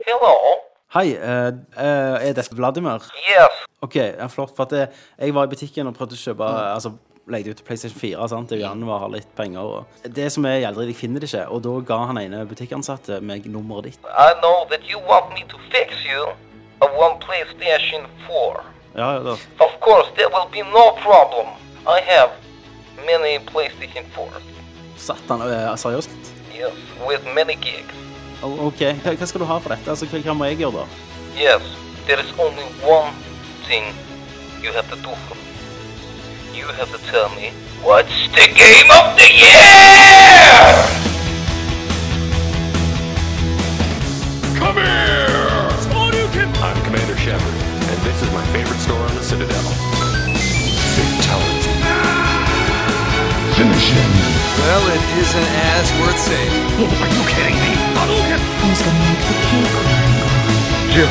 Hello. Hei, eh, eh, er dette Vladimir? Yes. Ok, ja, flott, for at jeg, jeg var i butikken og prøvde å kjøpe Altså, leide ut PlayStation 4, sant? Det er jo gjerne å ha litt penger og Det som er gjeldre, jeg finner det ikke Og da ga han ene butikkansatte meg nummeret ditt I know that you want me to fix you a one PlayStation 4. Ja, ja, da Of course, there will be no problem. I have many PlayStation 4s. satt han eh, seriøst Yes, with many gigs. O- Ok, hva hva skal du ha for dette? Altså, hva, hva må jeg gjøre da? Yes, there is only one thing you have to do for me. You have to tell me what's the game of the year? Come here! I'm Commander Shepard, and this is my favorite store on the Citadel. Fatality. Finish him. Well, it isn't as worth saving. Are you kidding me? Who's gonna make the cake?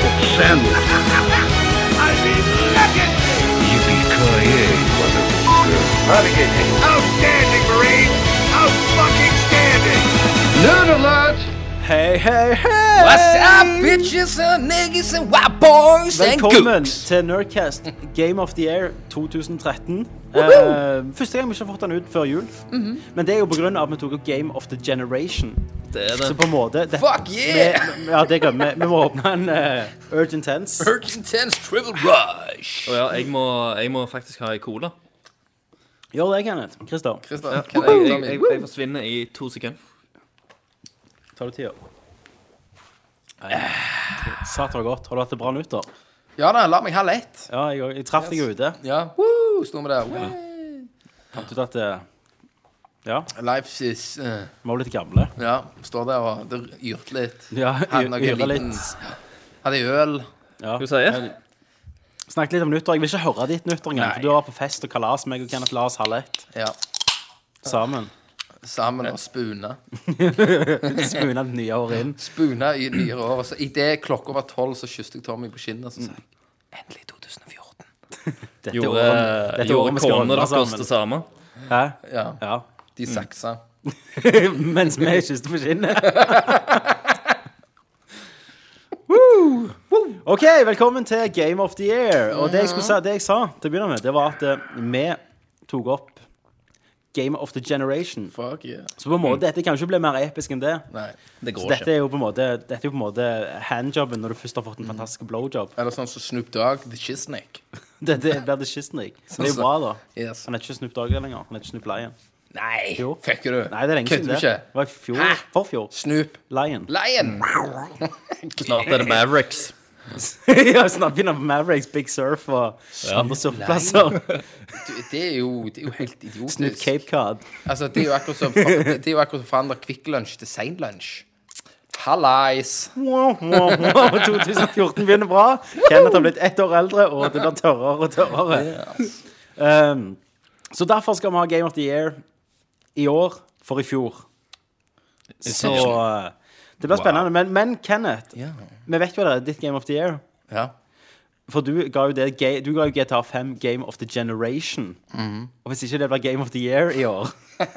Yippee-ki-yay, motherfucker. Outstanding, Marine! Out fucking standing! Hei, hei, hei! What's up, bitches and niggas and white boys and Velkommen gooks? til Nerdcast Game of the Year 2013. Eh, første gang vi ikke har fått den ut før jul. Men det er jo på grunn av at vi tok opp Game of the Generation. Det er Så på en måte det, Fuck yeah! vi, Ja, det glemmer vi. Vi må åpne en eh, Urgent Tense. Urge Intense Triple Rush. Og ja, jeg må, jeg må faktisk ha ei cola. Gjør det, Kenneth. Christer. Kristian, Jeg, kan jeg jeg, ta min? jeg, jeg forsvinner i to sekunder. Tar du tida? Satan var godt. Har du hatt det bra nyttår? Ja da, la meg ha lett. Ja, jeg, òg. jeg traff deg jo ute. Ja, woo, står vi der. Woo. Fant ut at eh, Ja, Life is eh, vi var litt gamle. Ja, står der og det yrte litt. Ja, Hadde noe yrer liten- litt. Hadde øl. Ja. Hva sier jeg? Snakket litt om nyttår. Jeg vil ikke høre ditt nyttår engang. Nei. For du var på fest og kalas. Meg og Kenneth la oss halv ett Ja, sammen. sammen og spuna. Spuna det nye året inn. Spuna i nyere år. og så Idet klokka var tolv, så kysset jeg Tommy på kinnet og så sa jeg, Endelig 2014. Dette Gjorde, året- dette året vi gjorde skal holde konene deres sammen. det samme? Hæ? Ja, Ja. de Mm. saksa. Mens vi kysste på skinnet. Woo! OK, velkommen til Game of the Year. Og det jeg, skulle si, det jeg sa til å begynne med, det var at eh, vi tok opp Game of the Generation. Fuck yeah. Så på en Mm. måte, dette kan jo ikke bli mer episk enn det. Nei. Det Så går dette ikke. er jo på en måte, dette er jo på en måte handjobben når du først har fått Mm. en fantastisk blowjob. Eller sånn som Snoop Dogg, The Chisnick. Dette blir det Kistnik. Så det er jo bra, da. Yes. Han er ikke Snoop Dogg lenger. Han er ikke Snoop Lion. Nei, Jo. fucker du? Nei, det er lenge Kødder siden du det. ikke? Det var i fjor. Hæ? Forfjor. Snoop Lion. Lion. Snart er det Mavericks. ja, snart begynner Mavericks, Big Surf og andre surfplasser. Du, Det er jo, det er jo helt idiotisk. Snoop Cape Cod. Altså, det er jo akkurat som det er jo akkurat som forandre Kvikk Lunsj til Sein Lunsj. Hallais. Wow, wow, wow. 2014 begynner bra. Kenneth har blitt ett år eldre, og det blir tørrere og tørrere. Um, så derfor skal vi ha Game of the Year i år for i fjor. Så uh, det blir spennende. Men, men Kenneth, Ja. vi vet jo allerede ditt Game of the Year. ja. For du ga jo, det, ga- du ga jo GTA 5 Game of the Generation. Mhm. Og hvis ikke det blir Game of the Year i år,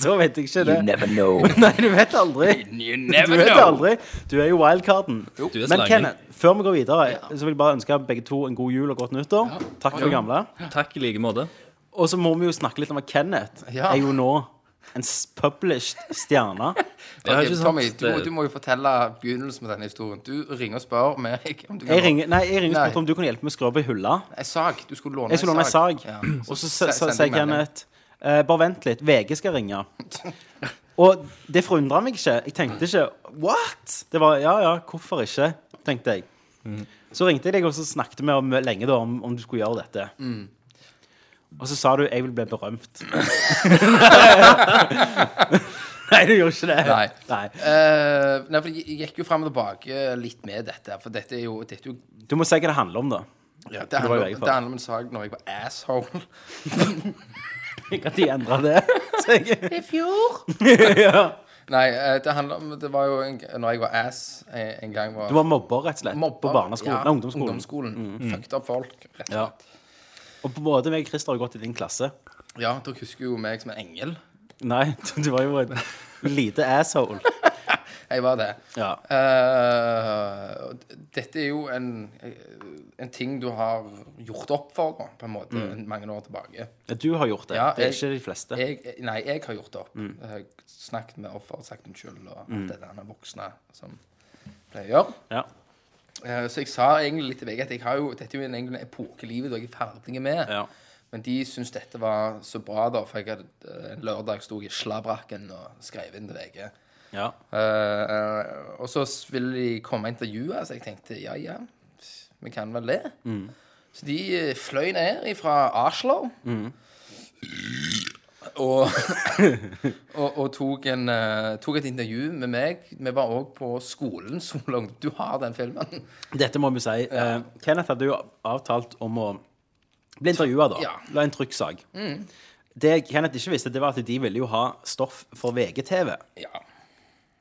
så vet jeg ikke det. never know. Nei, du vet aldri. You Du never vet know. aldri. Du er jo wildcarden. Du er Men slangen. Kenneth, før vi går videre, så vil jeg bare ønske begge to en god jul og godt nyttår. Takk for gamle. Takk i like måte. Og så må vi jo snakke litt om at Kenneth Ja. er jo nå en s- published stjerne. Jeg har Ok, ikke eh, sant Tommy, du, må- eh. det- du må jo fortelle begynnelsen med denne historien. Du ringer og spør meg om du kan Jeg ringer, nei, jeg ringer og Nei. spurte om du kunne hjelpe meg å skru opp ei hylle. En sag. Du skulle låne Jeg skulle låne ei sag, Mm. Ja. og så sa- se- sa- sender sier jeg melding. Kenneth eh, Bare vent litt, VG skal ringe. Og det forundra meg ikke. Jeg tenkte ikke What?! Det var ja, ja, hvorfor ikke? tenkte jeg. Mm. Så ringte jeg deg, og så snakket vi om, eh, lenge da, om, om du skulle gjøre dette. Mm. Og så sa du 'jeg vil bli berømt'. Nei, du gjorde ikke det. Nei. Nei. Eh, nei, for jeg gikk jo frem og tilbake litt med dette. For dette er jo, dette er jo Du må si hva det handler om, da. ja, det, var jo handler, jeg det for. handler om en sak når jeg var asshole. Når de endra det. Så jeg, I fjor? Nei, eh, det handler om Det var jo en, når jeg var ass eh, en gang var du var mobber, rett og slett. på barneskolen. ja, Mm. Nei, ungdomsskolen. Mm. Fucked up folk, rett og Ja. slett. Og både meg og Christer har gått i din klasse. Ja. dere husker jo meg som en engel. Nei, du var jo en lite asshole. Jeg var det. Ja. Eh, og d- dette er jo en, eh, en ting du har gjort opp for, da, på en måte, mange år tilbake. Du har gjort Mm. det. Ja, det er jeg- ikke de fleste. Mm. Jeg, nei, jeg har gjort det opp. Jeg har snakket med offer, sagt unnskyld, og alt det der med voksne som pleier å gjøre. Ja. Eh, Så jeg sa egentlig litt til VG at jeg har jo, dette er jo en egentlig en epoke i livet da jeg er ferdig med. Ja. Men de syntes dette var så bra, da, for jeg hadde, eh, en lørdag sto jeg i slabrakken og skrev inn til VG. ja. Eh, og så s- ville de komme og intervjue, så jeg tenkte ja, ja, vi kan vel det. Så de eh, fløy ned fra Oslo og, og, og tok, en, eh, tok et intervju med meg. Vi var òg på skolen så langt. Du har den filmen. Dette må vi si. Eh, Kenneth hadde jo avtalt om å bli intervjua, da. Ja. Mm. La en trykksak. Det Kenneth ikke visste, det var at de ville jo ha stoff for VGTV. Ja.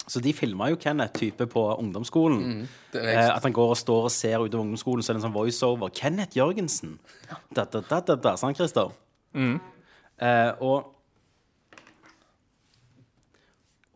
Så de filma jo Kenneth type på ungdomsskolen. det er- eh, at han går og står og ser utover ungdomsskolen, så er det en sånn voiceover. Kenneth Jørgensen. Da, da, da, da, da, sant, Christer? Eh, og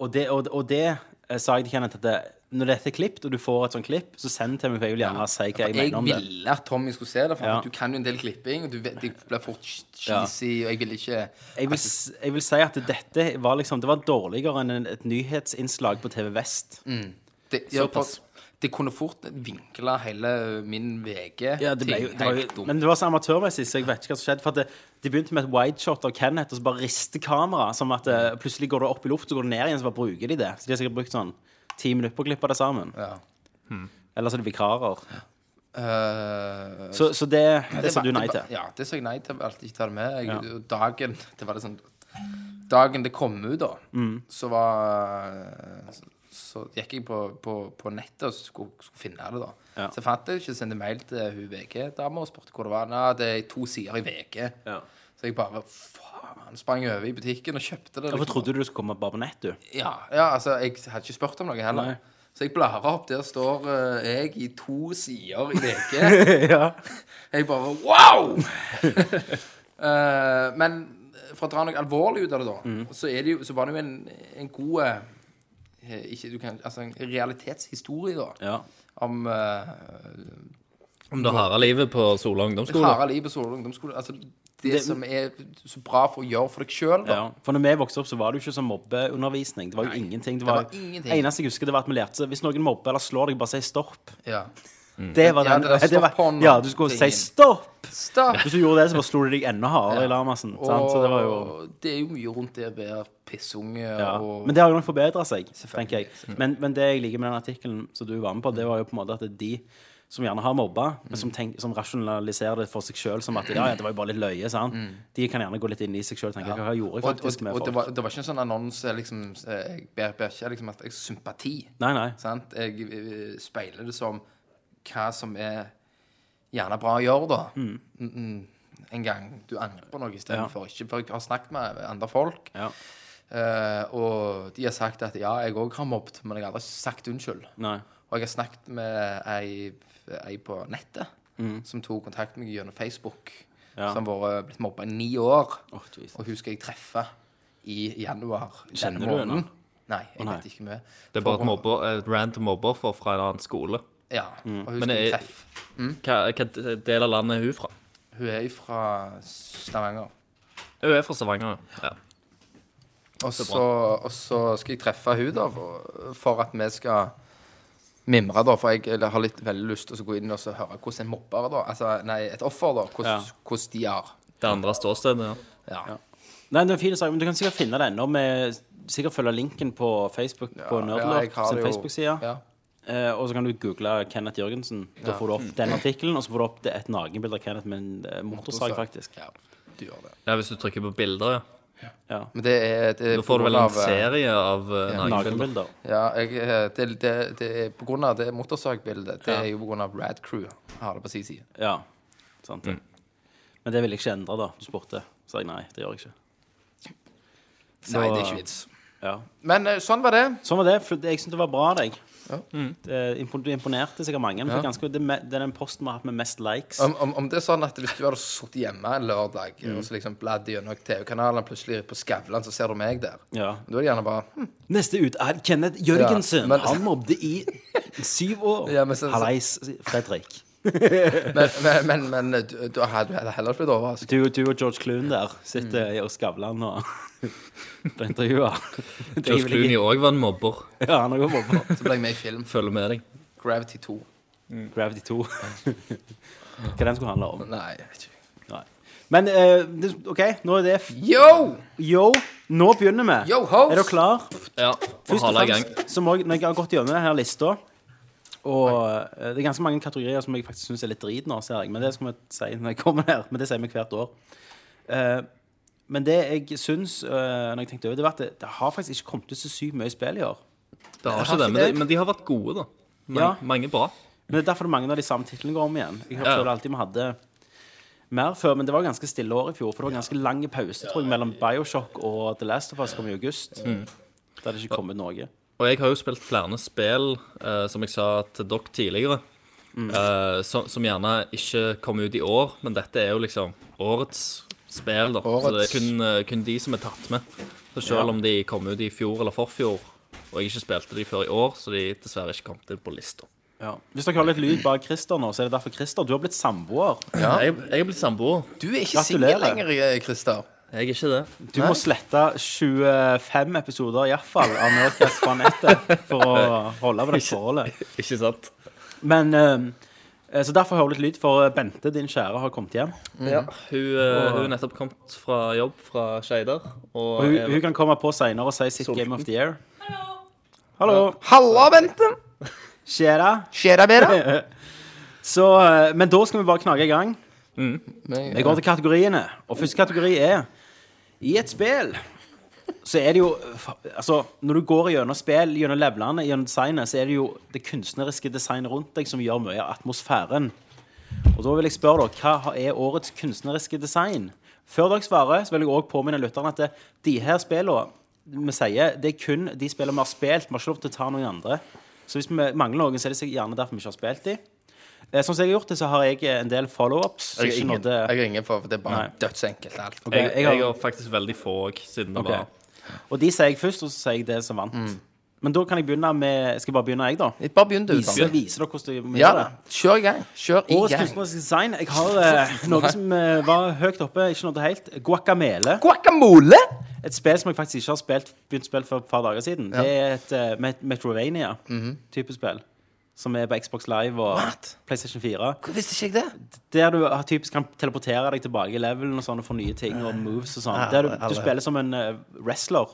og det, og, og det eh, sa jeg til Kenneth at det, når dette er klippet, og du får et sånt klipp, så send til meg, for jeg vil gjerne si hva jeg Jeg mener om det. ville at Tommy skulle se det, for Ja. at du kan jo en del klipping. Og du vet, det blir fort cheesy, og jeg vil ikke jeg vil, s- jeg vil si at dette var liksom Det var dårligere enn en- et nyhetsinnslag på TV Vest. det, ja, for, Såpass. det kunne fort vinkle hele min VG. Ja, det ble jo, ting det var helt jo, dumt. men det var så amatørmessig, så jeg vet ikke hva som skjedde. For at det, De begynte med et wideshot av Kenneth, og så bare rister kameraet. Som at eh, plutselig går det opp i luft, så går det ned igjen, så bare bruker de det. Så de har sikkert brukt sånn ti minutter på å klippe det sammen. Hmm. Ja. Eller så er det vikarer. Eh, Så, så det, ja, det sa var- du nei det var- til. Ja, det sa jeg nei til. Valgte ikke å ta det med. Jeg, Ja. Dagen det var liksom, Dagen det kom ut, da, Mm. så var så, så gikk jeg på, på, på nettet og skulle, skulle finne det, da. Ja. Så jeg fant det ikke, sendte mail til hun VG-dama og spurte hvor det var. Nei, det er to sider i VG. Ja. Så jeg bare faen sprang over i butikken og kjøpte det. Hvorfor liksom. trodde du du skulle komme bare på nett, du? Ja, ja, altså, jeg hadde ikke spurt om noe heller. Nei. Så jeg blar opp. Der står eh, jeg i to sider i VG. Jeg bare wow! Eh, men for å dra noe alvorlig ut av det, da, Mm. så, er det jo, så var det jo en, en god eh, ikke, du kan, altså en realitetshistorie, da. Ja. Om eh, Om det harde livet på Sola ungdomsskole. Skole. harde liv på Sola ungdomsskole. Altså det, som er så bra for å gjøre for deg sjøl, da. ja. For når vi vokste opp, så var det jo ikke sånn mobbeundervisning. Det var jo ingenting. Det, var, var ingenting. eneste jeg husker, det var at vi lærte Hvis noen mobber eller slår deg, bare si stopp. Ja. Det var Mm. Ja, den, det der det var- stopphånda Ja, du skulle si tingen. stopp! Stopp! Hvis du gjorde det, så bare slo de deg enda hardere i larmassen. sant? Så det var jo Og det er jo mye rundt det å være pissunge ja. og Men det har jo nok forbedra seg, tenker jeg. Men, men det jeg liker med den artikkelen som du var med på, det var jo på en måte at det er de som gjerne har mobba, men Mm. som, tenk, som rasjonaliserer det for seg sjøl som at ja, ja, det var jo bare litt løye, sant? De kan gjerne gå litt inn i seg sjøl og tenke hva gjorde jeg Mm. og, og, faktisk med og det, folk? var, det var ikke en sånn annonse liksom, eh, Jeg ber, ber ikke liksom, at jeg sympati. Nei, nei. Sant? Jeg eh, speiler det som hva som er gjerne bra å gjøre, da. Mm, mm. En gang du angrer på noe Ja. istedenfor. Ikke for jeg har snakket med andre folk, Ja. eh, og de har sagt at ja, jeg òg har mobbet, men jeg har aldri sagt unnskyld. nei. Og jeg har snakket med ei, ei på nettet som tok kontakt med meg gjennom Facebook. Mm. Ja. Som har vært- blitt mobba i ni år. Åh, Jesus. og hun skal jeg treffe i januar. Kjenner denne du henne? måneden. Nei, jeg nei. vet ikke mye. Det er bare et, mobber, et random mobbeoffer fra en annen skole. Ja, Mm. og hun Men skal jeg er- treffe. Hva, hva del av landet er hun fra? Hun er fra Stavanger. Hun er fra Stavanger. Ja. Og så, og så skal jeg treffe hun da, for, for at vi skal mimre, da. For jeg eller, har litt veldig lyst til å gå inn og så høre hvordan en mobber, da, altså, nei, et offer, da, hvordan, hvordan de har. Det andre ståstedet, ja. Ja. Nei, det er en fin sak, men du kan sikkert finne det ennå. med- Sikkert følge linken på Facebook på Ja, jeg Nerdlurp har sin det jo- Facebook-side. Ja. Eh, og så kan du google Kenneth Jørgensen. Da får du opp den artikkelen, og så får du opp det- et nakenbilde av Kenneth med en eh, motorsag, faktisk. Ja, du gjør det. ja. Hvis du trykker på bilder, ja. Ja. Men det er, det er Da på får du vel grunn en av, eh, serie av uh, nakenbilder. Nakenbilder. Ja, jeg, eh, det, det, det er på grunn av det motorsagbildet. Det er jo på grunn av Rad Crew. Har det på sin side. Ja. Sant Mm. det. Men det vil jeg ikke endre, da. Du spurte. Så jeg nei, det gjør jeg ikke. Nei, det er ikke vits. Ja. Men eh, sånn var det. Sånn var det. for Jeg syntes det var bra av deg. Det impon- det imponerte sikkert mange. for Ganske, det, er me- det er den posten vi har hatt med mest likes. Om, om, om det er sånn at hvis du hadde sittet hjemme en lørdag Mm. og så liksom bladd gjennom TV-kanalen, plutselig på Skavlan, så ser du meg der. Ja. Men Da er det gjerne bare hm, Neste ut er Kenneth Jørgensen. Ja, men- Han mobbet i syv år. Ja, men så- så- Hallais, Fredrik. Men, men, men, men du, du, hadde- du hadde heller blitt overrasket. Du, du og George Clooney der sitter i Skavlan og blir intervjua. George Clooney òg var en mobber. Ja, han har gått mobba. Så ble jeg med i film Følger med deg. Gravity 2. Gravity 2. Hva den skulle handle om. Nei, jeg vet ikke. Nei. Men eh, det, OK, nå er det f Yo! Yo, nå begynner vi. Yo, host! Er dere klar? Ja, Først Først og og gang. fremst så må jeg, når jeg har gått gjennom denne lista Og eh, det er ganske mange kategorier som jeg faktisk syns er litt drit nå, ser jeg. Men det skal vi si når jeg kommer her. Men det sier vi hvert år. Eh, men det jeg syns, eh, når jeg tenkte over det, var at det, det har faktisk ikke kommet ut så sykt mye spill i år. Det har ikke det, men de, men de har vært gode, da. Mange, Ja. mange bra. Men det er derfor det er mange av de samme titlene går om igjen. Jeg Ja. føler alltid vi hadde mer før, men det var ganske stille år i fjor. For det var ganske lang pause tror jeg, mellom Bioshock og The Last of Us kom i august. Mm. Da hadde det ikke kommet noe. Og jeg har jo spilt flere spill, eh, som jeg sa til dere tidligere, eh, som, som gjerne ikke kom ut i år, men dette er jo liksom årets spill, da. Så det er Årets. kun, eh, kun de som er tatt med. Så selv om de kom ut i fjor eller forfjor, og jeg ikke spilte de før i år, så de dessverre ikke kom til på lista. Ja. Hvis dere hører litt lyd bak Christer nå, så er det derfor Christer, du har blitt samboer. Jeg, jeg er blitt samboer. Du er ikke Gratulerer. singel lenger, eh, Christer. Jeg er ikke det. Du må slette 25 episoder iallfall av Nerdcast fra nettet for å holde på det forholdet. Ikke sant? Men eh, Så derfor hører du litt lyd, for Bente, din kjære, har kommet hjem. Hun, eh, hun er nettopp kommet fra jobb fra Skeidar. Og, Og hun, er- hun kan komme på seinere og si sitt Game of the Year. Hallo. Halla, Bente! Skjer'a? Skjer'a bedre? Så, eh, men da skal vi bare knage i gang. Vi går til kategoriene. Og første kategori er I et spill så er det jo fa- Altså, når du går gjennom spill, gjennom levelene, gjennom designet, så er det jo det kunstneriske designet rundt deg som gjør mye av atmosfæren. Og da vil jeg spørre dere, hva har- er årets kunstneriske design? Før dere svarer, så vil jeg også påminne lytterne at det, de her spillene vi sier, det er kun de spillene vi har spilt. Vi har ikke lov til å ta noen andre. Så hvis vi mangler noen, så er det sikkert gjerne derfor vi ikke har spilt de. Eh, Sånn som jeg har gjort det, så har jeg eh, en del follow-ups. som Jeg ikke ringer, nådde- jeg ringer for, for det er bare Nei. dødsenkelt alt. Ok, jeg, jeg har- jeg har faktisk veldig få òg, siden det Ok. var Og de sier jeg først, og så sier jeg det som vant. Men da kan jeg begynne med Skal jeg bare begynne, jeg, da? Jeg Bare begynn, Mm. du. Vise, Tom. vise dere hvordan du må Ja, gjøre det. kjør i gang. Kjør i Årets gang. kunstneriske design. Jeg har eh, noe som eh, var høyt oppe, ikke nådde helt. Guacamele. Guacamole! Et spill som jeg faktisk ikke har spilt, begynt å spille for et par dager siden. Det er et eh, Met- Metrovania-type spill. Som er på Xbox Live og Mhm. What? PlayStation 4. Hvorfor Visste ikke jeg det? Der du har- typisk kan teleportere deg tilbake i levelen og sånn, og få nye ting og moves og sånn. Der du, du spiller som en eh, wrestler.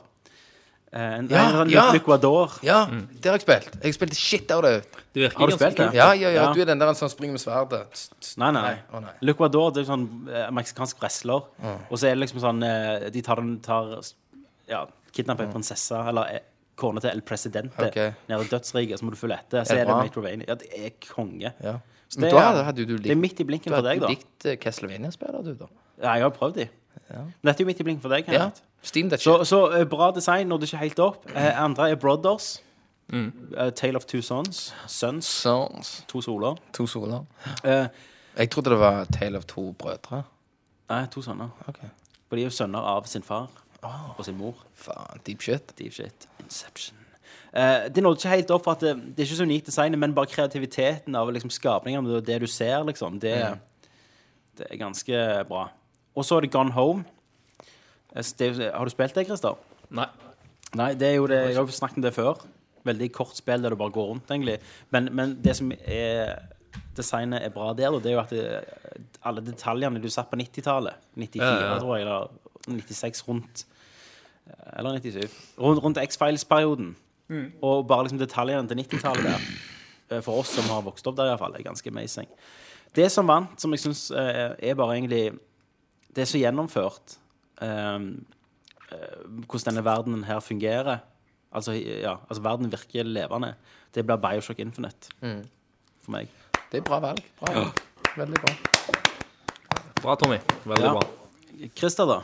Eh, En, Ja, en sånn ja. lucuador. Ja, det har jeg spilt. Jeg spilte shit out of it. Det virker Har du ganske spilt det? kult. Ja, ja, ja, Mm. Ja. du er den der som springer med sverdet. Tss, tss. Nei, nei. Nei, å nei. Mm. Lucuador det er jo sånn eh, meksikansk wrestler. Og så er det liksom sånn eh, De tar, den- tar ja, kidnapper en prinsesse eller eh, kona til El Presidente Mm. Ok. nede i dødsriket, så må du følge etter. Så det er det bra? Matrovania. Ja, det er konge. Ja. Så Men det da er- hadde- hadde du Det er likt- midt i blinken Du for har deg, jo da. likt eh, Castlevania-spiller, du, da. Ja, jeg har prøvd de. Men dette er jo midt i blinken for deg. Ja. Kenneth. Steam Deck. Så, så eh, bra design nådde ikke helt opp. Eh, andre er Brothers. Eh, Tale of Two Sons. Sons. Sons. To soler. To soler. Eh, Jeg trodde det var Tale of to brødre. nei, to sønner. Ok. For de er jo sønner av sin far og sin mor. Faen, deep shit. Deep shit. Inception. Eh, det nådde ikke helt opp for at det, det er ikke så unikt designet, men bare kreativiteten av liksom, skapningene og det du ser, liksom, det, det er ganske bra. Og så er det Gone Home. Eh, så Det, er jo- har du spilt det, Christer? Nei. Nei, det er jo det, jeg har jo snakket om det før. Veldig kort spill der du bare går rundt, egentlig. Men, men det som er designet er bra der, da, det er jo at det, alle detaljene du satt på 90-tallet, 94 Ja, ja. tror jeg, eller 96 rundt eh, Eller 97. Rundt, rundt X-Files-perioden. Mm. Og bare liksom detaljene til 90-tallet der, eh, for oss som har vokst opp der, iallfall, er ganske amazing. Det som vant, som jeg syns er bare egentlig Det er så gjennomført. eh, hvordan denne verdenen her fungerer. Altså, ja, altså verden virker levende. Det blir Bioshock Infinite Mm. for meg. Det er bra valg. Bra valg. Veldig bra. Bra, Tommy. Veldig Ja. bra. Christer, da?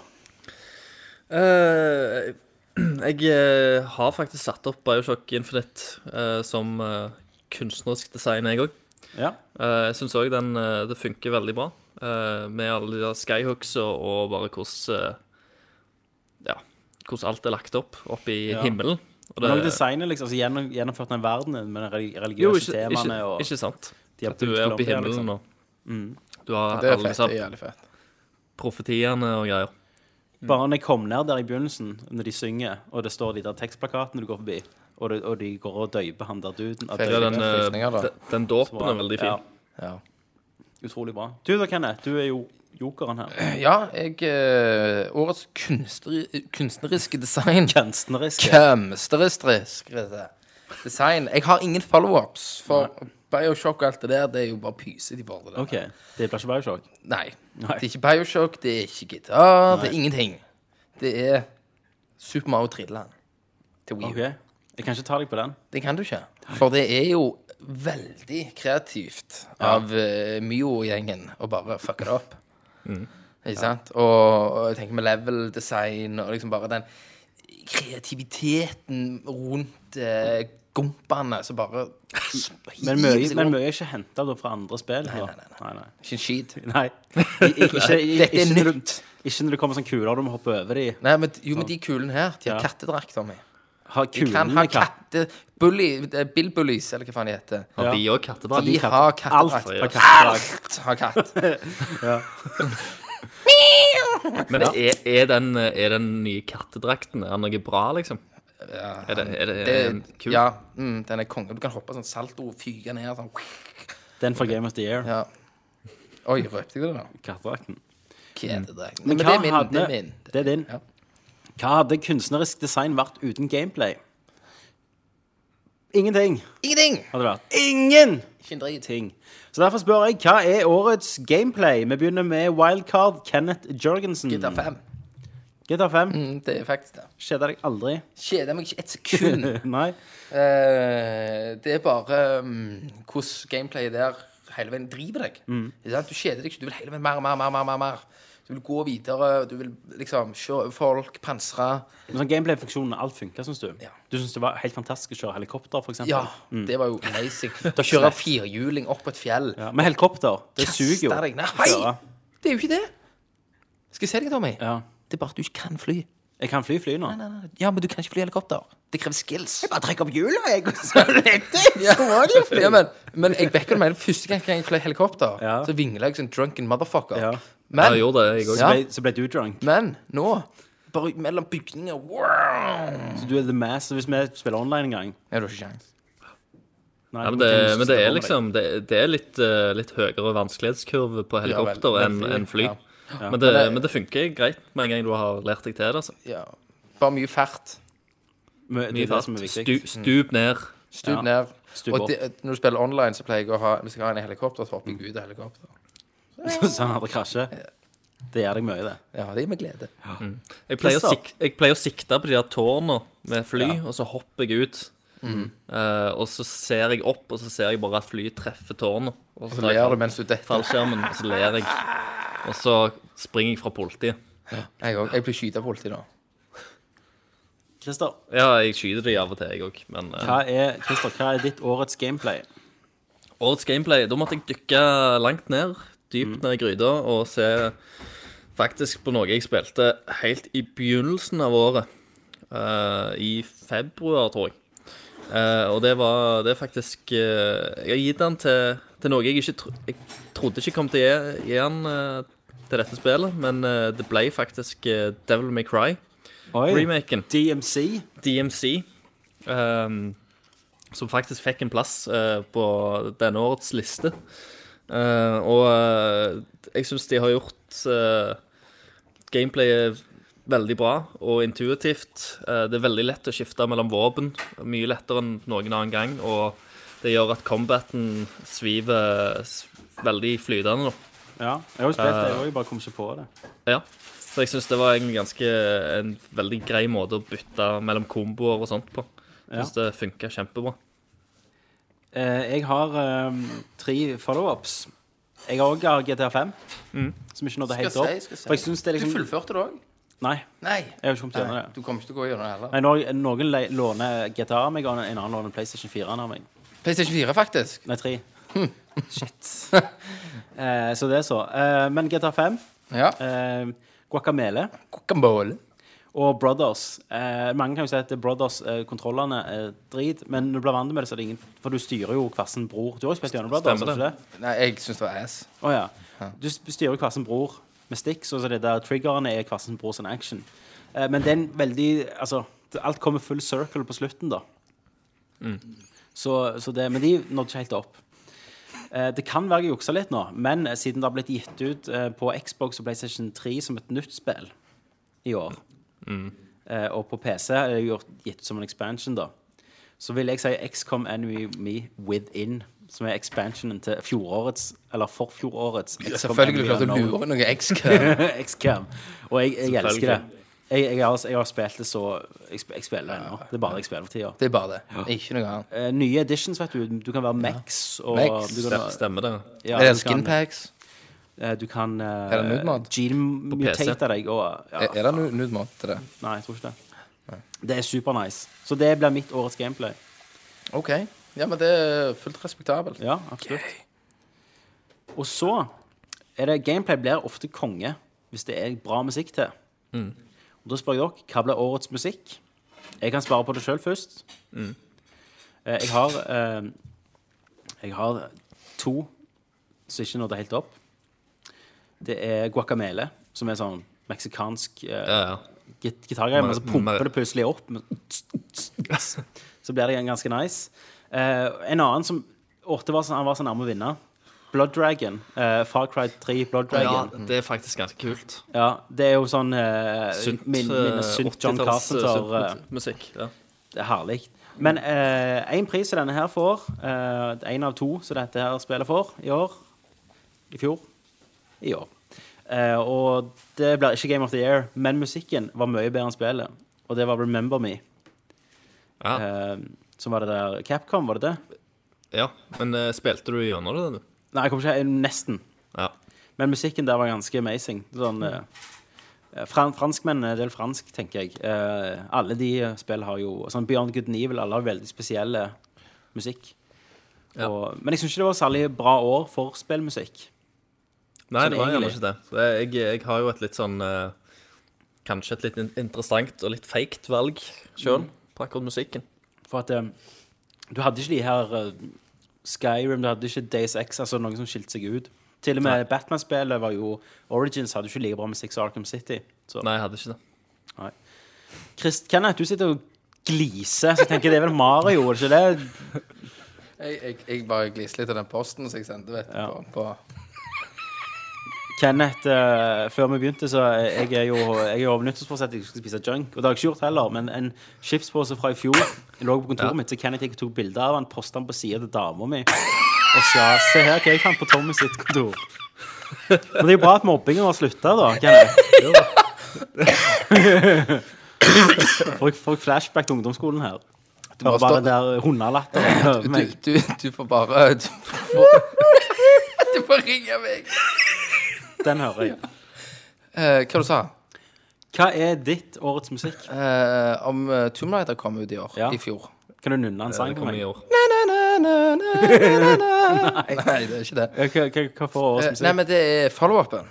Eh, Jeg eh, har faktisk satt opp Bioshock Infinite eh, som eh, kunstnerisk design, jeg òg. Ja. Eh, Jeg syns òg den eh, det funker veldig bra, eh, med alle de der skyhooksa og bare hvordan eh, Ja, hvordan alt er lagt opp oppe i Ja. himmelen. Og Men også designet, liksom. Altså, gjennom, gjennomført den verdenen med de reli- religiøse jo, ikke, ikke, temaene og ikke sant. de har At du pult er oppe i klumper, himmelen liksom. og Du har Det er alle fett. disse Det er jævlig fett. profetiene og greier. Bare når jeg kom ned der i begynnelsen, når de synger, og det står de der tekstplakatene du går forbi, og, det, og de går og døyper han der duden at Fett. Ja, det er den, eh, Frysninger, da. den, den dåpen er veldig fin. Ja, Ja. utrolig bra. Du da, Kenneth, du er jo jokeren her. Ja, jeg eh, Årets kunstneri, kunstneriske design. Kunstnerisk. Kunstnerisk design. Jeg har ingen follow-ups, for Bioshock og alt det der, det er jo bare pyse. De bare det der. OK. Det blir ikke Bioshock. Nei. Nei. Det er ikke Bioshock, det er ikke gitar, det er ingenting. Det er Super Mario Trilleland til Wii U. OK. Jeg kan ikke ta deg på den. Det kan du ikke. For det er jo veldig kreativt av eh, Mio-gjengen å bare fucke det opp. Mm. Ikke sant? Og, og jeg tenker med level design og liksom bare den kreativiteten rundt uh, gompene som bare Men mye, hiver seg men rundt. mye er ikke henta fra andre spill. Nei, nei, nei, nei. Ikke en skit. Nei. I- i- Ikke, i- Dette er ikke, når du, nytt. ikke når det kommer sånne kuler du må hoppe over de. Nei, men jo, men de kulene her, de har Ja. kattedrakter med. Har De kan ha kulene katt. katte... Bully, eh, Bill Bullies, eller hva faen de heter. Har Ja. de òg kattedrakt? De har kattedrakt. Alt har kattedrag. Alt har katt. Men er, er, den, er den nye kattedrakten Er den noe bra, liksom? Er det, er det, er det, Det, en kul? Ja, mm, den er konge. Du kan hoppe sånn salto og fyke ned sånn. Den fra Game of the Year. Ja. Oi, røpte jeg det da? Kattedrakten. Kjededrag. Men Men, det hva er min. hadde- Det er min. Det er din. Ja. Hva hadde kunstnerisk design vært uten gameplay? Ingenting Ingenting! hadde det vært. Ingenting! Ikke en drit. Så derfor spør jeg, hva er årets gameplay? Vi begynner med wildcard Kenneth Jørgensen. GTA 5. GTA 5. Mm, det er faktisk det. Skjeder deg aldri. Kjeder meg ikke et sekund. Nei. Eh, det er bare mm, hvordan gameplayet der hele veien driver deg. Ikke sant? Du kjeder deg ikke. Du vil hele veien mer, mer, mer, mer. mer, mer. Du vil gå videre. Du vil liksom kjøre over folk, pansre. Men sånn Gameplay-funksjonen, alt funker, syns du? Ja. Du syns det var helt fantastisk å kjøre helikopter, for eksempel? Ja, det var jo amazing. Da kjører jeg firhjuling opp på et fjell. Ja, Men helikopter, det suger jo. Kaste deg ned. å Hei! kjøre. Det er jo ikke det. Skal jeg si deg, Tommy? Ja. Det er bare at du ikke kan fly. Jeg kan fly fly nå. Nei, nei, nei. Ja, men du kan ikke fly helikopter. Det krever skills. Bare trekk opp hjulet, jeg, og så letter Ja, ja men, men jeg vekker meg den første gang jeg fløy helikopter. Ja. Så vingla jeg som drunken motherfucker. Ja. Ja, Men, jeg gjorde det, jeg òg. Ja. Så ble du drunk. men nå Bare mellom bygninger wow. Så du er the mass. Så hvis vi spiller online en gang Ja, du har ikke sjans. Nei, Ja, men, du det, kan jo men det spille over er deg. liksom Det, det er litt, eh, litt høyere vanskelighetskurve på helikopter Ja, vel, enn vel, enn fly. ja. Men, det, det- men det funker greit med en gang du har lært deg til det. Altså. Ja. Bare mye fart. Men Det er Mye det fart. som er Stu, viktig. stup ned. Stup Ja. ned. Stup Og opp. det, når du spiller online, så pleier jeg å ha Hvis jeg har en helikopter, så hopper jeg ut av helikopter. Sånn at det krasjer. Det gjør deg mye, det. Ja, det gir meg glede. Jeg pleier, å Christer. sik, jeg pleier å sikte på de der tårna med fly, og så hopper jeg ut. Mm. Eh, og så ser jeg opp, og så ser jeg bare at flyet treffer tårnet. Og Så tar jeg ler fall- du mens du detter. fallskjermen, og så ler jeg. Og så springer jeg fra politiet. Jeg òg. Jeg blir skyta av politiet da. Christer, Ja, jeg skyter de av og til, jeg òg, men eh, hva er, Christer, hva er ditt årets gameplay? Årets gameplay, da måtte jeg dykke langt ned, dypt ned i gryta, og se faktisk på noe jeg spilte helt i begynnelsen av året. eh, I februar, tror jeg. Eh, og det var Det er faktisk eh, Jeg har gitt den til, til noe jeg ikke tro, jeg trodde ikke kom til å gi- gi den eh, til dette spillet, men eh, det ble faktisk eh, Devil May Cry-remaken. DMC. DMC, ehm, som faktisk fikk en plass eh, på denne årets liste. Eh, og eh, jeg syns de har gjort eh, gameplayet veldig bra og intuitivt. Eh, det er veldig lett å skifte mellom våpen, mye lettere enn noen annen gang. Og det gjør at combaten sviver s- veldig flytende, da. Ja, jeg har jo spilt Eh. det, jeg også, jeg bare kom ikke på det. Ja. Så jeg syns det var en ganske eh, en veldig grei måte å bytte mellom komboer og sånt på. Jeg syns det funka kjempebra. Eh, Jeg har eh, tre follow-ups. Jeg har òg GTA 5, som ikke nådde helt Skal opp. jeg si, skal jeg si. For jeg synes det er Du liksom fullførte det òg? Nei, Nei. jeg har ikke kommet gjennom Nei. det. Du kommer ikke til å gå gjennom det heller. Nei, no- noen le låner GTA av meg, og en annen låner PlayStation 4 av meg. PlayStation 4, faktisk. Nei, 3. Shit. Eh, så det er så. Eh, men GTA 5, Ja. eh, Guacamele Guacamole. og Brothers eh, Mange kan jo si at Brothers-kontrollene er drit, men når du blir vant med det, så er det ingen For du styrer jo hver sin bror. Du har jo spilt gjennom Brothers, har Stemmer du ikke det? Nei, jeg syns det var ass. Å ja. Du s- styrer hver sin bror med sticks, og så det der triggerne er hver sin bror sin action. Eh, men det er en veldig Altså, det- alt kommer full circle på slutten, da. Så, så det Men de nådde ikke helt opp. Eh, det kan være jeg juksa litt nå, men eh, siden det har blitt gitt ut eh, på Xbox og PlayStation 3 som et nytt spill i år, eh, og på PC er det gjort, gitt ut som en expansion, da, så vil jeg si XCOM Enemy Me Within, som er expansionen til fjorårets, eller forfjorårets XCOM Selvfølgelig Enemy klarte å Unknown. lure noe X-Cam. XCAM. Og jeg, jeg elsker det. Selvfølgelig. Jeg, jeg, har, jeg har spilt det så Jeg, sp- jeg spiller det ennå. Det er bare jeg spiller for tida. Det er bare det. Ikke noe annet. Eh, nye editions, vet du. Du kan være Max. Og Max. Du kan, Stem- Stemmer det? ja, er det du kan- skinpacks? eh, Du kan eh, Er det nude mod? gene-mutate deg. Og, ja, Er, er det nu- nude mod til det? Nei, jeg tror ikke det. Det er supernice. Så det blir mitt årets gameplay. OK. Ja, men det er fullt respektabelt. Ja, absolutt. Og så er det Gameplay blir ofte konge hvis det er bra musikk til. Og da spør jeg dere hva blir årets musikk? Jeg kan svare på det sjøl først. Eh, Jeg har eh, Jeg har to som ikke nådde helt opp. Det er guacamele, som er sånn meksikansk eh, Ja, ja. git- gitargreier, men så Mer- pumper mer- det plutselig opp. men Så blir det ganske nice. Eh, en annen som Åtte var så, han var så nærme å vinne. Blood Dragon. Uh, Far Cry 3 Blood ja, Dragon. det er faktisk ganske kult. Ja, Det er jo sånn uh, Synt, min, eh, minne synt John 80-talls, Carpenter. eh, eh, syntmusikk. Ja. det er herlig. Men én pris som denne her får, én av to som dette her spillet får i år I fjor. I år. Eh, og det blir ikke Game of the Year, men musikken var mye bedre enn spillet. Og det var Remember Me. Ja. eh, som var det der Capcom, var det det? ja. Men eh, spilte du gjennom det, du? Nei, jeg kommer ikke helt Nesten. Ja. Men musikken der var ganske amazing. Sånn, eh, fran franskmennene er en del fransk, tenker jeg. Eh, alle de eh, spill har jo sånn Beyond Good and Evil, alle har veldig spesielle musikk. Ja. Og, men jeg syns ikke det var særlig bra år for spillmusikk. Nei, Sånn det var gjerne egentlig. ikke det. Så Jeg, jeg har jo et litt sånn eh, Kanskje et litt in- interessant og litt feigt valg sjøl på akkurat musikken. For at eh, du hadde ikke de her eh, Skyrim, du hadde ikke Days X, altså noen som skilte seg ut. Til og med Batman-spillet var jo Origins hadde jo ikke like bra musikk som Arkham City. Så. Nei, jeg hadde ikke det. Christ, Kenneth, du sitter og gliser, så jeg tenker det er vel Mario, er det ikke det? Jeg, jeg, jeg bare gliser litt av den posten som jeg sendte, vet du. Ja. På, på Kenneth, eh, før vi begynte, så jeg er jo jeg er jo over nyttårsforsett at jeg skal spise junk. Og det har jeg ikke gjort heller, men en chipspose fra i fjor lå på kontoret Ja. mitt, så Kenneth gikk og tok bilde av den, posta den på sida til dama mi. Og sa se her hva jeg fant på Tommy sitt kontor. Men det er jo bra at mobbingen har slutta, da. Kenneth. Får jeg- får jeg flashback til ungdomsskolen her? må Hører bare stå- den der hundelatteren. du, du, du får bare Du får, du får ringe meg. Den hører jeg. Eh, hva du sa du? Hva er ditt årets musikk? om eh, Tomb Raider kom ut i år. Ja. I fjor. Kan du nunne en sang Eh, Det for kom meg? i år. Nei, det er ikke det. Ja, Hva, hva, hva får årets Eh, musikk? nei, men det er follow-upen.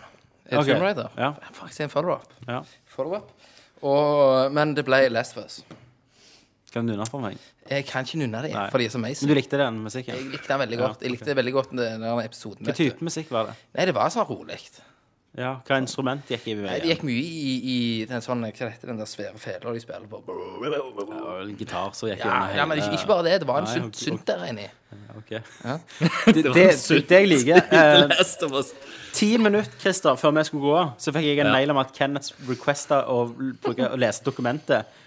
Er Ok. Tomb Raider. Ja. Det er Faktisk en follow-up. Ja. Follow-up. Og, men det ble Last of Us. Kan du nynne for meg? Jeg kan ikke nunne det, Nei. for de er så Men du amazing. likte den musikken? Jeg likte den veldig Ja, godt. Jeg likte veldig godt den der episoden. Hva vet du. type musikk var det? Nei, det var sånn rolig. Ja, Hva instrument gikk i Nei, veien? Det gikk mye i, i den sånn, hva heter det, den der svære fela de spiller på. Ja, vel, en gitar som gikk Ja, gjennom hele ja, men ikke, ikke bare det. Det var en Nei, synt, ok, synt der inni. Ok. Det, det, det, det jeg liker The eh, Last of Us. Ti minutter Christer, før vi skulle gå, så fikk jeg en mail om at Kenneth requesta å, l- bruke- å lese dokumentet.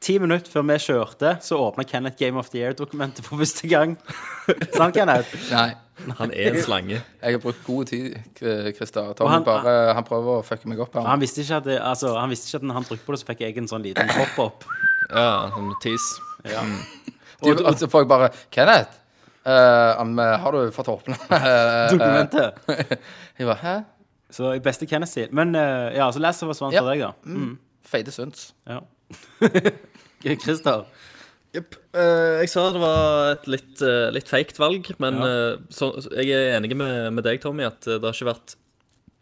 Ti minutter før vi kjørte, så åpna Kenneth Game of the Year-dokumentet for første gang. Sant, Kenneth? Nei. Han er en slange. Jeg har brukt god tid, K- Christer. Og Tommy han- bare, han prøver å fucke meg opp. Han her. visste ikke at, det, altså, han visste ikke at når han trykte på det, så fikk jeg en sånn liten pop-up. Ja, som tis. Og, og så får jeg bare Kenneth, eh, om, eh, har du fått åpne eh, Dokumentet. Jeg bare Hæ? Så i beste Kenneth sitt. Men eh, ja, så Last of Us vant Ja. for deg, da. Mm. Feite syns. Ja. Christer. Jepp. Eh, jeg sa det var et litt, eh, litt feigt valg, men eh, så, så jeg er enig med, med deg, Tommy, at eh, det har ikke vært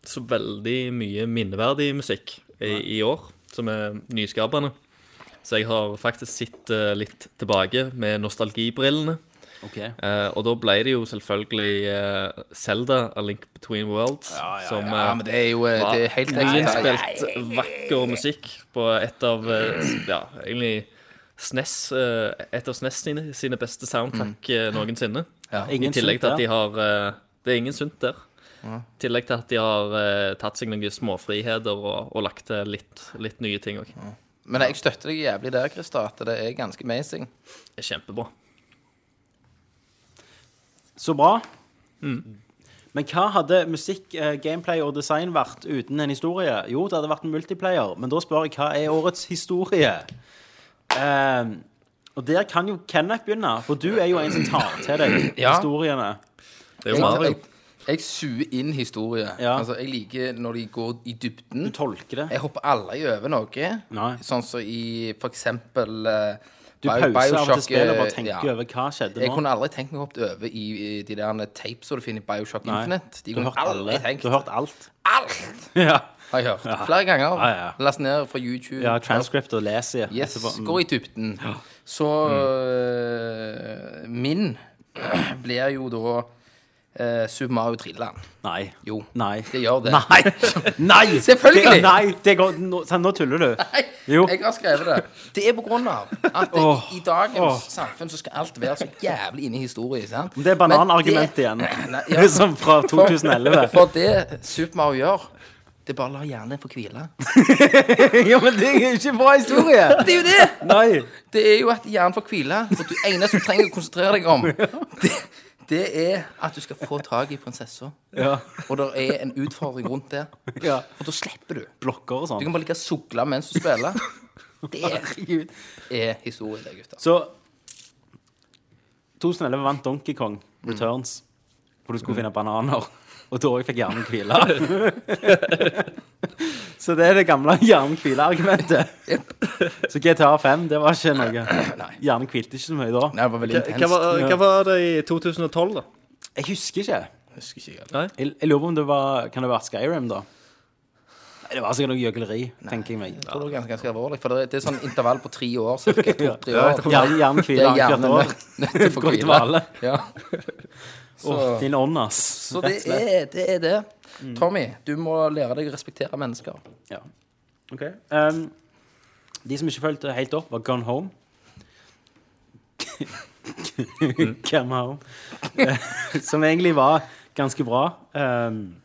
så veldig mye minneverdig musikk i, i år, som er nyskapende. Så jeg har faktisk sett eh, litt tilbake med nostalgibrillene. OK. Eh, og da ble det jo selvfølgelig eh, Zelda, A Link Between Worlds, som Ja, eh, men det er jo eh, det er helt ekte. Nyinnspilt vakker musikk på et av eh, Ja, egentlig SNES, eh, et av SNES sine, sine beste soundtrack Mm. eh, noensinne. I Ingen tillegg til synd at de der. har eh, Det er ingen sunt der. I tillegg til at de har eh, tatt seg noen småfriheter og, og lagt til litt, litt nye ting òg. Men jeg støtter deg jævlig der, Christer, at det er ganske amazing. Kjempebra. Så bra. Mm. Men hva hadde musikk, eh, gameplay og design vært uten en historie? Jo, det hadde vært en multiplayer, men da spør jeg hva er årets historie? Ehm, og der kan jo Kenneth begynne, for du er jo en som tar til deg Ja. historiene. Det er jo Jeg, Mario. jeg, jeg suger inn historie. Ja. Altså, jeg liker når de går i dybden. Du tolker det. Jeg hopper aldri over noe. Nei. Sånn som i for eksempel eh, Du pauser av Bio- og til Bioshock, spillet og eh, bare tenker ja. over hva skjedde Jeg nå. kunne aldri tenkt meg å hoppe over i, i de der tapes som du finner i Bioshock Nei. Infinite. De Du har kunne hørt alle. aldri tenkt Du har hørt alt. Alt Ja, har jeg hørt. Flere ganger. Ja, ja. Last ned fra YouTube. ja transcript og les i. Yes, etterpå. Mm. gå i dybden. Så øh, min blir jo da uh, Super Mario Trilland. Nei. Jo, Nei. det gjør det. Nei! Nei! Selvfølgelig! Det, nei, det går, nå, sånn, nå tuller du. Jo. Jeg har skrevet det. Det er på grunn av at det, Åh. i dagens Åh. samfunn så skal alt være så jævlig inne i historie. Sant? Det er Men bananargumentet det- igjen. Nei, ja. Som fra 2011. For det Super Mario gjør, det er bare å la hjernen få hvile. Ja, men det er jo ikke bra historie! Det er jo det! Nei. Det er jo at hjernen får hvile. Og det eneste du trenger å konsentrere deg om, det, det er at du skal få tak i prinsessa. Ja. Og det er en utfordring rundt det. ja. Og da slipper du. Blokker og Du sånn. kan bare ligge og sugle mens du spiller. Det er historie, det, gutter. Så 2011 vant Donkey Kong Returns, hvor du skulle finne bananer. Og da òg fikk hjernen hvile. Så det er det gamle hjernen-hvile-argumentet. Så GTA 5, det var ikke noe. Hjernen hvilte ikke så mye da. Nei, det var veldig Hva intenst. var, hva var det i 2012, da? Jeg husker ikke. Husker ikke jeg. Nei? Jeg, jeg lurer på om det var Kan det ha vært Skyrim, da? Nei, det var sikkert noe gjøgleri, tenker jeg meg. Jeg tror det var ganske, ganske alvorlig, for det er, det er sånn intervall på tre år. Cirka to-tre år. Hjernen hjernen Det hviler er hjernen hvert år. nødt nødt til å få Gå i hvile. dvale. Ja. Åh, din ånd, ass. Så Rett det og slett. er det. Er det. Tommy, du må lære deg å respektere mennesker. Ja. Ok. Ehm, de som ikke fulgte helt opp, var Gone Home. Come Home. Eh, som egentlig var ganske bra. Ehm,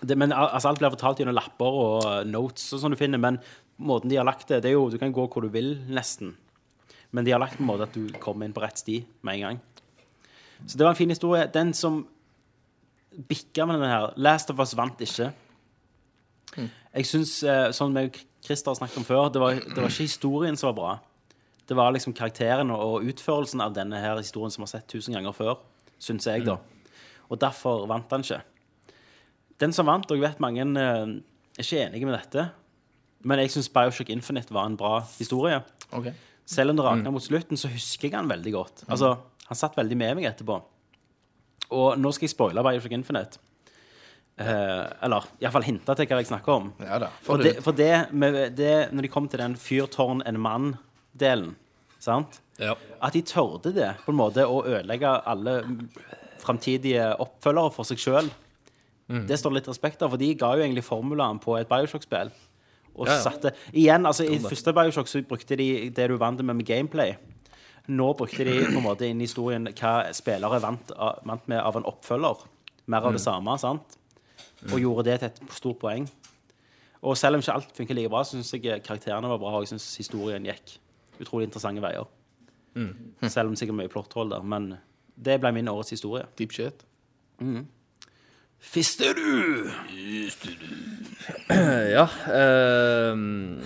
det, men al- altså, Alt blir fortalt gjennom lapper og eh, notes og sånn du finner, men måten de har lagt det, det er jo Du kan gå hvor du vil, nesten. Men de har lagt det på en måte at du kommer inn på rett sti med en gang. Så det var en fin historie. Den som bikka med den her Last of Us vant ikke. Jeg syns, sånn vi og Christer har snakket om før, det var, det var ikke historien som var bra. Det var liksom karakteren og- og utførelsen av denne her historien som vi har sett tusen ganger før, syns jeg, da. Og derfor vant han ikke. Den som vant, og jeg vet mange eh, er ikke enige med dette, men jeg syns Bioshock Infinite var en bra historie. Okay. Selv om det rakna mot slutten, så husker jeg han veldig godt. Altså, Han satt veldig med meg etterpå. Og nå skal jeg spoile Bioshock Infinite. Eh, eller iallfall hinte til hva jeg snakker om. Ja da. For Får du- det, for det, med det Når de kom til den fyrtårn en mann-delen, sant Ja. At de tørde det, på en måte, å ødelegge alle framtidige oppfølgere for seg sjøl, Mm. det står litt respekt av, for de ga jo egentlig formulaen på et Bioshock-spill. Og Ja, ja. satte Igjen, altså, i første Bioshock så brukte de det du vant med med gameplay. Nå brukte de på en måte inn i historien hva spillere vant, av- vant med av en oppfølger. Mer Mm. av det samme, sant? Og gjorde det til et stort poeng. Og selv om ikke alt funker like bra, så syns jeg karakterene var bra, og jeg syns historien gikk utrolig interessante veier. Selv om det sikkert er mye plotthold der, men det ble min årets historie. Deep shit. Fister du? Ja ehm,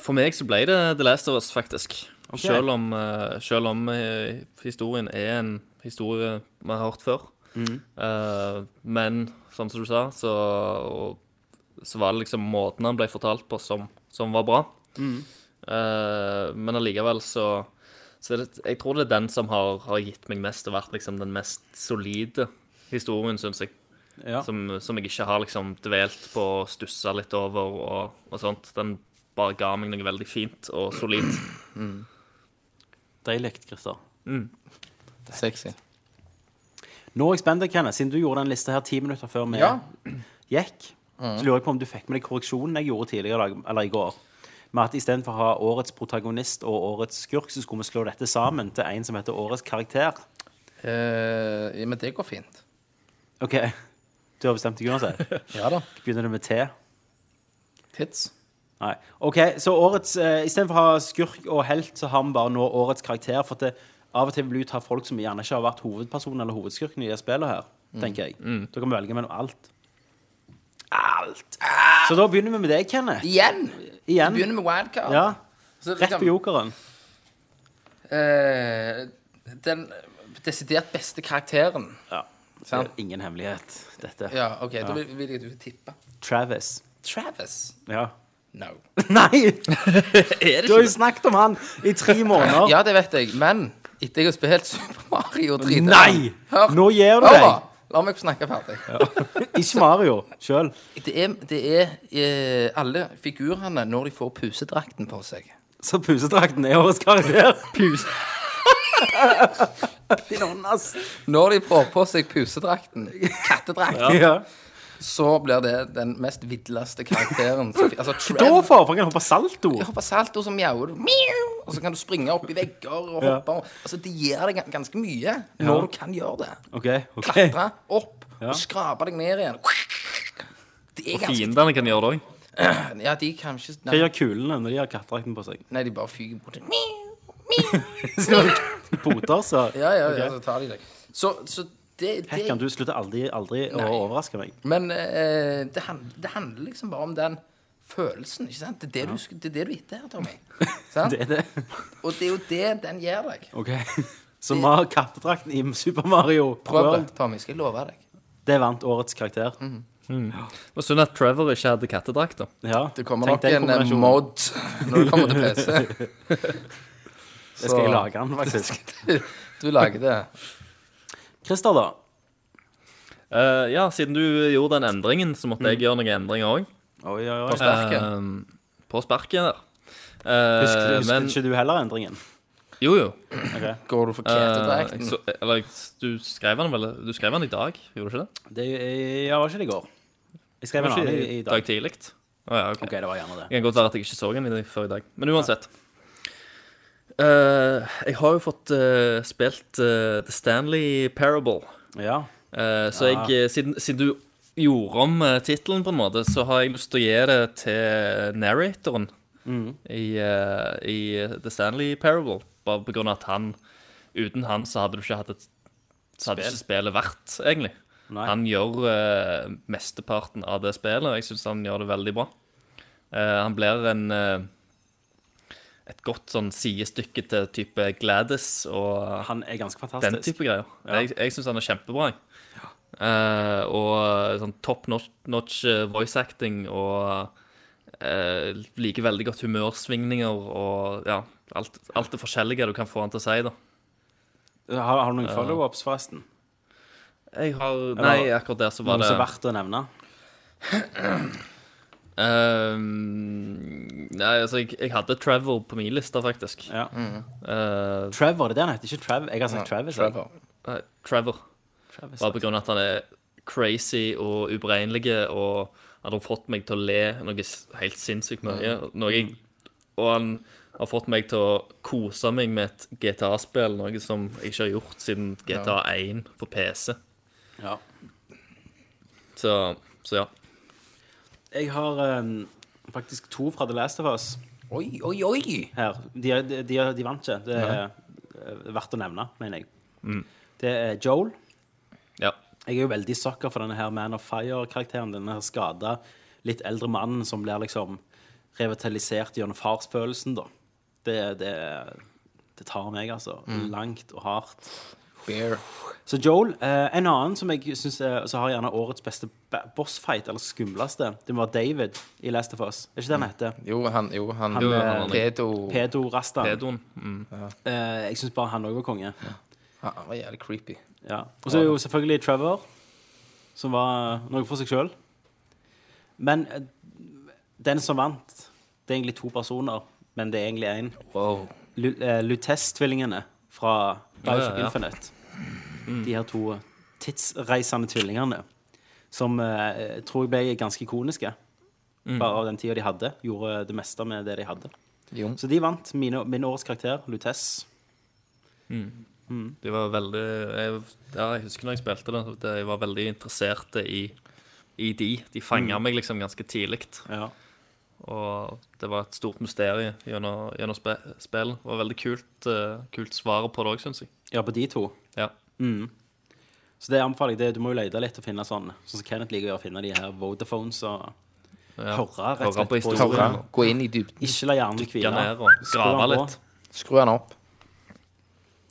For meg så ble det The Last of Us, faktisk. Selv om, eh, selv om eh, historien er en historie vi har hørt før, Eh, men sånn som du sa, så, og, så var det liksom måten han ble fortalt på, som, som var bra. Eh, men allikevel så, så er det, Jeg tror det er den som har, har gitt meg mest, og vært liksom den mest solide historien, syns jeg. Ja. Som, som jeg ikke har liksom dvelt på og stussa litt over og, og sånt. Den bare ga meg noe veldig fint og solid. Deilig, Christer. Sexy. Nå er jeg spent, Kenneth, siden du gjorde den lista her ti minutter før vi Ja. Mm. gikk. Så lurer jeg på om du fikk med deg korreksjonen jeg gjorde tidligere i dag, eller i går. Med at istedenfor å ha årets protagonist og årets skurk, så skulle vi slå dette sammen til en som heter årets karakter. Eh, men det går fint. OK. Du har bestemt deg uansett? Ja da. Begynner det med T? Tits. Nei. OK, så årets eh, Istedenfor å ha skurk og helt, så har vi bare nå årets karakter. For at det, av og til vil du ta folk som gjerne ikke har vært hovedpersonen eller hovedskurken i det spillet her, tenker jeg. Da kan vi velge mellom alt. Mm. Alt. Så da begynner vi med deg, Kenneth. Igjen! Vi Igjen. begynner med wildcard. Ja. Så liksom, Rett på jokeren. eh, den desidert beste karakteren. Ja. Det Sant. er ingen hemmelighet, dette. Ja, OK, da vil, vil jeg at du tipper. Travis. Travis? Ja. No. Nei! Er det Du har jo snakket om han i tre måneder. Ja, det vet jeg, men etter jeg har spilt Super Mario 3D Nei! Hør. Nå gir du Hør deg. da. La meg få snakke ferdig. Ikke Mario sjøl. Det er, det er eh, alle figurene når de får pusedrakten på seg. Så pusedrakten er årets karakter. Puse... Din åndas. Når de får på seg pusedrakten, kattedrakt, Ja. så blir det den mest vidleste karakteren. som fin- Altså, Da Trev for, for han kan hoppe salto. Jeg hopper salto som mjauer, du, miau, og så kan du springe opp i vegger og Ja. hoppe. og- Altså, det gir deg gan- ganske mye når du kan gjøre det. OK. ok Klatre opp Ja. og skrape deg ned igjen. Det er ganske Fiendene kan gjøre det òg. Ja, de kan ikke Hva Nei, gjør kulene når de har kattedrakten på seg? nei de bare fyker bort. Skal de Poter, så Ja, ja, ja, så tar de deg. Så, så det, det Hekken, du slutter aldri, aldri å overraske meg. Men eh, det, hand, det handler liksom bare om den følelsen, ikke sant? Det er det, du, sk- det, er det du er ute her, Tommy. Sant? Det er det. Og det er jo det den gir deg. OK. Så vi har kattedrakten i Super Mario Prøv det, Mhm. World. Tommy. Skal jeg love deg. Det vant årets karakter. Synd at Trevor ikke hadde kattedrakt. da. Ja. Det kommer tenk nok den en eh, kombinasjonen. mod når du kommer til PC. Det skal jeg lage den, faktisk. Du lager det. Christer, da? Eh, ja, siden du gjorde den endringen, så måtte jeg gjøre noen endringer òg. Oi, oi, oi. Sterke. på sparket der. Eh, Husker, husker men ikke du heller endringen? Jo, jo. Går du for Eh, ketedrakten? så, eller du skrev den vel Du skrev den i dag, gjorde du ikke det? Det jeg var ikke det i går. Jeg skrev en Kanskje annen i, i dag. dag tidlig? Å ja, OK, det var gjerne det. Det kan godt være at jeg ikke så den i- før i dag. Men uansett. Eh, jeg har jo fått eh, spilt eh, The Stanley Parable. Ja. Eh, så jeg, eh, siden, siden du gjorde om uh, tittelen, på en måte, så har jeg lyst til å gi det til narratoren i, eh, i The Stanley Parable. Bare på grunn av at han Uten han så hadde du ikke hatt et Så hadde ikke spillet vært, egentlig. Nei. Han gjør eh, mesteparten av det spillet, og jeg syns han gjør det veldig bra. Eh, han blir en eh, et godt sånn sidestykke til type Gladys og Han er ganske den fantastisk. type greier. Jeg, jeg syns han er kjempebra. jeg. Eh, og sånn top notch, notch eh, voice acting og eh, liker veldig godt humørsvingninger og ja, alt, alt det forskjellige du kan få han til å si, da. Har, har du noen follow-ups, forresten? Jeg har Nei, akkurat der så var Noen det som er verdt å nevne? eh, Nei, altså, jeg, jeg hadde Trevor på min liste, faktisk. Ja. Eh, Trevor, det er det han heter. Ikke Trav. Jeg har sagt Travis. jeg. Trevor. nei, Trevor. Travis. Bare på grunn av at han er crazy og uberegnelig, og han har fått meg til å le noe s- helt sinnssykt mye. Noe jeg, og han har fått meg til å kose meg med et GTA-spill, noe som jeg ikke har gjort siden GTA 1 på PC. Ja. Så, så ja. Jeg har eh, faktisk to fra The Last of Us Oi, oi, oi! her. De, er- de, de, er- de vant ikke. Det er eh, verdt å nevne, mener jeg. Det er Joel. ja. Jeg er jo veldig sucker for denne her Man of Fire-karakteren. Denne her skada, litt eldre mannen som blir liksom revitalisert gjennom farsfølelsen, da. Det, det, det tar meg, altså. Langt og hardt. Bear. Så Joel, eh, en annen som jeg synes er, som har gjerne årets beste ba- bossfight, eller skumleste, det må være David i Last of Us. Er ikke det han heter? Jo, han, jo, han, Han, eh, Pedo Pedo Rasta. Pedoen. Mm. Eh, jeg syns bare han òg var konge. Han Ah, han var jævlig creepy. Ja. Og så er jo selvfølgelig Trevor, som var noe for seg sjøl. Men eh, den som vant, det er egentlig to personer, men det er egentlig én. Wow. Lutess-tvillingene fra Bioshock Ja, ja, ja. Infinite. De her to eh, tidsreisende tvillingene, som eh, tror jeg ble ganske ikoniske. Mm. Bare av den tida de hadde. Gjorde det meste med det de hadde. Jo. Så de vant mine, min årets karakter, Lutess. De var veldig jeg, Ja, jeg husker når jeg spilte det, at jeg var veldig interessert i, i de. De Mm. fanga meg liksom ganske tidlig. Ja. Og det var et stort mysterium gjennom, gjennom spe, spillet. Det var veldig kult, eh, kult svaret på det òg, syns jeg. ja, på de to. Ja. Så det anbefaler jeg. Det, du må jo lete litt og finne sånn Sånn som Kenneth liker å gjøre, finne de her Vodafones og ja. Høre, rett og slett, Høre på på historien. historien. Gå inn i dybden. Ikke la hjernen Dykke hvile. ned og Skru grave den på. litt. Skru han opp.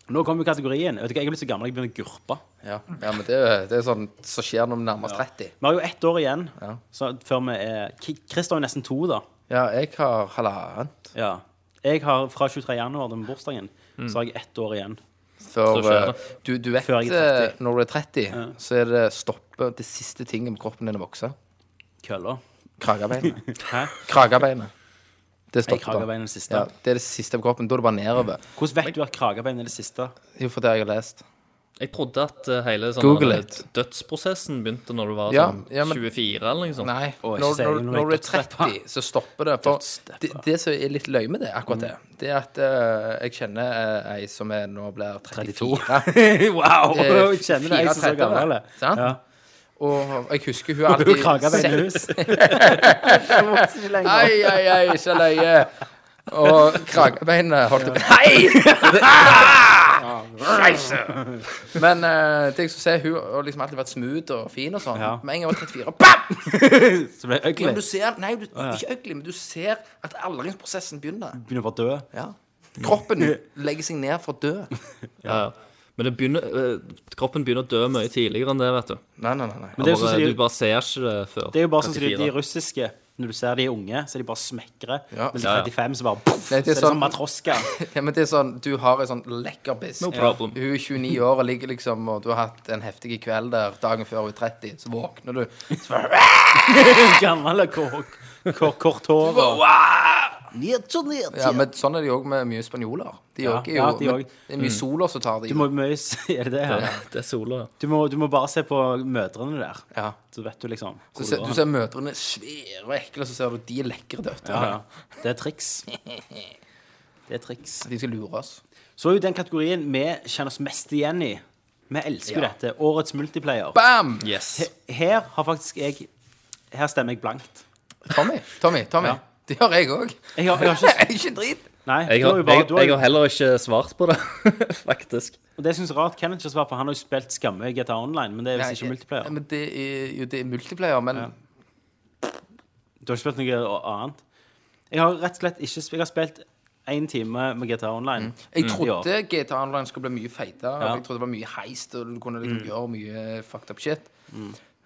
Nå kommer jo kategorien. Vet du hva, Jeg er blitt så gammel jeg begynner å gurpe. Ja, ja men det, det er sånn som skjer når vi nærmer oss 30. Vi har jo ett år igjen Ja. så, før vi er Ki- Chris har jo nesten to, da. Ja, jeg har halvannet Ja. Jeg har fra 23. januar, den bursdagen, Mm. så har jeg ett år igjen. før Så skjer eh, du, du vet Før jeg er 30. eh, når du er 30, så er det stoppe det siste tinget med kroppen din å vokse. Kølla. Kragebeinet. Hæ? Kragebeinet. Det Er stopper da. kragebeinet det siste? Ja, det er det siste med kroppen. Da er det bare nedover. Hvordan vet du at kragebeinet er det siste? Jo, for det har jeg lest. Jeg trodde at eh, hele sånn Google der it. dødsprosessen begynte når du var Ja, sånn ja, men- 24, eller noe sånt. Nei, Å, ikke når, si det når, når når du jeg er 30, så stopper det. For Dødsstepper. det, det som er litt løye med det, akkurat det, Mm. det er at eh, jeg kjenner eh, ei som er, nå blir 34. wow! Det er Jeg kjenner det, jeg som er så 34, gammel. eller? sant? Ja. Og jeg husker Du hun er alltid kragebeinlus. Ei, ei, ei, ikke løye. Og kragebeinet holdt opp Hei! Men eh, det jeg skulle si, hun har liksom alltid vært smooth og fin og sånn. Ja. Med en gang jeg var 34, bam! Så ble jeg Men du ugly. ser, nei, du, ikke ugly, men du ser at aldringsprosessen begynner. Begynner bare å dø. Ja. Kroppen legger seg ned for å dø. Ja, ja. Men det begynner, eh, kroppen begynner å dø mye tidligere enn det, vet du. Nei, nei, nei. nei. Men det er jo bare, sånn som de- du bare ser ikke det før. Det er jo bare sånn som de, 34. de russiske Når du ser de er unge, så er de bare smekre. Ja. Mens de Ja, ja. 35, så bare poff! Så Nei, er det er det sånn sånn- matroska. Ja, men det er sånn, du har en sånn lekker biss. No problem. Hun er 29 år og ligger liksom, og du har hatt en heftig kveld der dagen før hun er 30. Så våkner du. Så bare, Gammel og kort, kort, kort hår. og- Ned og ned. ja, men sånn er det jo òg med mye spanjoler. De Ja, også er jo, ja, de men også. Mm. det er mye soler som tar de. Du må mye si Er det det? Ja. Det er sola, ja. Du, må, du må bare se på mødrene der. Ja. Så vet du liksom hvor Så ser, du du går. ser mødrene svære og ekle, og så ser du de er lekre døtre. Ja, ja. Det er triks. Det er triks. De skal lure oss. Så er jo den kategorien vi kjenner oss mest igjen i. Vi elsker jo dette. Årets multiplayer. Bam! Yes. He- Her har faktisk jeg Her stemmer jeg blankt. Tommy, Tommy, Tommy. Ja. Det gjør jeg òg. Jeg har, jeg har ikke Ikke en drit. Nei, Jeg du har har, jo bare, jeg, du har jeg jo, har heller ikke svart på det, faktisk. og det syns jeg er rart. Kenneth ikke svarer på. Han har jo spilt skamme i GTA Online, men det er Nei, visst ikke multiplayer. Men det er jo det er multiplayer, men Du har ikke spilt noe a- annet? Jeg har rett og slett ikke sp- Jeg har spilt én time med GTA Online. Jeg i år. trodde GTA Online skulle bli mye feitere. Mm. Ja. Mm. Jeg trodde det var mye heist, og du kunne liksom gjøre mye fucked up shit.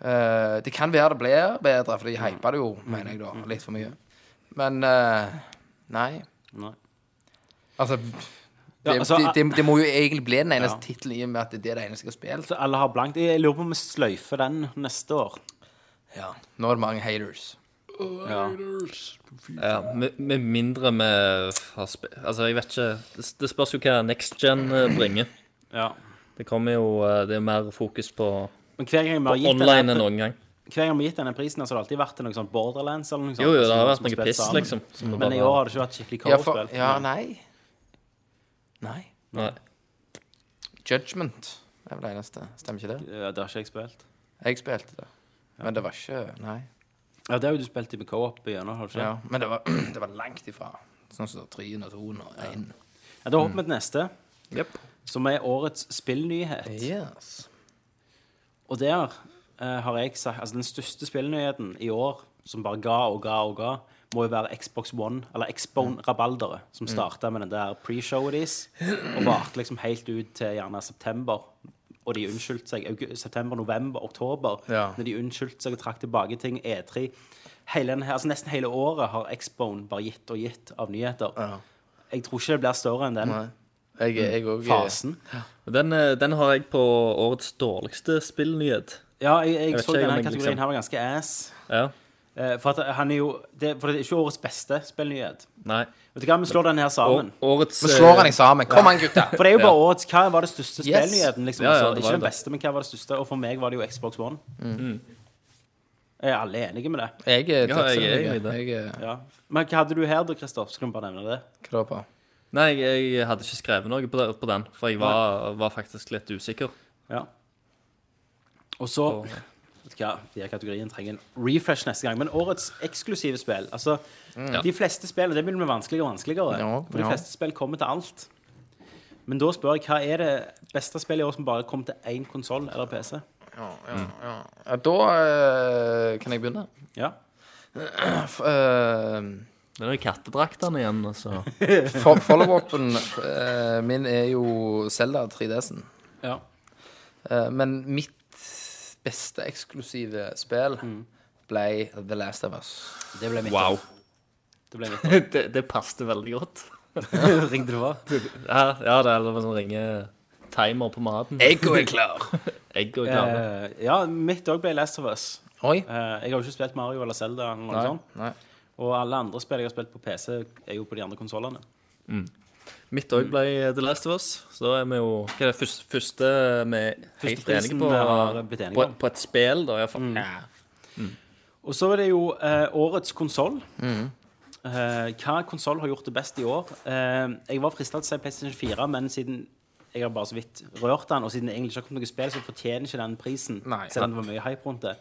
Eh, det kan være det blir bedre, for de Mm. hypa det jo, mener jeg da, litt for mye. Men eh, nei. Nei. Altså det, Ja, altså, det, det, det må jo egentlig bli den eneste Ja. tittelen i og med at det er det eneste jeg har spilt. Så alle har blankt. Jeg jeg lurer på om vi sløyfer den neste år. Ja. Nå er det mange haters. Ja. Ja, med, med mindre vi har sp- Altså, jeg vet ikke Det, det spørs jo hva next gen eh, bringer. ja. Det kommer jo eh, Det er mer fokus på, Men hver gang vi på har gitt online enn denne, noen gang. hver gang vi har gitt denne prisen, så har det alltid vært noe sånn Borderlands eller noe sånt. Jo, jo, det som har noen vært som har noe spilt piss, sammen. liksom. som det Men i bare- år har Mm. det ikke vært skikkelig Ja, for, coverspill. ja, nei. Nei. Nei. Judgment er vel det eneste. Stemmer ikke det? Ja, det har ikke jeg spilt. Jeg spilte det. Men det var ikke Nei. Ja, det har jo du spilt i med co-op igjennom, har du ikke? Ja, men det var, det var langt ifra. Sånn som tryn og ton og en. Ja, da hopper vi til neste, Jep. som er årets spillnyhet. Yes. Og der eh, har jeg sagt Altså, den største spillnyheten i år, som bare ga og ga og ga, må jo være Xbox One, eller Xbone Rabaldere, som starta med den der pre-showet deres, og varte liksom helt ut til gjerne september. Og de unnskyldte seg augu- september, november, oktober. Ja. Når de unnskyldte seg og trakk tilbake ting. E3. Hele den her, altså nesten hele året har Xbone bare gitt og gitt av nyheter. Ja. Jeg tror ikke det blir større enn den Nei. Jeg, Mm. jeg, også- eh, fasen. Men Den, eh, den har jeg på årets dårligste spillnyhet. Ja, jeg, jeg, vet så ikke, denne men kategorien liksom- her var ganske ass. Ja. Eh, For, at han er jo, det, for det er ikke årets beste spillnyhet. Nei. Vet du hva, vi slår den her Å- sammen. årets Vi slår eh, den sammen. Kom an, gutter. For det er jo bare årets Hva var det største Yes. spillnyheten? Liksom, Ja, ja, altså, det Mm. var ikke jo den det. beste, men hva var det største? Og for meg var det jo Xbox One. Er alle enige med det? Jeg er Ja, jeg er dødsenig. enig i det. Jeg er Ja. Men hva hadde du her da, Kristoff? Skal du bare nevne det? Hva da på? eh, Nei, jeg hadde ikke skrevet noe på det- på den, for jeg var, var faktisk litt usikker. Ja. Og så Vet du hva, de her kategorien trenger en refresh neste gang. Men årets eksklusive spill Altså, de fleste spill Det begynner å bli vanskeligere og vanskeligere. Mm. Ja, for de ja. fleste spill kommer til alt. Men da spør jeg hva er det beste spillet i år som bare kom til én konsoll eller PC? Mm. Ja, da eh, kan jeg begynne. Ja. F- eh, Det er jo kattedraktene igjen, altså. For, Follow-upen eh, min er jo Zelda 3DS-en. ja. Eh, men mitt beste eksklusive spill Mm. ble The Last of Us. Det ble mitt. Wow. Det ble mitt. det, det passte veldig godt. Ringte du hva? Ja, ja det er noe sånn ringe timer på maten. Echo er klar. Egg og klare. Eh, ja, mitt òg ble Last of Us. Oi. Eh, jeg har jo ikke spilt Mario eller Zelda. Eller noe Nei, sånn? sånt. nei. Og alle andre spill jeg har spilt på PC, er jo på de andre konsollene. Mitt òg ble The Last of Us. Så da er vi jo Hva er det første, første vi er helt prisen enige på? vi har blitt enige på, om. Mm. på et spill, da, iallfall. Ja. Og så er det jo eh, årets konsoll. Mm. Eh, hva konsoll har gjort det best i år? Eh, jeg var frista til å si PlayStation 4, men siden jeg har bare så vidt rørt den, og siden det egentlig ikke har kommet noe spill, så fortjener ikke den prisen. Nei. selv om det var mye hype rundt det.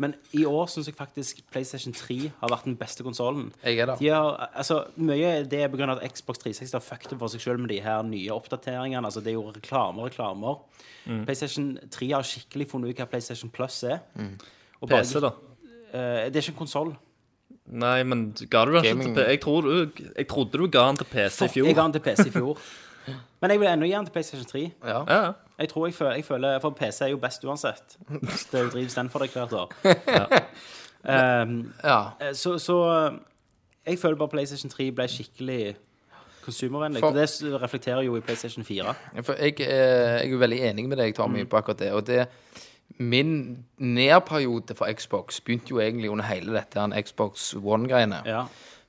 Men i år syns jeg faktisk PlayStation 3 har vært den beste konsollen. Jeg er der. De har, altså, mye av det er pga. at Xbox 360 har fucket det for seg selv med de her nye oppdateringene. Altså, det er jo reklamer og reklamer. Mm. PlayStation 3 har skikkelig funnet ut hva PlayStation Plus er. Mm. Og bare- PC, da. Eh, det er ikke en konsoll. Nei, men ga du den ikke til Gaming- P- jeg, tror du, jeg trodde du ga den til PC i Jeg fjor. ga den til PC i fjor. Men jeg vil ennå gi den til PlayStation 3. Ja. Ja, ja. Jeg tror jeg føler, jeg føler For PC er jo best uansett. Det er jo drives den for deg hvert år. Ehm, ja. eh, så, så jeg føler bare PlayStation 3 ble skikkelig konsumervennlig. For- Og det s- reflekterer jo i PlayStation 4. For jeg, er- jeg er veldig enig med deg, Tommy, Mm. på akkurat det. Og det Min nedperiode for Xbox begynte jo egentlig under hele dette her Xbox One-greiene. Ja.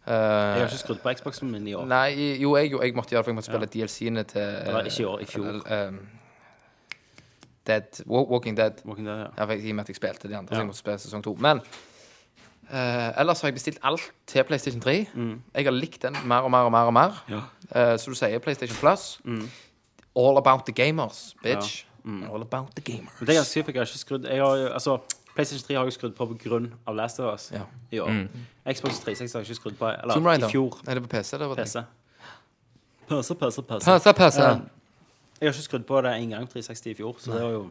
Eh, Jeg har ikke skrudd på Xboxen min i år. Nei, i- jo, jeg, jo, jeg måtte gjøre det, for jeg måtte spille DLC-ene til Det var ikke i år, i fjor. eh, eh, Dead, Wa- Walking Dead. Walking Dead, ja. Ja, for, jeg- I og med at jeg spilte de andre, så jeg måtte spille sesong to. Men eh, ellers har jeg bestilt alt til PlayStation 3. Jeg har likt den mer og mer og mer. og mer. Ja. Eh, så du sier PlayStation Plus. All about the gamers, bitch. All about the gamers. Men det er ganske sykt, for jeg har ikke skrudd jeg har, jo- altså, PlayStation 3 har jeg jo skrudd på på grunn av Last of Us Ja. Mm. i år. Xbox 360 har jeg ikke skrudd på Tomb Eller Raider. i fjor. Er det på PC? Det var det. PC. Pause, pause, pause. PC, PC. Ja. Jeg har ikke skrudd på det en gang på 360 i fjor, så det var jo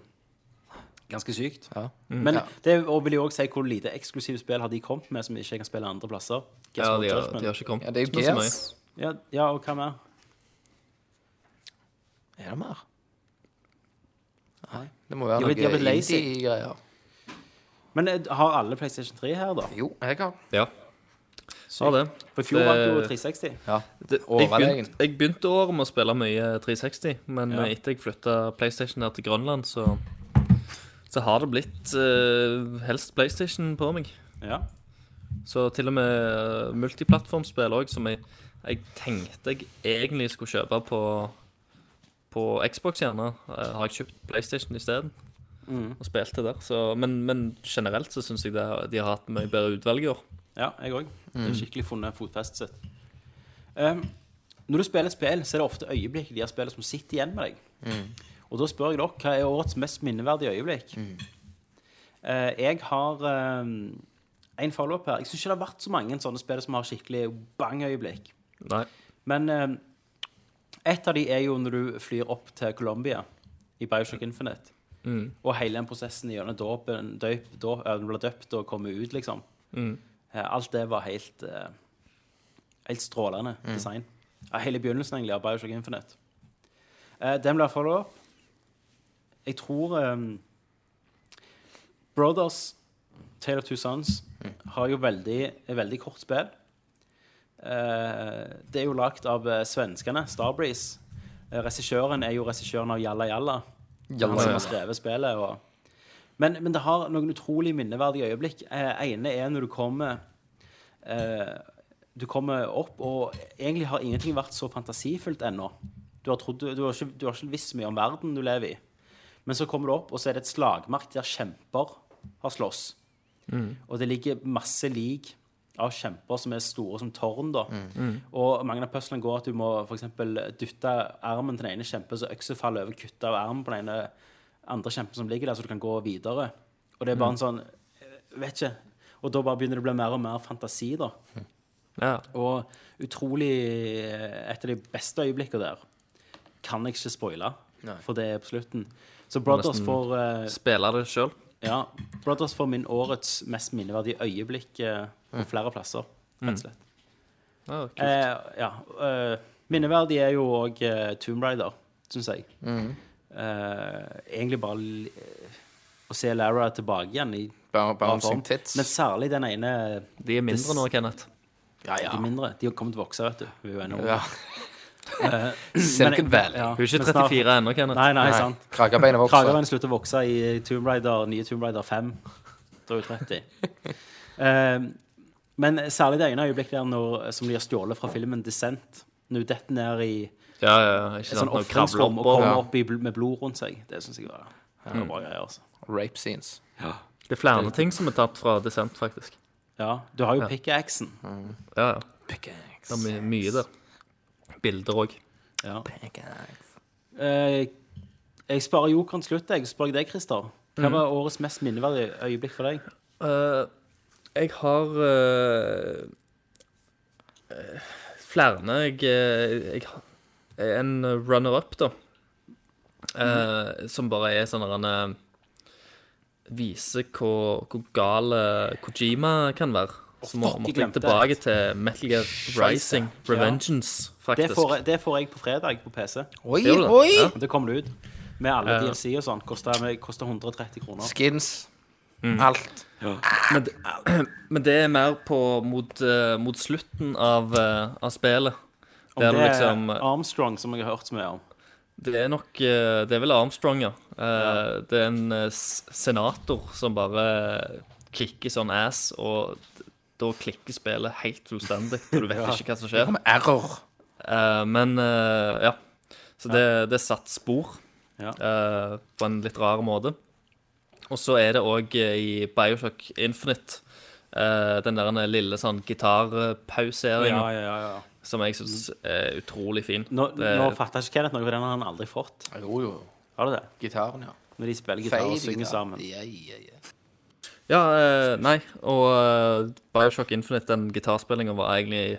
ganske sykt. Ja. Mm. Men det og vil jo òg si hvor lite eksklusive spill har de kommet med som ikke jeg kan spille andre plasser. Guess ja What de, har, Judgment. de har ikke kommet Ja, det er jo med så mye. Gears. ja, ja, og hva mer? Er det mer? Nei, det må være De har blitt- de har blitt noe lazy. indie-greier. Men eh, har alle PlayStation 3 her, da? Jo, jeg har. Ja. Ja, det. For i fjor Det- vant jo 360. Ja. Det, jeg, Overlegen. begynte, jeg begynte året med å spille mye 360, men Ja. eh, etter jeg flytta PlayStation her til Grønland, så, så har det blitt eh, helst PlayStation på meg. Ja. Så til og med eh, multiplattformspill òg, som jeg, jeg tenkte jeg egentlig skulle kjøpe på, på Xbox, gjerne, eh, har jeg kjøpt PlayStation isteden. Mm. Og spilte der. Så, men, men generelt så syns jeg det, de har hatt mye bedre utvalg i år. Ja, jeg òg. har Skikkelig funnet fotfestet sitt. Um, når du spiller et spill, så er det ofte øyeblikk i de her spillene som sitter igjen med deg. Og da spør jeg dere, hva er årets mest minneverdige øyeblikk? Eh, jeg har um, en follow-up her. Jeg syns ikke det har vært så mange sånne spill som har skikkelig bang-øyeblikk. Nei. Men um, et av de er jo når du flyr opp til Colombia i Bioshock Infinite. Og hele den prosessen gjennom dåpen, døyp, da, eh, når du blir døpt og kommer ut, liksom. Eh, Alt det var helt eh, Helt strålende design. Ja, hele begynnelsen egentlig av Bioshock Infinite. Eh, den ble follow up. Jeg tror eh, Brothers, Tale of Two Sons, har jo veldig, er veldig kort spill. Eh, det er jo lagd av eh, svenskene, Starbreeze. Eh, regissøren er jo regissøren av Jalla Jalla. Jalla han som Jalla. har skrevet spillet. Og... Men, men det har noen utrolig minneverdige øyeblikk. Eh, ene er når du kommer eh, Du kommer opp, og egentlig har ingenting vært så fantasifullt ennå. Du har, trodd, du, har ikke, du har ikke visst mye om verden du lever i. Men så kommer du opp, og så er det et slagmark der kjemper har slåss. Og det ligger masse lik av kjemper som er store som tårn. da. Og mange av puzzlene går at du må for eksempel dytte armen til den ene kjempen, så øksa faller over, kutte av armen på den ene andre kjempen som ligger der, så du kan gå videre. Og det er bare en sånn eh, Vet ikke. Og da bare begynner det å bli mer og mer fantasi, da. Ja. Og utrolig eh, Et av de beste øyeblikkene der kan jeg ikke spoile, for det er på slutten. Så Brothers Nesten- får eh, Spille det sjøl. ja, Brothers får min årets mest minneverdige øyeblikk eh, på flere plasser, rett og slett. Ja, kult. Eh, ja, eh, minneverdig er jo òg eh, Tomb Raider, syns jeg. Eh, egentlig bare li- eh, å se Lara tilbake igjen i Bare bra bouncing form. tits. Men særlig den ene De er mindre nå, Kenneth. ja, ja. De mindre. De har kommet til å vokse, vet du. Hun er jo ennå- Ja. Men- Silicon Valley. ja, Hun er ikke men snart- 34 ennå, Kenneth. Nei, nei, sant. Kragebeina vokser. Kragerøen slutter å vokse i Tomb Raider, nye Tomb Raider 5. Da er hun 30. Ehm, men særlig det ene øyeblikket der når, som de har stjålet fra filmen Descent. Når hun detter ned i Ja, ja, ikke et sant? sånn Nå kravler ofringsrom og oppover. kommer ja. opp i, bl- med blod rundt seg. Det syns jeg var det var bra greier. altså. Rape scenes. Det er flere ting som er tatt fra Descent, faktisk. Ja, Du har jo pickaxen. Ja, ja. Det er my- mye der. Bilder òg. Ja. Eh, jeg sparer jokeren til slutt. Jeg spør jeg deg, Christer. Mhm. Hva var årets mest minneverdige øyeblikk for deg? Eh, jeg har eh, eh, flere jeg, eh, jeg har- En runner-up, da. eh, Mhm. Som bare er sånn at han viser hvor, hvor gal eh, Kojima kan være. Så må, fuck, måtte jeg jeg glemte. tilbake til Metal Gear Rising. Revengeance, Det faktisk. får, jeg- det får jeg på fredag på PC. Oi, Det er jo det. oi! Ja. Det kommer det ut. Med alle Ja. DLC og sånn. Koster koster 130 kroner. Skins. Mm. Alt. Men, det- men det er mer på mot, eh, mot slutten av, eh, av spillet. Om Der det du er liksom Armstrong, som jeg har hørt så mye om. Det er nok eh, Det er vel Armstrong, ja. Eh, Det er en eh, s- senator som bare kicker sånn ass, og d- da klikker spillet helt fullstendig. Og du vet ikke hva som skjer. Error. Eh, Men eh, ja. Så det, det satt spor Ja. eh, på en litt rar måte. Og så er det òg i Bioshock Infinite eh, den der lille sånn gitarpauseringa som jeg syns er utrolig fin. Mm. Nå, Det- nå fatter ikke Kenneth noe, for den har han aldri fått. Jo, jo. Har du det? Gitaren, ja. Når de spiller gitar og Fade synger gitar. sammen. Ja, ja, ja. Ja, eh, nei, og eh, Bioshock Infinite, den gitarspillingen var egentlig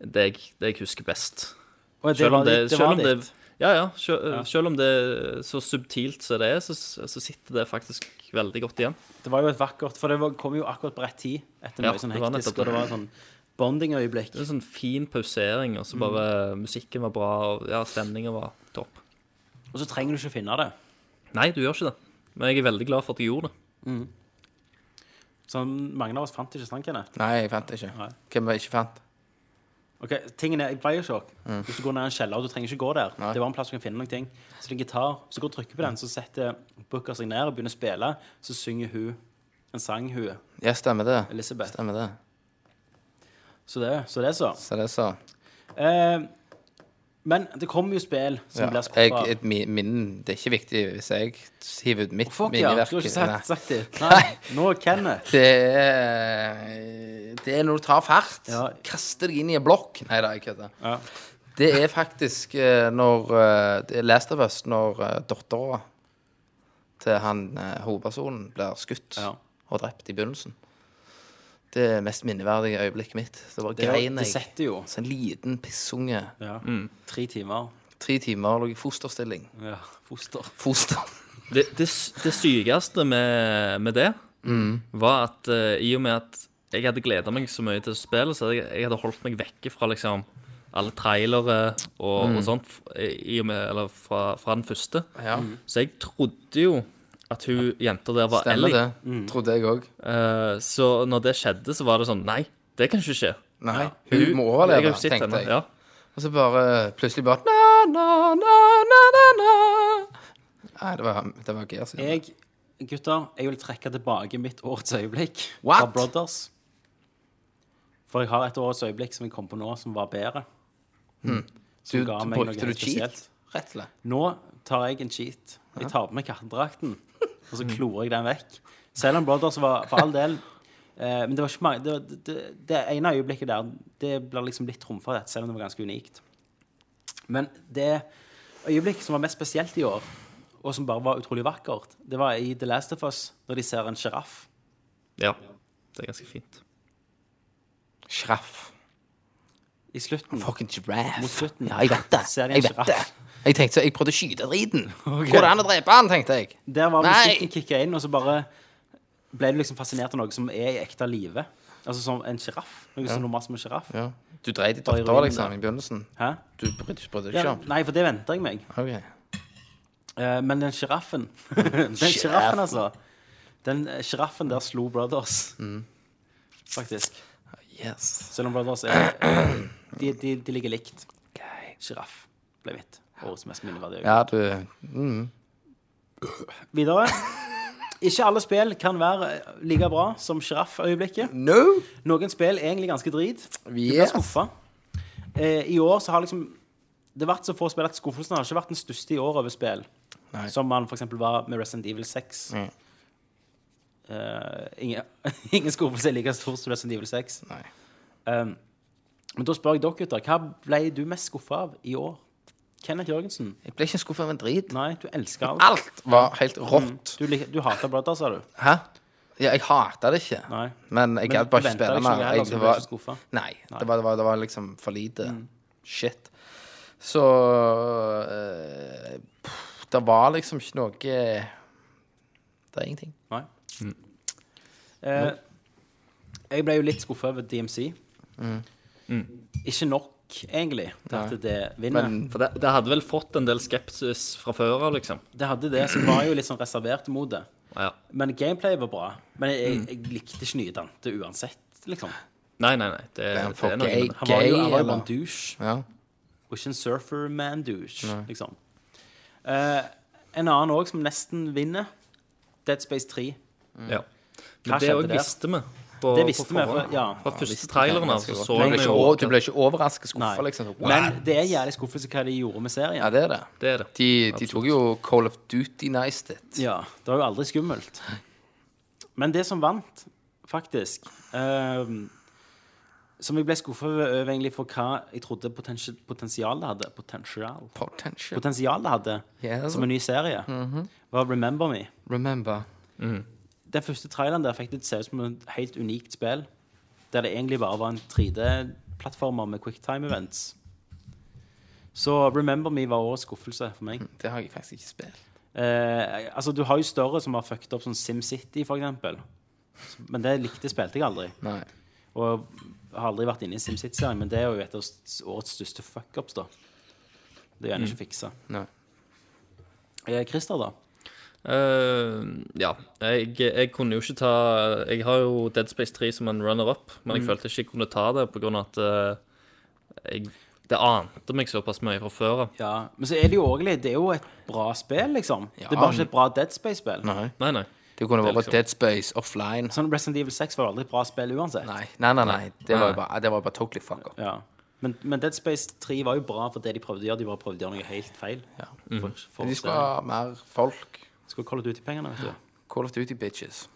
det jeg, det jeg husker best. Og det Selv om var det, ditt- det selv var om det ditt. ja, ja, sjø- Selv om det er så subtilt som det er, så, så sitter det faktisk veldig godt igjen. Det var jo et vakkert For det var, kom jo akkurat på rett tid. Etter Ja, mye sånn det var hektisk, nettopp og det det. var et sånn bonding-øyeblikk. Det er en sånn fin pausering, Mm. og så bare musikken var bra, og ja, stemningen var topp. Og så trenger du ikke finne det. Nei, du gjør ikke det. Men jeg er veldig glad for at jeg gjorde det. Så Sånn, mange av oss fant ikke sant, Kenneth. Nei, jeg fant det ikke. Nei. Hvem var det jeg ikke fant? Ok, tingen er, I Bioshock Mm. hvis du går ned i en kjeller, og du trenger ikke gå der. Det var en plass du kan finne noen ting. Så det er en gitar. Hvis du går og trykker på den, så setter Booker seg ned og begynner å spille. Så synger hun en sang, hun Ja, stemmer det. Elisabeth. Stemmer det. Så det så. Det, er så. Så det så. Eh, men det kommer jo spill som Ja, blir jeg, skuffa. et mi- min, det er ikke viktig hvis jeg hiver ut mitt Fuck ja, minneverk. skulle ikke sagt, Nei. sagt det. Nei, nå er Kenneth. Det er, det er når du tar fart. Ja. Kaster deg inn i en blokk. Nei da, jeg kødder. Ja. Det er faktisk eh, når eh, det er Last of Us, når eh, dattera til han eh, hovedpersonen blir skutt Ja. og drept i begynnelsen. Det er mest minneverdige øyeblikket mitt. Det var Det, grein det jeg. Mm. setter jo. Så en liten pissunge. Ja. Tre timer. Tre timer lå i fosterstilling. Ja, foster. Foster. Mm. Det, det, s- det sykeste med, med det var at eh, i og med at jeg hadde gleda meg så mye til spillet, så jeg, jeg hadde holdt meg vekke fra liksom alle trailere og, Mm. og sånt f- i og med, eller fra, fra den første. Ja, Så jeg trodde jo at hun jenta der var Stemmer Ellie. det. Trodde jeg òg. Eh, så når det skjedde, så var det sånn Nei, det kan ikke skje. Nei, Hun, hun må overleve, jeg har jo sett tenkte henne, jeg. Ja. Og så bare plutselig bare na, na, na, na, na, na. Nei, det var, det var altså. Gears. igjen. Jeg, gutter, jeg vil trekke tilbake mitt årets øyeblikk fra What? Brothers. For jeg har et årets øyeblikk som jeg kom på nå, som var bedre. Du, ga du meg noe brukte du helt cheat, spesielt. rett og slett. Nå tar jeg en cheat. Jeg tar på meg kattedrakten, og så klorer jeg den vekk. Selv om Brothers var for all del eh, Men det var ikke mange det, var- det, det ene øyeblikket der, det blir liksom litt trumfa av dette, selv om det var ganske unikt. Men det øyeblikket som var mest spesielt i år, og som bare var utrolig vakkert, det var i The Last of Us, når de ser en sjiraff. ja. Det er ganske fint. Sjiraff. I slutten. Fucking giraffe. Mm. Mot slutten. Ja, jeg vet det. Ser de en Jeg vet det. giraff? Jeg tenkte så, jeg prøvde å skyte driten. Går det an å drepe han, tenkte jeg. Der var Nei! musikken kicka inn, og så bare ble du liksom fascinert av noe som er i ekte live. Altså som en sjiraff. Noe så normalt som en sjiraff. Ja. Du dreit i Bare i dotter, ruinen, liksom, da. i begynnelsen. Hæ? Du brydde ikke brydde deg Ja, ikke om. nei, for det venter jeg meg. Ok. Eh, men den sjiraffen Den sjiraffen, altså. Den eh, sjiraffen der slo Brothers. Faktisk. Yes. Selv om Brothers er De, de, de ligger likt. Sjiraff ble mitt. Årets mest minneverdige. Ja, du mm. Videre. Ikke alle spill kan være like bra som sjirafføyeblikket. No! Noen spill er egentlig ganske drit. Du blir Yes. skuffa. Eh, I år så har liksom det vært så få spill at skuffelsen har ikke vært den største i år over spill. Nei. Som man f.eks. var med Resident Evil 6. Mm. Eh, ingen, ingen skuffelse er like stor som Resident Evil 6. Nei. Um, men da spør jeg dere, gutter, hva ble du mest skuffa av i år? Kenneth Jørgensen? Jeg ble ikke skuffa av en drit. Nei, Mm. du elsker alt. Alt var helt rått. Du, lik- du hater Brother, sa du? Hæ? Ja, jeg hata det ikke. Nei. Men jeg Men gadd du bare ikke ventet deg spille ikke mer. noe heller, Jeg, så du det ble var, ikke skuffet? nei, Nei. Mm. Det, var, det, var, det var liksom for lite shit. Så eh, pff, Det var liksom ikke noe Det er ingenting. Nei. Eh, jeg ble jo litt skuffa over DMC. Mm. Ikke nok, egentlig, til at det vinner. Men For det, det hadde vel fått en del skepsis fra før av, liksom. det hadde det, så jeg var jo litt sånn reservert mot det. Ja. Men gameplay var bra. Men jeg, jeg likte ikke nye Dante uansett, liksom. Nei, nei, nei. Det, er han det for er noe gay? med det. Han var jo, han var jo eller? bare en douche, ja. og ikke en surfer-man-douche, liksom. Eh, en annen òg som nesten vinner, Dead Space 3. Hva Ja. Men det skjedde òg der? visste vi. På, Det visste på vi, forhånd. for- ja. Fra første traileren av så, så du, ble vi ikke, jo over- du ble ikke Nei. overrasket skuffa, liksom. Wow. Men det er jævlig skuffelse hva de gjorde med serien. ja, det er det. Det er det. De, de tok jo Call of Duty nice it. Ja, det var jo aldri skummelt. Men det som vant, faktisk ehm, Som jeg ble skuffa over over egentlig for hva jeg trodde potensi potensialet hadde Potensial Potential. Potensialet hadde Yes. som en ny serie, var Remember Me. Remember. Den første traileren der fikk det til å se ut som et helt unikt spill, der det egentlig bare var en 3D-plattformer med quicktime events. Så Remember Me var årets skuffelse for meg. Det har jeg faktisk ikke spilt. Eh, altså, du har jo større som har fucket opp, sånn SimCity, for eksempel. Men det likte spilte jeg aldri. Nei. Og har aldri vært inne i SimCity-serien, men det er jo et av s- årets største fuckups, da. Det er gjerne ikke fiksa. Nei. Eh, Christer, da? Eh, ja. Jeg, jeg kunne jo ikke ta Jeg har jo Dead Space 3 som en runner-up, men Mm. jeg følte ikke jeg kunne ta det på grunn av at eh, jeg, det ante meg såpass mye fra før av. Ja, Men så er det jo også, det er jo et bra spill, liksom. Det er bare ikke et bra Dead Space-spill. Nei. Nei, nei. Det kunne vært liksom- Dead Space offline. Sånn Resident Evil 6 var jo aldri et bra spill uansett. Nei, nei, nei. nei. Det, var Nei. jo bare, det var jo bare totally fuck up. Ja. Men, men Dead Space 3 var jo bra for det de prøvde å gjøre. De bare prøvde å gjøre noe helt feil. Ja. For, for De skulle ha mer folk. Skulle kalle det ut i pengene, vet du. Call of Duty bitches.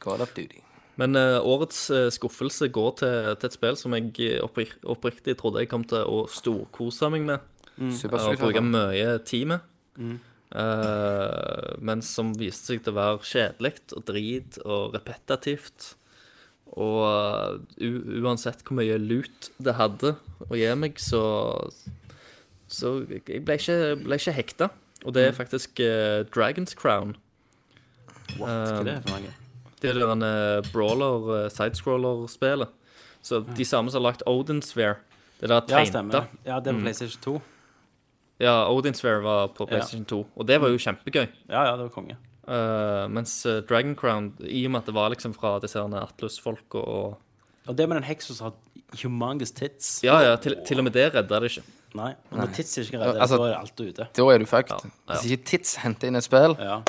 Call of Duty. Men eh, årets eh, skuffelse går til, til et spill som jeg opprik oppriktig trodde jeg kom til å storkose meg med. Super Eh, Og Street bruke Fighter. mye tid med. Mm. Eh, men som viste seg til å være kjedelig og drit og repetitivt. Og eh, u uansett hvor mye lut det hadde å gi meg, så Så jeg ble ikke, ble ikke hekta. Mm. Og det er faktisk eh, Dragon's Crown. What? Hva er det for noe? Det der en eh, brawler, eh, sidescroller-spelet. Så de samme som har lagt Odinsphere. Det der Ja, tegnte. stemmer. Ja, det er på PlayStation 2. Ja, Odinsphere var på PlayStation 2, og det var jo kjempegøy. Ja, ja, det var konge. Eh, mens eh, Dragon Crown, i og med at det var liksom fra disse herne Atlus-folka og Og det med den heksa som har humongous tits Ja, ja, til, til og med det redda det ikke. Nei, når tits er ikke redde, Altså- da er alt ute. Da er du fucked. Ja, ja. Hvis ikke Tits henter inn et spill, Ja.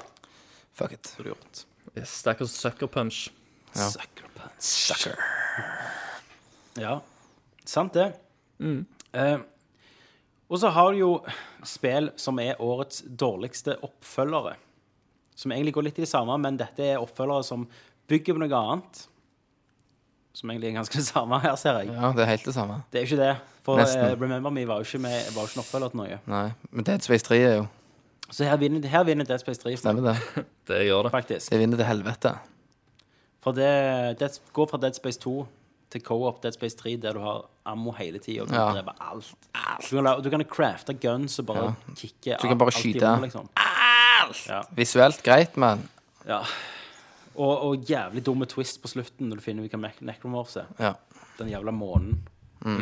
fuck it. Det er gjort. Stakkars sånn Sucker Punch. Sucker punch. Ja, sant det. Eh, og så har du jo spill som er årets dårligste oppfølgere. Som egentlig går litt i det samme, men dette er oppfølgere som bygger på noe annet. Som egentlig er ganske det samme her, ser jeg. Ja, det er helt det samme. Det er jo ikke det. For Nesten. eh, Remember Me var jo ikke, med, var jo ikke en oppfølger til noe. Nei. Men Dead Space 3 er jo Så her vinner, her vinner Dead Space 3, Stemmer det. Det gjør det. faktisk. Det vinner til helvete. For det, det går fra Dead Space 2 til co-op Dead Space 3, der du har ammo hele tida og kan Ja. drepe alt. Du kan, la- du kan crafte guns og bare kicke Du kan bare alt i skyte. rommet, liksom. Visuelt greit, men Ja. Og, og jævlig dumme twist på slutten når du finner ut hva Mac- Necromorphs er. ja. Den jævla månen. Så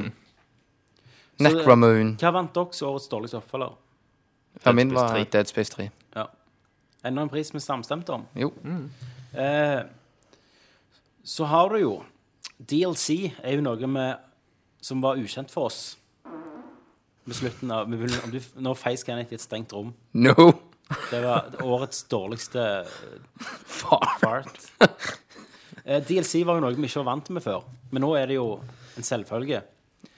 det- Necromoon. Hva vant dere som årets dårligste oppfølger? Ja, min Space var 3. Dead Space 3. Ja. Enda en pris vi samstemte om. Jo. Eh, så har du jo DLC er jo noe med, som var ukjent for oss. Med slutten av, med, bunnen- om du, Nå feis Kenneth i et stengt rom. No! Det var årets dårligste Far. fart. Eh, DLC var jo noe vi ikke var vant med før, men nå er det jo en selvfølge.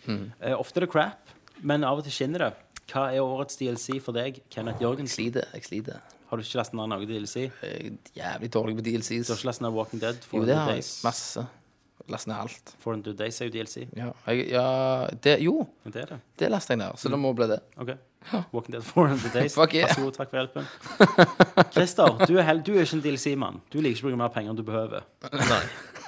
Hmm. Eh, ofte er det crap, men av og til skinner det. Hva er årets DLC for deg, Kenneth Jørgensen? Sliter. Jeg sliter. Har du ikke lest ned noe DLC? Du Jeg er jævlig dårlig på DLCs. har ikke lest ned Walking Dead? Jo, For det har jeg. Days? Masse. Last ned alt. For Two Days er jo DLC. Ja, jeg, ja det, jo, Men det er det. det leste jeg ned, så det må bli det. Ok. Walking Dead 400 Days. Fuck yeah. Vær så god, takk for hjelpen. Christer, du er, hel du er ikke en DLC-mann. Du liker ikke å bruke mer penger enn du behøver. Nei.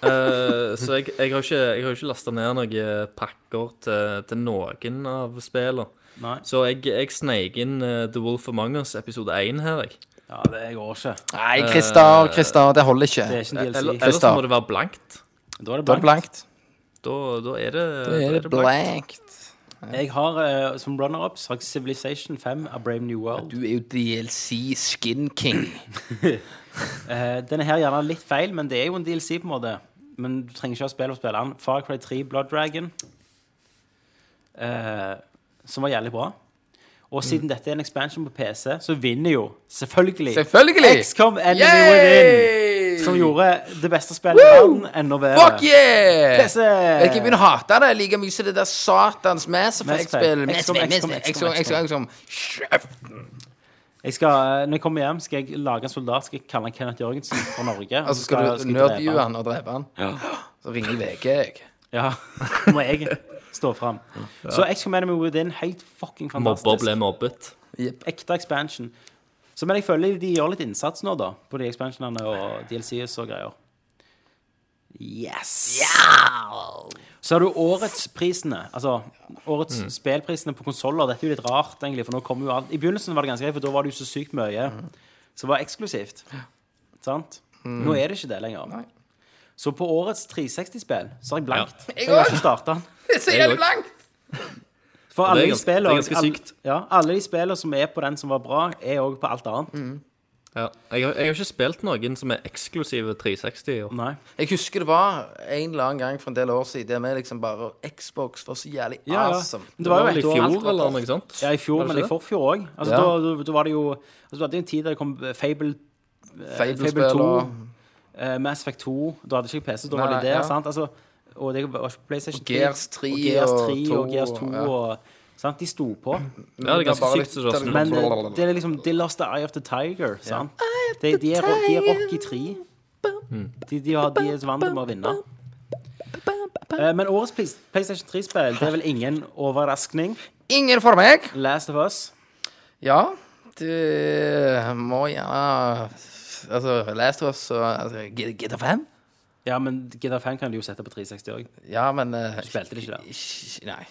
Eh, så jeg, jeg har jo ikke, jeg har jo ikke lasta ned noen eh, pakker til, til noen av spillene. Nei. Så jeg, jeg sneik inn eh, The Wolf Among Us episode 1 her, jeg. Ja, det jeg går ikke. Nei, Christer, Christer, det holder ikke. Det er ikke en DLC. Eller, ellers Christa. må det være blankt. da er Det det er blankt. blankt. Da, da er det, Det da er det blankt. Jeg har eh, som runner-up sagt Civilization 5 av Brave New World. Du er jo DLC Skin King. Eh, den er her gjerne litt feil, men det er jo en DLC på en måte. Men du trenger ikke ha spill for å spille den. Far Cry 3 Blood Dragon, eh, som var jævlig bra. Og siden dette er en expansion på PC, så vinner jo selvfølgelig Selvfølgelig! XCOM Enemy Within. Yay! Som gjorde det beste spillet i Woo! verden enda bedre. Fuck yeah! PC! Jeg kan begynne å hate det like mye som det der satans Mass Mass Effect. Effect-spillet. Mass XCOM, Effect, Mass XCOM, Effect, XCOM, XCOM, XCOM, XCOM. Jeg skal, eh, når jeg kommer hjem, skal jeg lage en soldat skal jeg kalle han Kenneth Jørgensen fra Norge. og Altså, så skal jeg- du jeg drepe nerdviewe han. han og drepe han? Så ringer jeg VG, jeg. Ja. Må jeg stå fram. Så XCOM Enemy Within, helt fucking Mobber fantastisk. ble mobbet. Ekte expansion. Så men jeg føler de gjør litt innsats nå, da, på de expansionene og DLCs og greier. Yes! Så har du årets prisene, altså årets Mm. spillprisene på konsoller. Dette er jo litt rart, egentlig, for nå kommer jo alt I begynnelsen var det ganske greit, for da var det jo så sykt mye som var eksklusivt. Sant? Mm. Nå er det ikke det lenger. Så på årets 360-spill så har jeg blankt. Jeg har ikke starta den. Det er så jævlig blankt! For det alle er de gans- spillene det er ganske alle- sykt. Ja, alle de spillene som er på den som var bra, er òg på alt annet. Ja. Jeg, har, jeg har ikke spilt noen som er eksklusive 360 i år. Nei. Jeg husker det var en eller annen gang for en del år siden der vi liksom bare Xbox var så jævlig Ja, ja. awesome. Men det var jo vel i et år. fjor eller noe sånt? Ja, i fjor, Var det men i ikke det? forfjor òg. Altså, Ja. da, da, da var det jo altså, Du hadde jo en tid der det kom eh, Fable, Fable-spill Fable 2, og eh, Mass Effect 2 Da hadde ikke jeg PC, da var Nei, det der. ja. Sant? Altså, og det var ikke PlayStation Og Gears 3 og Gears 3 og og, 2, Gears 2 ja. og, sant? De sto på. Ja, det er ganske bare sykt. litt- så det er sånn- Men eh, det er liksom De lost the eye of the tiger, sant? De, de, er, de er Rocky 3. Mm. De, de, har, de er vant til å vinne. Eh, Men årets Play- PlayStation 3-spill Det er vel ingen overraskning. Ingen for meg! Last of Us. Ja, du eh, må gjerne Altså, Last of Us og altså, GTA 5? Ja, men GTA 5 kan du jo sette på 360 òg. Ja, men eh, Spilte det ikke da? ikk- Nei.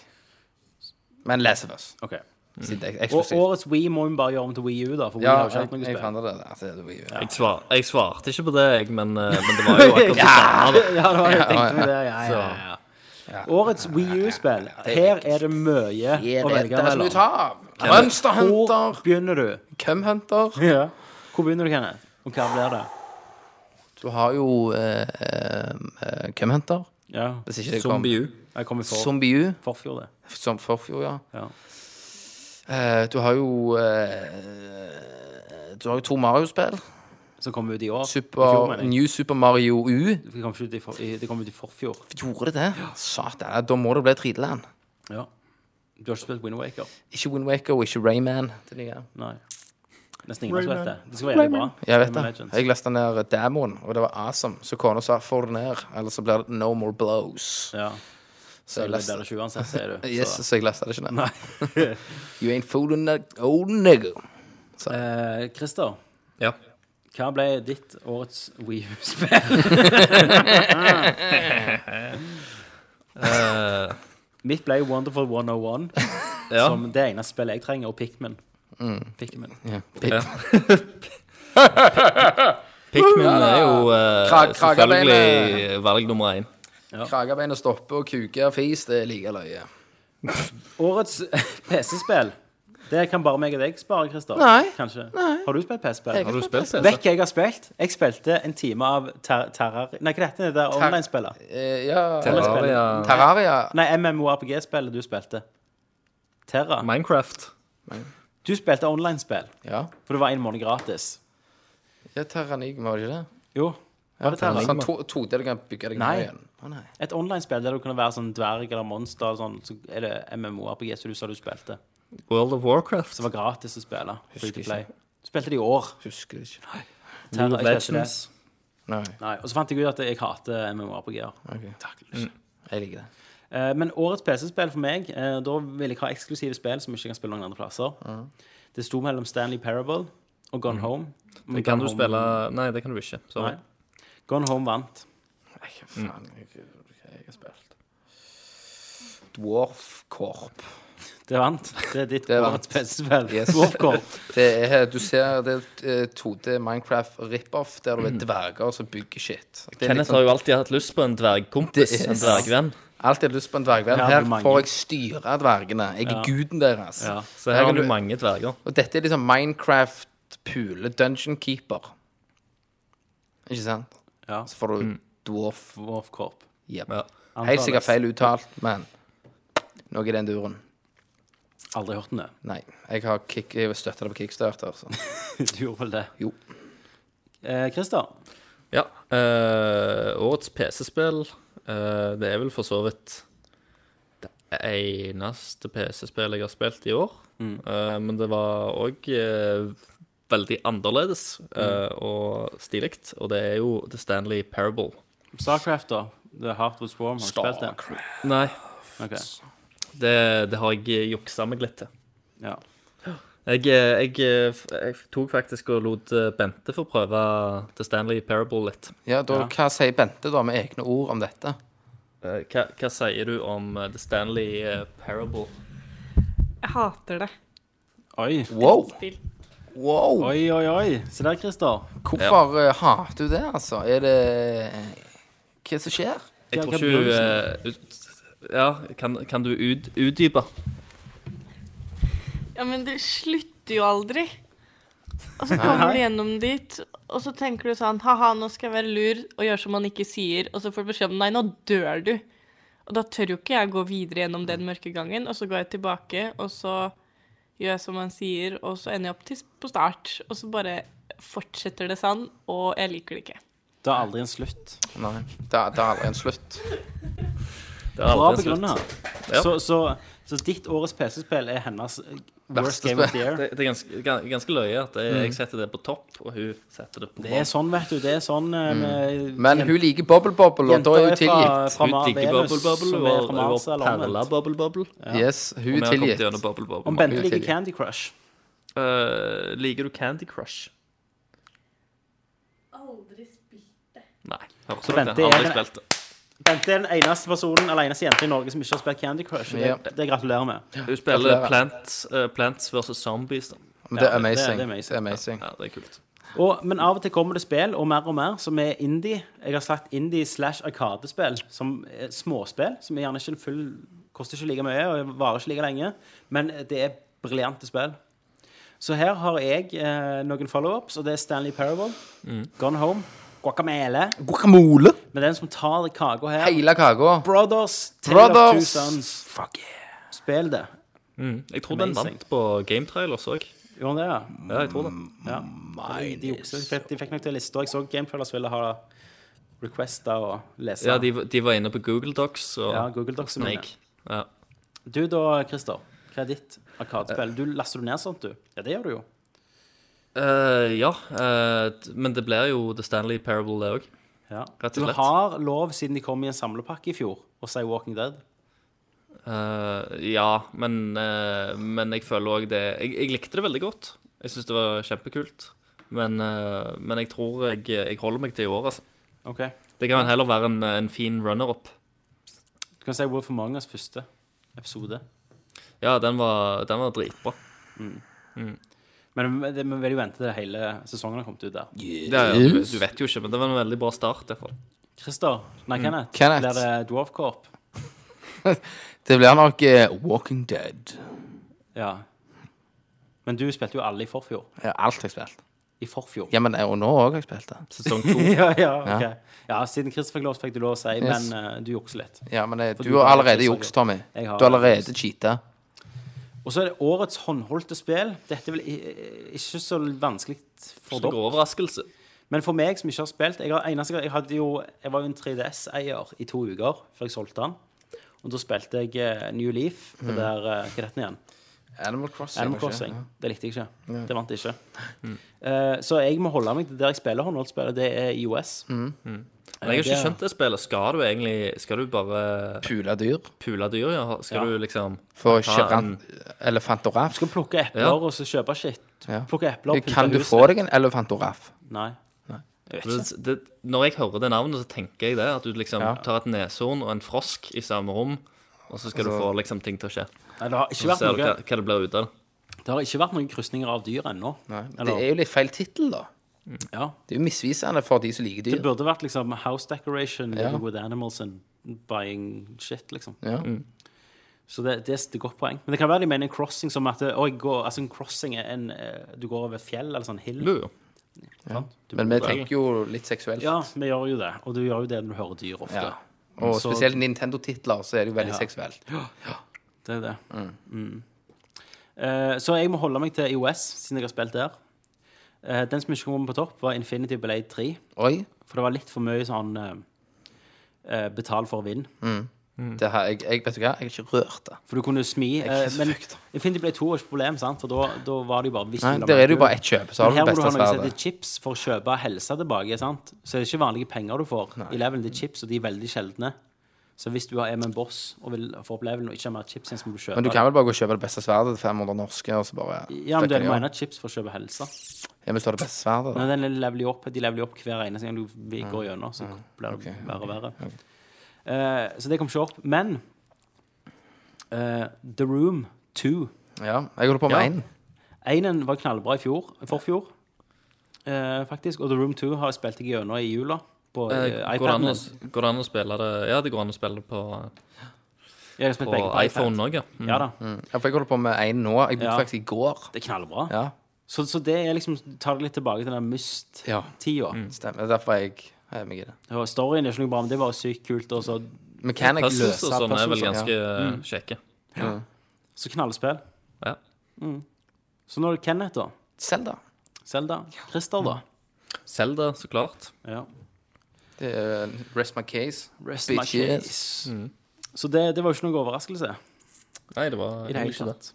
Men Last of Us. Okay. Siden det er Mm. Og eksklusivt. årets Wii må vi bare gjøre om til Wii U, da. For Wii Ja, har ikke jeg, hatt noe jeg spill. fant det der. Altså, det er Wii U. Jeg, svar, jeg svarte ikke på det, jeg, men, eh, men det var jo akkurat det samme. da. Ja, det var jeg Ja, tenkte ja. med det. Ja, ja, ja. Årets Wii U-spill. Her er det mye å Det velge er så mye mellom. å ta av. Monster Hvor Hunter, begynner du? Cum Hunter Ja. Hvor begynner du, Kenneth? Og hva blir det? Du har jo eh, eh, Cum Hunter. Ja. Hvis ikke det kom Zombie U. Jeg kom i for, Zombie U. forfjor, det. Som forfjor, ja. Ja. Eh, du har jo eh, Du har jo to Mario-spill. Som kom ut i år. I fjor, Super, mener jeg. New Super Mario U. Det kom ikke ut i, for, i, det kom ut i forfjor. Gjorde det? Satan, da må det bli 3D-land. Ja. Du har ikke spilt Wind Waker? Ikke Wind Waker og ikke Rayman. Det nye. Nei. Nesten ingen som vet det. Det skal være jævlig bra. Jeg vet Rayman det. Legends. Jeg leste ned demoen, og det var awesome. Så kona sa 'få det ned', eller så blir det 'no more blows'. Ja. Så Det jeg blir leste, det ikke uansett, sier du. yes, Så, så jeg leste det ikke ned. nei. You ain't fooling that old nigger. Eh, Christer, Ja. hva ble ditt årets Wii U-spill? Eh, Mitt ble Wonderful 101, ja. Mm. som det eneste spillet jeg trenger, og Pikmin. Pikmin. Ja. Pikmin er jo eh, Krag- selvfølgelig kragebeinet. eh. valg nummer én. Kragebeina stopper, og kuker og fis, det er like løye. Årets PC-spill. Det kan bare meg og deg spare, Christer. Nei. Kanskje. Har du spilt Jeg- PC-spill? Har du spilt det? Vet hva jeg har spilt? Jeg spilte en time av ter Terrar... Nei, hva heter det der online-spillet? Eh, ja Terraria. Terraria. Nei, MMORPG-spillet du spilte. Terra. Minecraft. Du spilte online-spill, Ja, for det var en måned gratis. ja Terranigma, var det ikke det? Jo. Var det Terra? Sånn to, to der du kan bygge deg Nei. ned igjen. Å, nei. Et online-spill der du kunne være sånn dverg eller monster eller sånn, så er det MMORPG som du sa du spilte. World of Warcraft. Som var gratis å spille. Free to Husker play. Du spilte det i år. Husker ikke. Terra, jeg spilte det. Legends. Nei. Nei, og så fant jeg ut at jeg hater MMORPG-er. ok. Mm. Jeg liker det. Eh, Men årets PC-spill for meg eh, Da vil jeg ha eksklusive spill som ikke kan spille noen andre plasser. Det sto mellom Stanley Parable og Gone Home. Men Det kan Gone du Home- spille Nei, det kan du ikke. Sorry. Nei. Gone Home vant. Nei, hva mm. faen jeg, hva jeg har spilt. Dwarf Corp. Det vant. Det er ditt Det vant. årets PC-spill. Yes. Warcore. Det er, du ser, det er et, eh, 2D Minecraft rip-off der Mm. du er dverger som bygger shit. Det er Kenneth liksom, har jo sånn- alltid hatt lyst på en dvergkompis, Det er en dvergvenn. alltid har lyst på en dvergvenn. Ja, det er Her mange. får jeg styre dvergene. Jeg er Ja. guden deres. Ja. Så Her her har kan du du- mange dverger. Og dette er liksom Minecraft pule Dungeon Keeper. Ikke sant? Ja. Så får du dwarf. Dwarf Corp. Yep. Ja. Helt sikkert feil uttalt, men noe i den duren. Aldri hørt om det. Nei. Jeg har kick, jeg støtta det på kickstarter. Så. Du gjorde vel det? Jo. Eh, Christer, ja. eh, årets PC-spill eh, Det er vel for så vidt det eneste PC-spillet jeg har spilt i år. Eh, men det var òg veldig annerledes eh, og stilig, og det er jo The Stanley Parable. Starcraft, da? The Heartwood Swarm, har du spilt det? Nei, Ok. det, det har jeg juksa meg litt til. Ja. Jeg, eh, jeg, jeg tok faktisk og lot eh, Bente få prøve The Stanley Parable litt. Ja, da, Hva sier Bente da med egne ord om dette? Eh, Hva, hva sier du om eh, The Stanley eh, Parable? Jeg hater det. Oi. Wow! Spill. wow. Oi, oi, oi. Se der, Christer. Hvorfor eh, hater du det, altså? Er det eh, Hva som skjer? Jeg Hva- hva tror blir ikke det hun eh, ut- Ja, kan, kan du ut, utdype? Ja, men det slutter jo aldri. Og så kommer du gjennom dit, og så tenker du sånn Ha-ha, nå skal jeg være lur og gjøre som han ikke sier. Og så får du beskjed om nei, nå dør du. Og da tør jo ikke jeg gå videre gjennom den mørke gangen. Og så går jeg tilbake, og så gjør jeg som han sier, og så ender jeg opp til, på start. Og så bare fortsetter det sånn, og jeg liker det ikke. Det er aldri en slutt. Nei, det er, det er aldri en slutt. Det er Bra aldri slutt. begrunna. Ja. Så, så, så ditt årets PC-spill er hennes eh, worst Verste game of the year? Det, det er ganske, gan- ganske løye at jeg, jeg setter det på topp, og hun setter det på Mm. Det er bånn. sånn, vet du. Det er sånn eh, Mm. med Men hun liker Bobble Bobble, og da Jenter er hun tilgitt. fra Hun digger Venus, Bubble Bubble, som og er fra og hun Mars, eller perler omvendt. Bubble Bubble. Yes, hun Og er vi har kommet gjennom tilgitt. Bubble Bubble. Om mange Bente liker tilgitt. Candy Crush Eh, liker du Candy Crush? Aldri spilt det. Nei. Hørte Så dere? Bente er Aldri en- spilt det. Bente er den eneste personen Eller eneste jente i Norge som ikke har spilt Candy Crush. og Det, Ja. det gratulerer med. Du spiller Gratulerer. Plants, eh, plants versus Zombies. Da. Men det Ja, er det- det er amazing. amazing. Det er amazing. Ja, det er kult. Og, men av og til kommer det spill, og mer og mer, som er indie. Jeg har sagt indie slash arkadespill, som er småspill. Som er gjerne ikke full, koster ikke like mye og varer ikke like lenge. Men det er briljante spill. Så her har jeg eh, noen follow-ups, og det er Stanley Parable, Mm. Gone Home, Guacamele. Guacamole! Men den som tar kaka her Hele kaka. Brothers, Tale of Two Brothers! Sons. Fuck yeah. Spill det. Jeg tror den Amazing. vant på Game Trailers òg. Gjorde den det, ja? Ja, jeg tror det. Ja. De, de, jukser. de, fikk, de fikk nok til lister. Jeg så Gametrailers ville ha requesta og lese. Ja, de, de var inne på Google Docs Mm, og Ja, Google Docs, mener Snake. Ja. Du da, Christer. Hva er ditt arkadespill? Du laster du ned sånt, du? Ja, det gjør du jo. Eh, ja, eh, d- men det blir jo The Stanley Parable, det òg. Ja. Rett og Du slett. har lov, siden de kom i en samlepakke i fjor, å si Walking Dead. ja, men, eh, men jeg føler òg det jeg, jeg likte det veldig godt. Jeg syns det var kjempekult. Men, eh, men jeg tror jeg, jeg holder meg til i år, altså. Ok. Det kan heller være en, en fin runner-up. Du kan si Wolf Among Us første episode. Ja, den var, den var dritbra. Men det- vi vil jo vente til hele sesongen har kommet ut der. Det, er- du, du vet jo ikke, men det var en veldig bra start. i hvert fall. Christer, nei, Kenneth, Kenneth. blir det Dwarf Corp? Det blir nok eh, Walking Dead. Ja. Men du spilte jo alle i forfjor. Ja, Alt jeg har spilt. I forfjor. Ja, men eh, og nå òg har jeg spilt det. Sesong to. ja, ja, ok. ja, siden Chris fikk lov, så fikk du lov å si, Yes. men eh, du jukser litt. Ja, men eh, du, du har har allerede ikke juks, sagt- Tommy. Jeg har- Du har allerede cheata. Og så er det årets håndholdte spill. Dette er vel i- i- ikke så vanskelig for Stor dere. overraskelse. Men for meg som ikke har spilt Jeg, har, eneste, gang- jeg, hadde jo, jeg var jo en 3DS-eier i to uker før jeg solgte den. Og da spilte jeg eh, New Leaf. Mm. Det der, eh, hva er dette igjen? Animal Crossing. Animal Crossing. Det likte jeg ikke. Det vant jeg ikke. Mm. Eh, så jeg må holde meg til der jeg spiller håndholdtspill, og det er IOS. Mm. Men jeg har Det ikke er- skjønt det spillet. Skal du egentlig Skal du bare Pula dyr. pule dyr? Ja? Skal Ja. du liksom For Ta en- kjøran- elefantoraff. Du kan plukke epler Ja. og så kjøpe shit. Ja. Plukke epler og Kan du få deg en elefantoraff? Nei. det, det, Når jeg hører det navnet, så tenker jeg det. At du liksom Ja. tar et neshorn og en frosk i samme rom, og så skal du Altså- få liksom ting til å skje. Nei, det har ikke Så vært ser du noe hva, hva det blir ut av det. Det har ikke vært noen krysninger av dyr ennå. Det Eller- er jo litt feil tittel, da. Ja. Det er jo misvisende for de som liker Det dyr. burde vært liksom House Decoration Ja. living with animals and buying shit, liksom. Ja. Så det, det er et godt poeng. Men det kan være de mener en crossing som at å, jeg går, altså en crossing er en, eh, du går over et fjell eller sånn hill. Jo, jo. sant? Du, Men vi tenker jo litt seksuelt. ja, vi gjør jo det. Og du gjør jo det når du hører dyr ofte. Ja. Og Så- spesielt Nintendo-titler, så er det jo veldig seksuelt. Det er det. Mm. Eh, så jeg må holde meg til IOS, siden jeg har spilt der. Eh, den som ikke kom på topp, var Infinity Blade 3. Oi, For det var litt for mye sånn eh, eh, betal for å vinne. Mm. det her, jeg, jeg vet du hva, jeg har ikke rørt det. For du kunne smi. er eh, så Men fucked. Infinity Blade 2 var ikke et problem, sant? for da, da var det jo bare Nei, der er det jo bare ett kjøp, så har Men her du det må du beste ha noe som heter sverdet. chips for å kjøpe helse tilbake. sant? Så det er ikke vanlige penger du får. I levelen det er chips, og de er veldig sjeldne. Så hvis du er med en boss og vil få opp levelen og ikke har mer chips, igjen, så må du kjøpe Men du kan vel bare gå og kjøpe det beste sverdet til 500 norske, og så bare det. Ja, men du fucker de mener opp. chips for å kjøpe helse. Jeg vil ta det beste sverdet, Nei, da. den leveler jo opp, de leveler jo opp hver eneste gang du vi- Mm. går gjennom, så blir det verre og verre. Eh, så det kom ikke opp. Men eh, The Room 2 Ja, jeg holder på med Ja. én. Einen var knallbra i fjor, forfjor, eh, faktisk. Og The Room 2 har jeg spilt jeg gjennom i jula på Eh, eh, Går det iPaden. an å, min. går det an å spille det Ja, det går an å spille det på, Jeg har spilt på begge på iPhone iPad. òg, ja. Mm. Ja da, Ja, for jeg holder på med én nå. Jeg begynte Ja. faktisk i går. det er knallbra. Ja, Så, så det er liksom tar det litt tilbake til den Ja. Myst-tida. Mm. stemmer. Det er derfor jeg er meg i det. Og Storyen er ikke noe bra, men det var sykt kult. Og så, Mechanic Puzzles løser og sånn er vel altså. puzzles, ganske ja. Mm. eh, kjekke. så knallspill. Ja. Så nå er det Kenneth, da. Zelda. Selda. Christer, da. Zelda, så klart. Ja. Det er uh, Rest my case. Rest my my case. Mm. Så det, det var jo ikke noen overraskelse Nei, det var i det hele ikke det. tatt.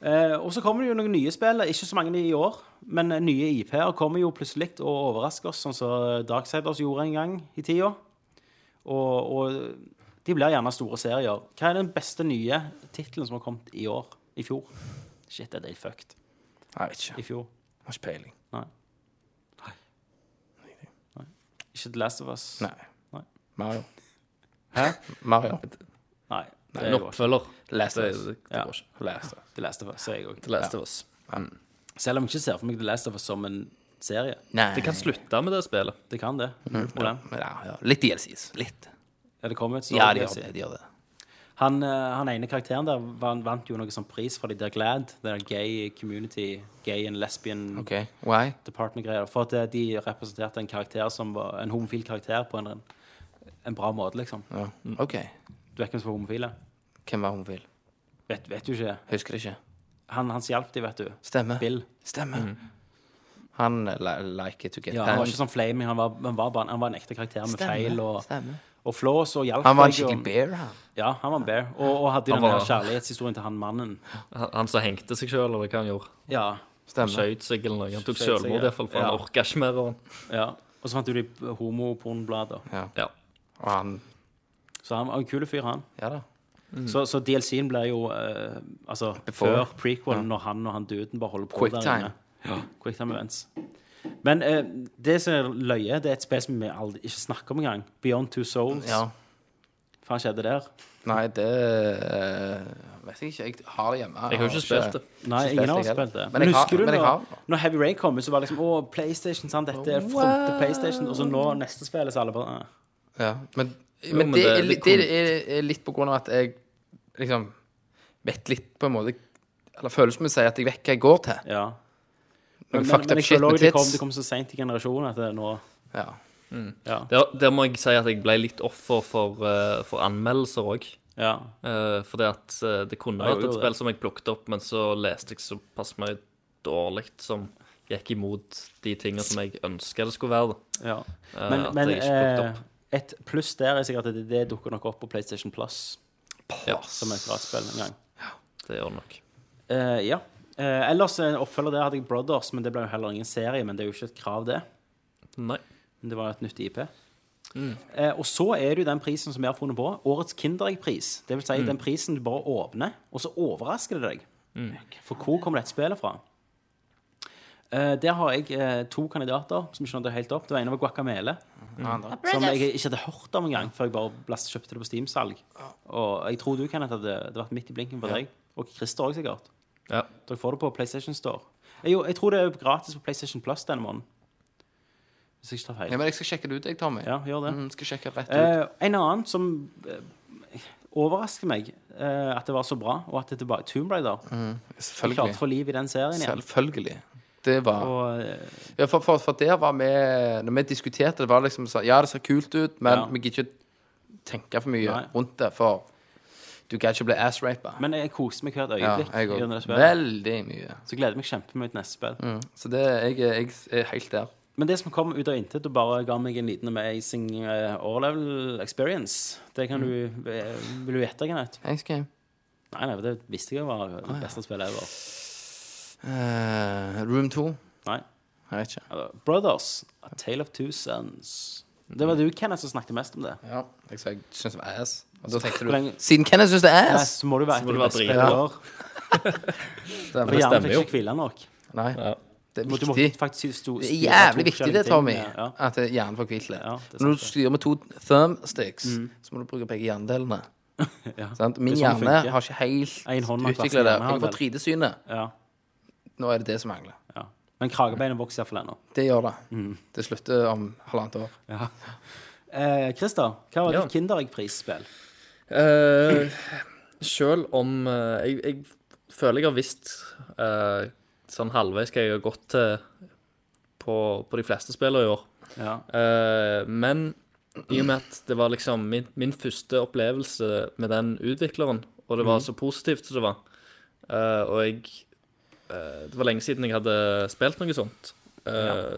Eh, og så kommer det jo noen nye spill, eh, ikke så mange i år, men eh, nye IP-er kommer jo plutselig og overrasker oss, sånn som Darksiders gjorde en gang i tida. Og, og de blir gjerne store serier. Hva er den beste nye tittelen som har kommet i år? I fjor? Shit, det er helt fucked. Jeg vet ikke. I fjor. Har ikke peiling. Ikke The Last of Us. Nei. Nei. Mario. Hæ? Mario. Nei. Det En er jo oppfølger. Last Det, of Us. det, det Ja. går ikke. Last of Us. The Last of Us. ser Jeg også. Det leste Ja. vi oss. Um. Selv om jeg ikke ser for meg The Last of Us som en serie. Nei. Det kan slutte med det spillet. Det kan det. Null problem. Mm. ja, ja. Litt DLCs. Litt. Er det kommet? så- Ja, de gjør det. De gjør det. Han, eh, han ene karakteren der van- vant jo noe sånn pris fra de der Glad. Det der gay community, gay and lesbian OK. Why? department-greier. For at eh, de representerte en karakter som var en homofil karakter på en, en bra måte, liksom. Ja. OK. Du vet hvem som var homofile? Hvem var homofil? Vet, vet du ikke? Husker det ikke. Han, hans hjalp de, vet du. Stemmer. Bill. Stemmer. Mm. Han eh, li like it to get Ja, han var ikke sånn flaming, han var, han var, bare, han var en ekte karakter med feil og, Stemmer. og flås og hjalp. Han var en deg, og- skikkelig bear, han. Ja, han var en bear. Og, og hadde jo Han den der var- kjærlighetshistorien til han mannen. Han, han som hengte seg sjøl, eller hva han gjorde. Ja, Stemmer. Skjøt seg eller noe. Han tok Skjøt seg, selvmord, ja. iallfall, for han Ja. orka ikke mer. Og... ja. Og så fant du de homopornblader. Ja. Og han Så han var en kul fyr, han. Ja da. Mm. Så, så DLC-en blir jo eh, altså, Before. før prequelen, når han og han duden bare holder på Quick der time. inne. Ja, quick time events. Men eh, det som er løye, det er et spill som vi aldri ikke snakker om engang. Beyond Two Souls. Ja. Hva skjedde der? Nei, det eh, vet jeg ikke. Jeg har det hjemme. Jeg har jo ikke spilt det. Nei, Ikke ingen spilt har jeg spilt det. heller. Men Men, jeg har- husker du men jeg har når, det. når Heavy Rain kom ut, så var det liksom Å, PlayStation, sant? Dette er fronte PlayStation. Og så nå, neste spill, så alle bare «Ah». Ja, men, men men det, det- er, det litt- kom- det er, er litt på grunn av at jeg liksom vet litt på en måte Eller føles som å si at jeg vet hva jeg går til. Ja. Noe Men, men, fucked men up jeg shit føler med også det kom, tits. det kom så seint i generasjonen at det nå Ja. Ja. Der, der må jeg si at jeg ble litt offer for, eh, for anmeldelser òg. ja. fordi at eh, det kunne Ja, jeg vært et gjorde spill det. som jeg plukket opp, men så leste jeg såpass mye dårlig som gikk imot de tingene som jeg ønska det skulle være. da. ja. Eh, Men, at men jeg ikke plukket eh, opp. et pluss der er sikkert at det, det dukker nok opp på PlayStation Plus Ja, som et gratisspill en gang. det gjør det nok. Eh, ja. Eh, ellers en oppfølger der hadde jeg Brothers, men det ble jo heller ingen serie. Men det er jo ikke et krav, det. Nei. Men det var et nytt IP. Eh, og så er det jo den prisen som vi har funnet på. Årets Kinderegg-pris. Det vil si den prisen du bare åpner, og så overrasker det deg. For hvor kommer dette spillet fra? Eh, der har jeg eh, to kandidater som ikke nådde helt opp. Det var ene var Guacamele. Som jeg ikke hadde hørt om engang før jeg bare blast- kjøpte det på Steam-salg. Og jeg tror du, Kenneth, hadde det vært midt i blinken for deg. Og Christer òg, sikkert. Ja. Dere får det på PlayStation Store. Eh, Jo, jeg tror det er gratis på PlayStation Plus denne måneden. Hvis jeg ikke tar feil. ja, men jeg skal sjekke det ut, jeg, Tommy. Ja, gjør det. Mm, skal sjekke rett ut. Eh, en annen som eh, overrasker meg eh, at det var så bra, og at det var Tomb Raider. Jeg klarte å Mm. Selvfølgelig. få liv i den serien igjen. Selvfølgelig. Det var Og, eh, ja, for, for, for der var vi Når vi diskuterte, det var liksom sånn Ja, det ser kult ut, men Ja. vi gidder ikke tenke for mye Nei. rundt det, for du kan ikke bli ass-rapa. men jeg koste meg hvert Ja, øyeblikk. jeg gjennom det òg. spillet. Veldig mye. Så gleder jeg meg kjempemye til neste spill. Mm. Så det, jeg, jeg er helt der. Men det som kom ut av intet og bare ga meg en liten amazing uh, overlevel experience, det Mm. kan du eh, Vil du gjette, Kenneth? Thanks, game. Nei, nei, det visste jeg var det beste spillet ever. Eh, room 2. Nei. Jeg vet ikke. Eh, Brothers, A Tale of Two Sons. Det var du, Mm. Kenneth, som snakket mest om det. Ja, jeg sa jeg syns det var ass. Og da tenkte Hvor lenge- du Siden Kenneth syns det er Nei, ass! så må du være må du aktiv beste være dritbra. spiller. Stemmer. For hjernen stemmer fikk jo. ikke hvile nok. Nei, Ja. det er Du må viktig. faktisk sto, Det er styre to jævlig viktig, forskjellige det, ting, Tommy. Ja. At det- hjernen får hvilt litt. Ja, det er Når du sant, det. styrer med to thumbsticks, så må du bruke begge hjernedelene. Ja. Sant? Min Det er sånn det hjerne funker. har ikke helt En hånd har plass utvikla til det. Jeg hjernen, får 3D-synet. Ja, Nå er det det som mangler. ja. Men kragebeinet vokser iallfall ennå. Det gjør det. Mm. Det slutter om halvannet år. Eh, Christer, hva var Ja. ditt Kinderegg-prisspill? Eh, selv om eh, jeg, jeg føler jeg har visst eh, sånn halvveis hva jeg har gått til på, på de fleste spillene i år. Ja. Eh, men i og med at det var liksom min, min første opplevelse med den utvikleren, og det var så positivt som det var, eh, og jeg eh, Det var lenge siden jeg hadde spilt noe sånt. eh,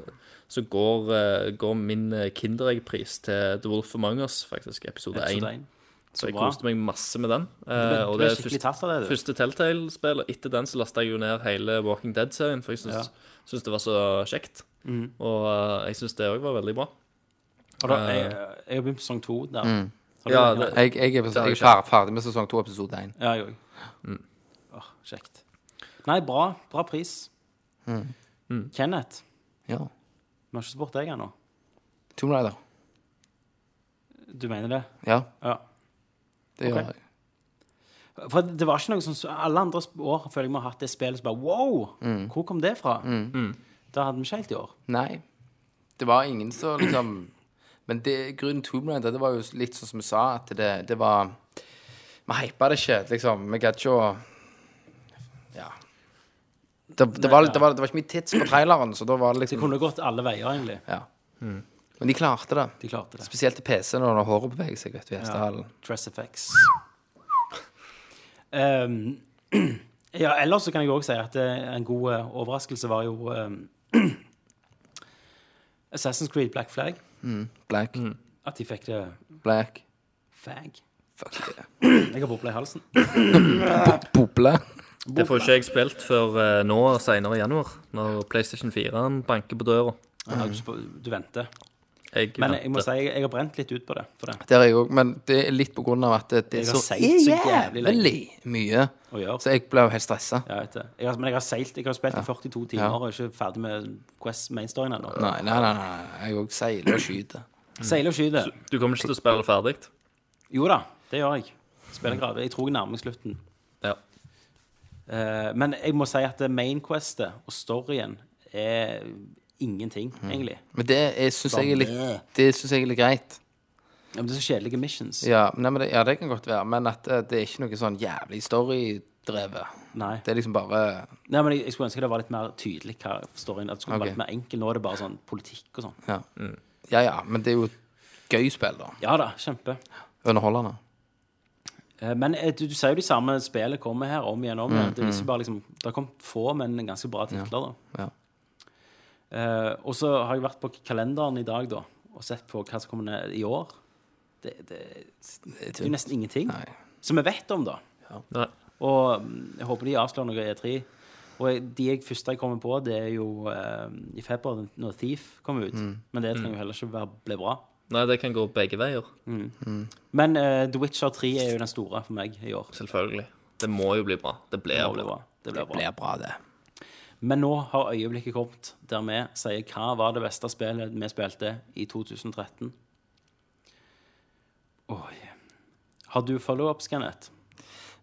Så går, eh, går min eh, Kinderegg-pris til The Wolf Among Us, faktisk, episode Episode 1. én. Så jeg bra. koste meg masse med den. Du eh, og ble det er skikkelig første, tatt av det, du. første Telltale-spill. Og etter den så lasta jeg jo ned hele Walking Dead-serien, for jeg syns, syns det var så kjekt. Og eh, jeg syns det òg var veldig bra. Og da, jeg, jeg har begynt på sesong to der. Har du Ja, det, Kenneth? det- Jeg, jeg er, har jeg jeg er fer- ferdig med sesong to, episode én. ja, jeg òg. Åh, kjekt. Nei, bra. Bra pris. Kenneth, Ja. vi har ikke spurt deg ennå. Tomb Raider. Du mener det? Ja, Ja. det Ok. gjør jeg. For det var ikke noe sånn så Alle andre sp- år føler jeg vi har hatt det spillet som bare Wow! Hvor kom det fra? Det hadde vi ikke helt i år. Nei. Det var ingen som liksom Men det, grunnen Tomb Raider, det var jo litt sånn som vi sa, at det, det var Vi hypa det ikke, liksom. Vi gadd ikke å Ja. Det, det, var, det, var, det var ikke mye tids på traileren, så da var det Det liksom kunne gått alle veier, egentlig. Ja. Men de klarte det. De klarte det. Spesielt til PC-en og når håret beveger seg, vet du, i hestehalen. Dress effects. Um, ja, ellers så kan jeg òg si at eh, en god eh, overraskelse var jo um, Assassin's Creed Black Flag. Black. At de fikk det Black. fag. Fuck yeah. Jeg har bobla i halsen. Boble. Det får ikke jeg spilt før eh, nå, senere i januar, når PlayStation 4 banker på døra. Ja, du, sp- du venter. Jeg Men jeg må venter. si jeg, jeg har brent litt ut på det. For det. Det er jeg òg, men det er litt på grunn av at det, det Jeg er har så seilt så jævlig lenge. jævlig mye. Å gjøre. Så jeg ble jo helt stressa. Jeg vet det. Jeg har, men jeg har seilt. Jeg har spilt i 42 timer Ja. og er ikke ferdig med Quest mainstoryen ennå. Nei, nei, nei. nei. Jeg òg seiler og skyter. Seiler og skyter. Du kommer ikke til å spille ferdig? Jo da, det gjør jeg. Spiller grader. Jeg tror jeg nærmer meg slutten. Ja. Eh, men jeg må si at det mainquestet og storyen er ingenting, egentlig. Men det syns Mm. jeg er litt Det synes jeg er litt greit. Ja, men det er så kjedelige missions. Ja, nei, men det, ja, det kan godt være, men at eh, det er ikke noe sånn jævlig storydrevet. Nei. Det er liksom bare Nei, men jeg, jeg skulle ønske det var litt mer tydelig hva storyen At det skulle Ok. vært mer enkel. Nå er det bare sånn politikk og sånn. Ja. ja ja, men det er jo et gøy spill, da. Ja da, kjempe. Underholdende. Eh, Men eh, du, du sier jo de samme spillene kommer her om igjen og om igjen. Det viser bare liksom Det har kommet få, men ganske bra titler, da. Mm, Ja. Eh, og så har jeg vært på kalenderen i dag, da, og sett på hva som kommer ned i år. Det, det, det er jo nesten ingenting. Nei. Som vi vet om, da. Nei. Og mm, jeg håper de avslører noe i E3. Og jeg- de jeg første jeg kommer på, det er jo eh, i februar, den- når Thief kom ut. Men det trenger jo heller ikke være, bli bra. Nei, det kan gå begge veier. Men eh, The Witcher 3 er jo den store for meg i år. Selvfølgelig. Det må jo bli bra. Det blir Det bra. blir bra. Det blir bra. Blir bra, det. Men nå har øyeblikket kommet der vi sier hva var det beste spillet vi spilte i 2013. Oi. Har du follow-ups, Kenneth?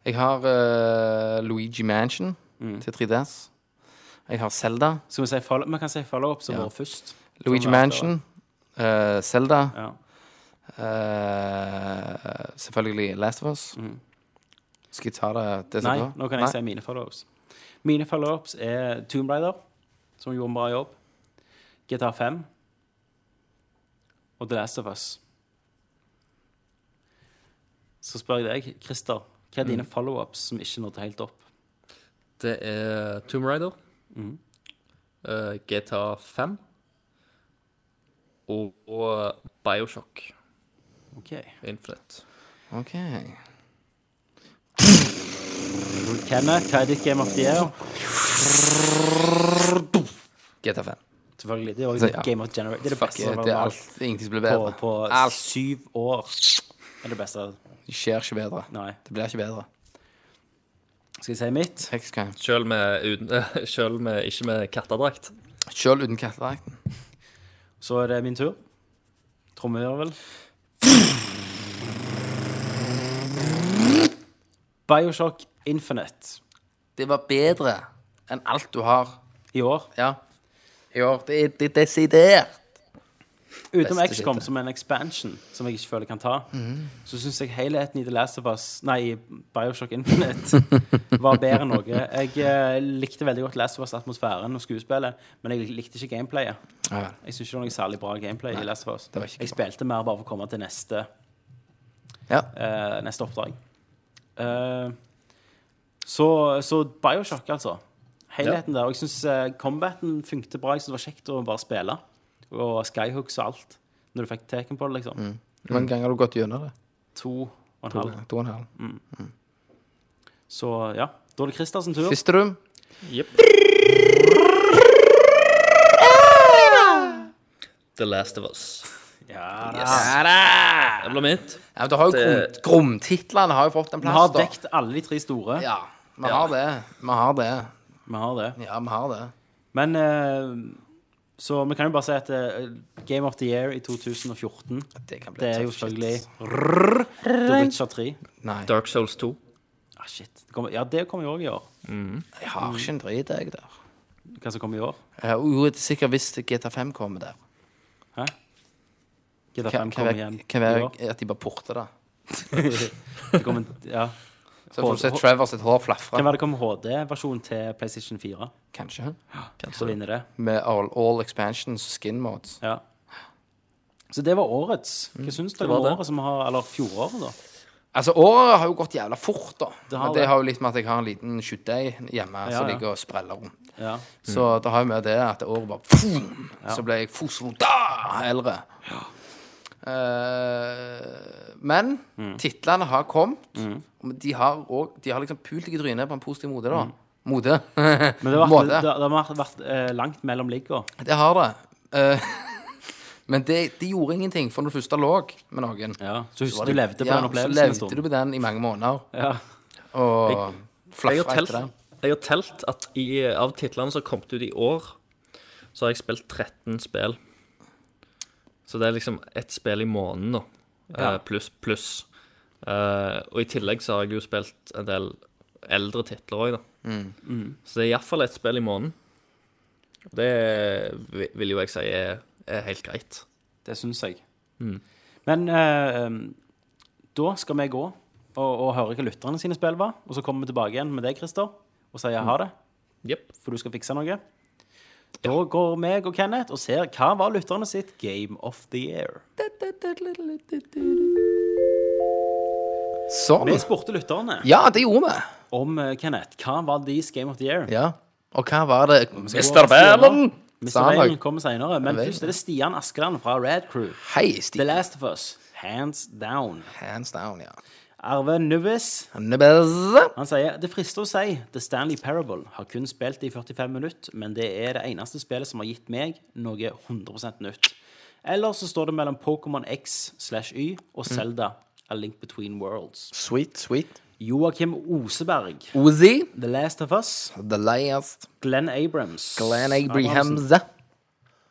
Jeg har eh, Luigi Mansion Mm. til 3DS. Jeg har Zelda. Skal vi si follow Vi kan si follow-ups som Ja. vår først. Luigi Som Sånn er etter, Mansion. eh, Zelda. Ja. eh, selvfølgelig Last of Us. Skal jeg ta det, det som Mm. Nei, går? nå kan Nei. jeg si mine follow-ups. Mine follow-ups er Tomb Raider, som gjorde en bra jobb. GTA 5. Og The Last of Us. Så spør jeg deg, Christer, hva er dine Mm. follow-ups som ikke nådde helt opp? Det er Tomb Raider, Mhm. eh, GTA 5 og, og Bioshock Ok. Infinite. Ok. Kenneth, hva er ditt Game of the Year? GTA 5. Selvfølgelig. Det er jo Så, ja. Game of Generation. Det er det Fuck, beste det som er har vært alt, ingenting som blir på, bedre. på alt syv år. Er det beste skjer ikke bedre. Nei. Det blir ikke bedre. Skal jeg si mitt? Hexcan. Selv med, uten, selv med ikke med kattedrakt. Selv uten kattedrakten. Så er det min tur. Trommehvirvel. Bioshock Infinite Det var bedre enn alt du har. i år. Ja. I år. Det er det er desidert. Utenom Beste XCOM tittel. som en expansion som jeg ikke føler jeg kan ta, så syns jeg helheten i The Last of Us Nei, i Bioshock Infinite var bedre enn noe. Jeg eh, likte veldig godt Last of Us-atmosfæren og skuespillet, men jeg likte ikke gameplayet. Ja, vel. Jeg syns ikke det var noe særlig bra gameplay i Last of Us. det var ikke Jeg bra. spilte mer bare for å komme til neste, ja. eh, neste oppdrag. Eh, så, så Bioshock, altså. Helheten der. Og jeg syns combaten funkte bra. Jeg synes det var kjekt å bare spille. Og skyhooks og alt. Når du fikk teken på det, liksom. Hvor mange ganger har du gått gjennom det? To og en Mm. To, halv. to og en halv. Så ja. Da er det Christer sin tur. Første rom. The Last of Us. Ja, Det blir mitt. Ja, men du har jo Det- grom- gromtitlene har jo fått en Vi plass, har da. dekt alle de tre store. Ja, vi har det. Vi har det. Vi har det. Ja, vi har det. Men eh, Så vi kan jo bare si at eh, Game of the Year i 2014, Det kan bli det er jo tøff shit. selvfølgelig Rrrr, The Witcher 3. Nei, Dark Souls 2. Ah, shit. Det kommer, ja, det kommer jo òg i år. jeg har ikke en drit, jeg, der. Hva som kommer i år? Eh, Jo, det er sikkert hvis GTA5 kommer der. GTA 5 Kan, kan kommer være, igjen kan i være år. at de bare porter det. Det kommer, ja. Så får du se Trevor sitt hår flafre. Kan være det kommer HD-versjon til PlayStation 4. Kanskje. Så vinner det. Med all, all expansions, skin modes. Ja. Så det var årets. Hva syns dere var om det. året som har Eller fjoråret, da? Altså, året har jo gått jævla fort, da. Det har Men det det. har jo litt med at jeg har en liten skytteig hjemme Ja, Mm. som ja. ligger og spreller rundt. Ja. Så det har jo med det at året bare boom, Så ble jeg fosvoda eldre. Eh, men Mm. titlene har kommet. Men De, har også, de har liksom pult deg i trynet på en positiv mote, Mm. da. Mote. Men det har vært, Måte. det, det har vært, vært eh, langt mellom ligga. Det har det. Eh, men det, det gjorde ingenting, for når du først lå med noen Ja. Så så var husker det- du levde på ja, den Så opplevelsen en levde du stund. på den i mange måneder. Ja. Og Jeg har flaffa telt, etter det. jeg har telt at i, av titlene som har kommet ut i år, så har jeg spilt 13 spill. Så det er liksom ett spill i måneden, da. Ja. Eh, Pluss, pluss. Eh, og i tillegg så har jeg jo spilt en del eldre titler òg, da. Så det er iallfall ett spill i måneden. Det vi- vil jo jeg si er, er helt greit. Det syns jeg. Mm. Men eh, um, da skal vi gå og, og høre hva lytterne sine spill var. Og så kommer vi tilbake igjen med deg, Christer, og sier ha det, Mm. Jepp. for du skal fikse noe. Da går meg og Kenneth og ser hva var lytterne sitt Game of the Year. Sånn. Vi spurte lytterne Ja, det gjorde vi. om eh, Kenneth. Hva var deres Game of the Year? Ja. Og hva var det Mr. gå- Verden! Mr. Sa han Valen òg. kommer senere, men Jeg vet først er det Stian Askeland fra Red Crew. Hei, The Steve. Last of Us. Hands down. Hands down, ja. Arve Nuvis Nebezze. han sier det frister å si The Stanley Parable. Har kun spilt det i 45 minutter, men det er det eneste spillet som har gitt meg noe 100 nytt. Eller så står det mellom Pokémon X slash Y og Zelda A Link Between Worlds. Sweet, sweet. Joakim Oseberg. Ozy. The Last of Us. The last. Glenn Abrams. Glenn Abrahamsen. Abrahamse.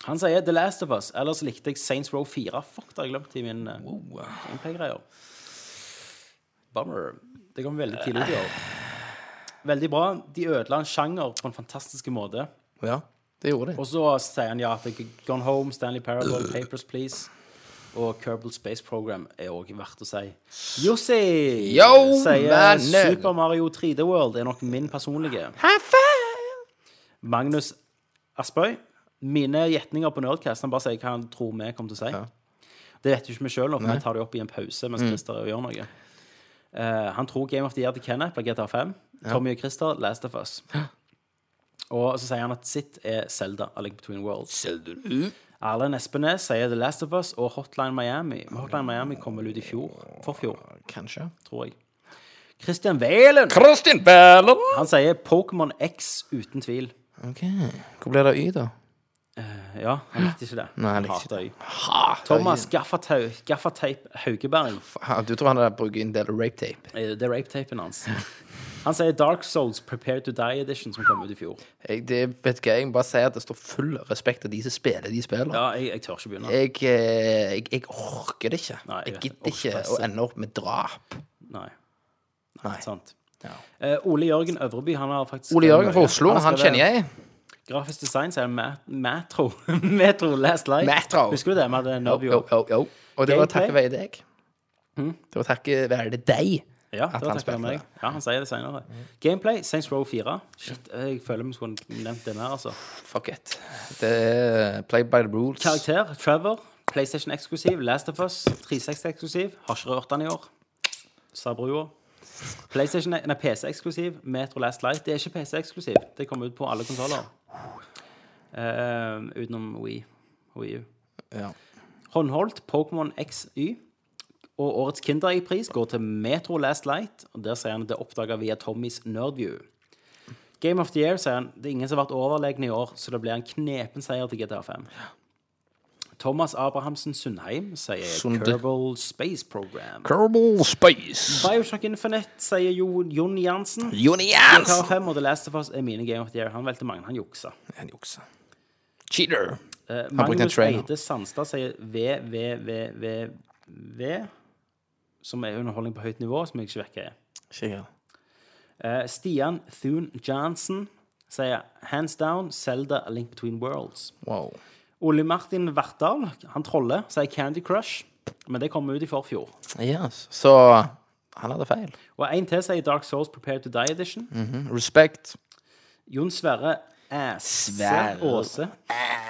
Han sier The Last of Us. Ellers likte jeg Saints Row 4. Fuck, det har jeg glemt i min eh, gameplay-greier. Bummer. Det kom veldig tidlig ut i år. Veldig bra. De ødela en sjanger på en fantastisk måte. Ja, det gjorde de. Og så sier han ja til Gone Home, Stanley Øh. Parable, Papers, Please. Og Kerbal Space Program er òg verdt å si. Jossi Yo, sier mannen! Super Mario 3D World er nok min personlige. Magnus Aspøy. Mine gjetninger på Nerdcast. Han bare sier hva han tror vi kommer til å si. Det vet jo ikke vi sjøl, for vi tar det opp i en pause mens Christer er og gjør noe. Eh, han tror Game of the Year til Kenneth blir GTA 5. Tommy og Christer, Last of Us. Og så sier han at sitt er Zelda, A Link Between Worlds. Erlend Espenes sier The Last of Us og Hotline Miami. Men Hotline Miami kom vel ut i fjor? Forfjor, Kanskje. tror jeg. Christian Valen! Kristin Berlund. Han sier Pokémon X uten tvil. OK. Hvor ble det av Y, da? Ja, han likte ikke det. Nei, han likte Hater øy. Ha, Thomas Gaffatau, Gaffateip Haugeberg. Faen, Du tror han der bruker en del rape tape? Eh, Det er rapetapen hans. Han sier Dark Souls Prepare to Die Edition, som kom ut i fjor. Jeg, det vet ikke, jeg må bare si at det står full respekt av de som spiller de spillene. Ja, jeg, jeg tør ikke begynne. Jeg, eh, jeg, jeg orker det ikke. Nei, jeg jeg vet, gidder ikke å orkstresset. ende opp med drap. Nei. Nei. Sant. Ja. Eh, Ole Jørgen Øvreby, han har faktisk Ole Jørgen fra Ja, Oslo, har han skrevet- kjenner jeg. Grafisk design sier Ma- Matro. Metro Last Light. Metro. Husker du det? Vi hadde en Jo, nerdview. jo, jo, jo. Og det var Gameplay? takket være deg. Det var takket være deg. Ja, det var At han takket være spilte meg. det. Ja, han sier det senere. Gameplay, Saints Row 4. Shit, jeg føler vi skulle nevnt det mer, altså. Fuck it. Det er play by the rules. Karakter, Trevor. PlayStation eksklusiv. Last of Us. 360 eksklusiv. Har ikke rørt den i år. Sa brua. PlayStation, nei, PC eksklusiv. Metro Last Light. Det er ikke PC eksklusiv. Det kommer ut på alle konsoller. Eh, utenom Wii. Wii U. Ja. Håndholdt Pokémon XY. Og årets Kinderegg-pris går til Metro Last Light. Og der sier han at det er oppdaga via Tommys Nerdview. Game of the Year sier han det er ingen som har vært overlegne i år, så det blir en knepen seier til GTA5. Thomas Abrahamsen Sundheim sier Sunde. Kerbal Space Program. Kerbal Space. Bioshock Infinite sier jo Jon Jansen. Joni Jans. GTA5 og The Last of Us er mine Game of the Year. Han valgte mange, han juksa. Han jukser. Cheater. Eh, Har brukt en Magnus trainer. Eide Sandstad sier VVVVV, som er underholdning på høyt nivå, som jeg ikke vet hva er. Eh, Stian Thun Johnson sier 'Hands down, Zelda, A Link Between Worlds'. Wow. Ole Martin Vartdal, han troller, sier 'Candy Crush', men det kom ut i forfjor. Yes. Så han hadde feil. Og en til sier 'Dark Souls Prepared to Die Edition'. Mm. Respect. Jon Sverre Æse Sverre.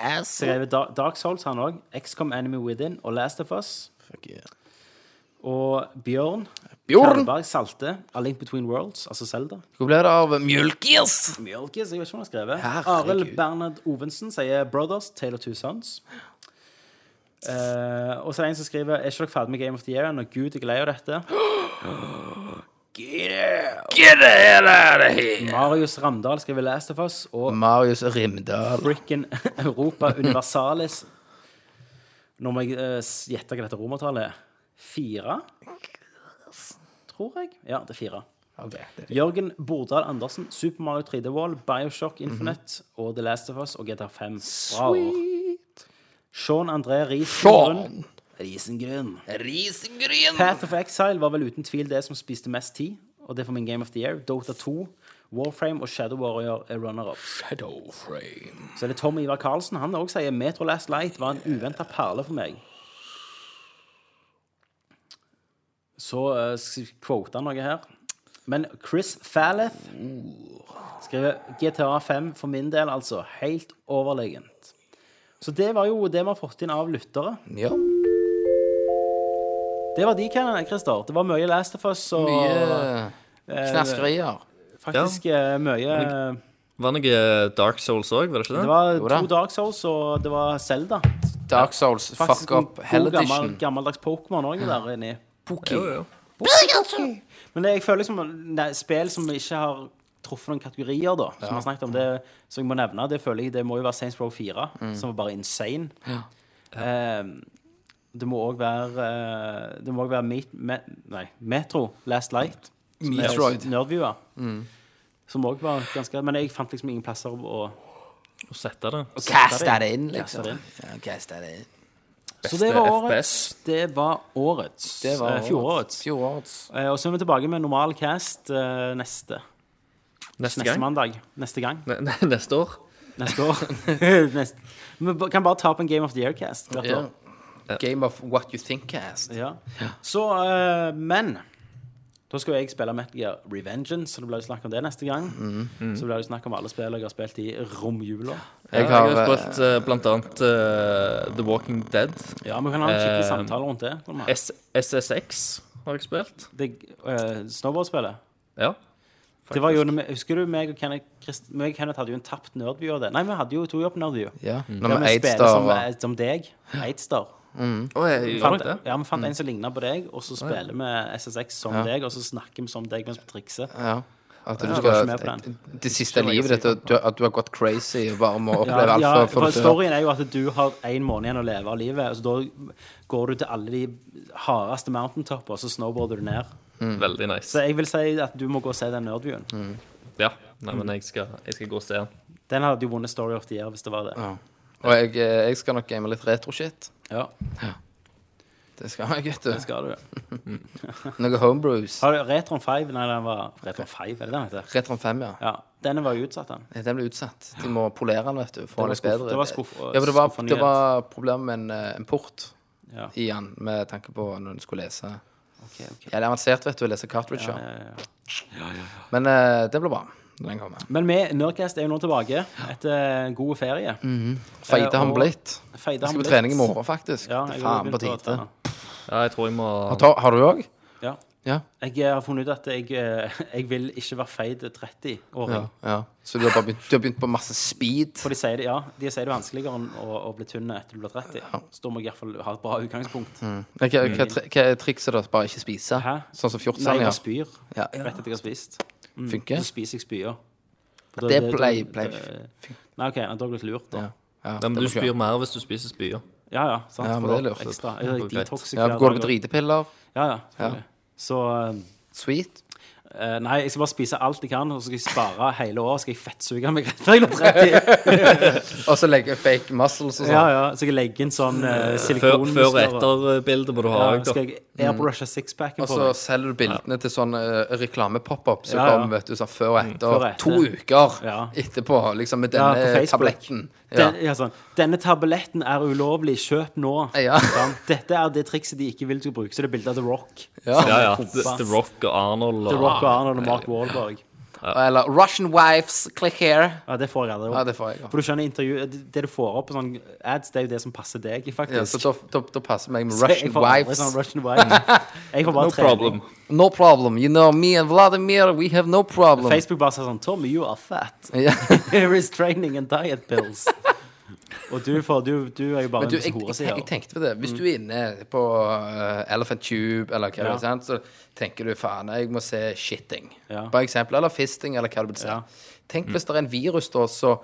Aase skrev Da- Dark Souls, han òg. XCOM Enemy Within og Last of Us. Fuck yeah. Og Bjørn Bjorn! Kalberg Salte, A Link Between Worlds, altså Zelda. Hvor ble det av Mjølkis? Mjølkis, jeg vet ikke hva han har skrevet. Herregud. Arild Bernhard Ovensen sier Brothers, Tale of Two Sons. Eh, og så er det en som skriver Er ikke dere ferdig med Game of the Year ennå? Gud, jeg er lei av dette. Get the hell out of here! Marius Ramdal skriver Last of Us, og Marius Rimdal. Fricken Europa Universalis Nå må jeg eh, s- gjette hva dette romertallet er. Fire? Tror jeg. Ja, det er fire. Jørgen Bordal Andersen, Super Mario 3D Wall, Bioshock Infinite og The Last of Us og GTA 5. Bra år. Sean André Risengrunn. Sean. Risengrunn. Risengryn. Path of Exile var vel uten tvil det som spiste mest tid, og det er for min Game of the Year. Dota 2, Warframe og Shadow Warrior er runner-ups. Shadowframe. Så er det Tom Ivar Karlsen. Han også sier Metro Last Light var en uventa perle for meg. Så uh, quoter han noe her. Men Chris Falleth skriver GTA 5 for min del, altså. Helt overlegent. Så det var jo det vi har fått inn av lyttere. Ja. Det var de, Ken- Christer. Det var mye Last of Us og Mye Eh, knaskerier. faktisk eh, mye Var det noe Dark Souls òg, var det ikke det? Det var Jo da. to Dark Souls, og det var Zelda. Dark Souls, Faktisk fuck up, en Hell god gammel, Edition. gammeldags Pokémon òg der inni. jo, jo. Men det, jeg føler liksom nei, spill som ikke har truffet noen kategorier, da, som vi har snakket om, det som jeg må nevne, det føler jeg det må jo være Saints Row 4, Mm. som var bare insane. Eh, det må òg være eh, Det må også være Meet, me, nei, Metro, Last Light, Metroid. Mm. Nerdviewer, som òg var ganske Men jeg fant liksom ingen plasser å Å sette det. Kasta det inn, Kasta liksom. det inn. Ja, kasta det inn. Så det var årets. FPS. Det var årets. Det var Eh, fjorårets. Fjorårets. Eh, Og så er vi tilbake med normal cast eh, neste. Neste Neste gang. mandag. Neste gang. Ne- ne- Neste år. Neste år. Neste. Vi ba- kan bare ta opp en Game of the Year-cast hvert Ja. år. eh, Game of What You Think Cast. Ja. Så, eh, men da skal jo jeg spille Metal Gear Revengeance, så det blir jo snakk om det neste gang. Så blir det jo snakk om alle spill jeg har spilt i romjula. Ja, Jeg jeg har har, jo spilt eh, blant annet eh, The Walking Dead. Ja, vi kan ha en skikkelig Eh, samtale rundt det. kan vi ha. S SSX har jeg spilt. det eh, Snowboardspillet. Ja. Det var jo, når vi- husker du meg og Kenneth, Christ, meg og Kenneth hadde jo en tapt nerdview av det? Nei, vi hadde jo to jobb nerdview. Mm. Ja, når Der vi vi spiller Eidstar som, var eh, som deg. Eidstar. Å, jeg gjorde fant, nok det. ja, vi Mm. fant en som ligna på deg, og så spiller vi SSX som deg, og så snakker vi som deg mens vi trikser. ja. At du jeg var ikke med på skal Det siste livet ditt, at du, at du har gått crazy og bare må oppleve Ja, alt ja, for- for for å dø. storyen er jo at du har én måned igjen å leve av livet. Så da går du til alle de hardeste mountaintopper, og så snowboarder du ned. Veldig nice. Så jeg vil si at du må gå og se den nerdviewen. Mm. Ja. Nei, men jeg skal, jeg skal gå og se den. Den hadde jo vunnet Story of the Year hvis det var det. Ja. Og jeg, eh, jeg skal nok game litt retro-shit. Ja, Det skal jeg, vet det du. skal du. Noe homebrews. Har du Retron 5? Nei, den var Retron 5, er det den heter? Retron 5, ja. Ja. Denne var jo utsatt, den. Den ble utsatt. De må polere den, vet du. Få var den litt skuff- bedre. det var skuff- ja, for det var, skuffende det var problem med en, eh, en port Ja. i den, med tanke på når du skulle lese Ok, ok. Ja, det er avansert, vet du, å lese Ja, cartridger. ja, ja. Men eh, det blir bra når den kommer. Men vi, Nerdcast er jo nå tilbake etter en god ferie. Feite Eh, han og- blitt. Feide Mm. Jeg han skal på litt. trening i morgen, faktisk. Ja, det jeg er har faen på begynt å tide. trene. Ja, jeg tror jeg må Tar- Har du òg? Ja. Ja. Jeg eh, har funnet ut at jeg, eh, jeg vil ikke være feit 30-åring. Ja, ja. Så du har, bare begynt, du har begynt på masse speed? For de sier det, ja, de sier det er vanskeligere enn å, å bli tynn etter du blir 30. Så da må jeg i hvert fall ha et bra utgangspunkt. Nei, Hva, hva, tri- hva er trikset da? Bare ikke spise? Mm. Hæ? Sånn som Nei, Mm. jeg 14-åringer? bare spyr Ja. rett etter jeg har spist. Funker? Så spiser jeg spyer. For da- Det da- play, da- play. Nei, OK, da har jeg blitt lurt, da. Ja. Ja, Nei, men det du må spyr mer hvis du spiser spyer. Ja ja. sant, Ja, men for det da- er lurt. Ekstra. Det er jo greit. Detox i Ja, flere går du på dager. dritepiller? Ja ja. selvfølgelig. Så eh, Sweet? Eh, nei, jeg skal bare spise alt jeg kan, og så skal jeg spare hele året. Skal jeg fettsuge meg rett før jeg blir 30? Og så legger jeg fake muscles og sånn. Ja, ja, så skal jeg legge inn sånn uh, Før, før og silikonmuskler. etter-bildet må du ha. Ja, jeg, da. skal jeg airbrushe sixpacken Mm. Og på så meg? selger du bildene til sånn eh, reklamepop-up som Ja, ja. kom vet du, sånn før og etter. før og etter. To uker Ja. etterpå, liksom, med Ja, denne på Facebook. tabletten. Ja. Den, ja, sånn. Denne tabletten er ulovlig, kjøp nå. Ja. Sånn. Dette er det trikset de ikke vil du skal bruke. Så det er bilde av The Rock. Ja, ja. Kompas. The, The Rock og Arnold og The Rock og Arnold og Mark Wahlberg. Eller Russian wives, click here. Ja, det får jeg aldri Ja, opp. det får jeg. Ja. For du skjønner, intervju, det- det du får opp på sånn ads, det er jo det som passer deg, faktisk. Ja, så da, da, da passer meg med Så jeg Russian får aldri wives. Sånn Russian wives. Jeg får bare No problem. trening. No problem. You know me and Vladimir, we have no problem. Facebook bare sier sånn Tommy, you are fat. Ja. Here is training and diet pills. Og du, får, du, du er jo bare Men du, en jeg, hore, jeg, sier Mm. jeg tenkte på det. Hvis du er inne på eh, Elephant Tube eller hva det Ja. er, sant, så tenker du faen, jeg må se shitting. Ja. Bare eksempel. Eller fisting, eller hva du vil si. Ja. Mm. Tenk hvis det er en virus, da, så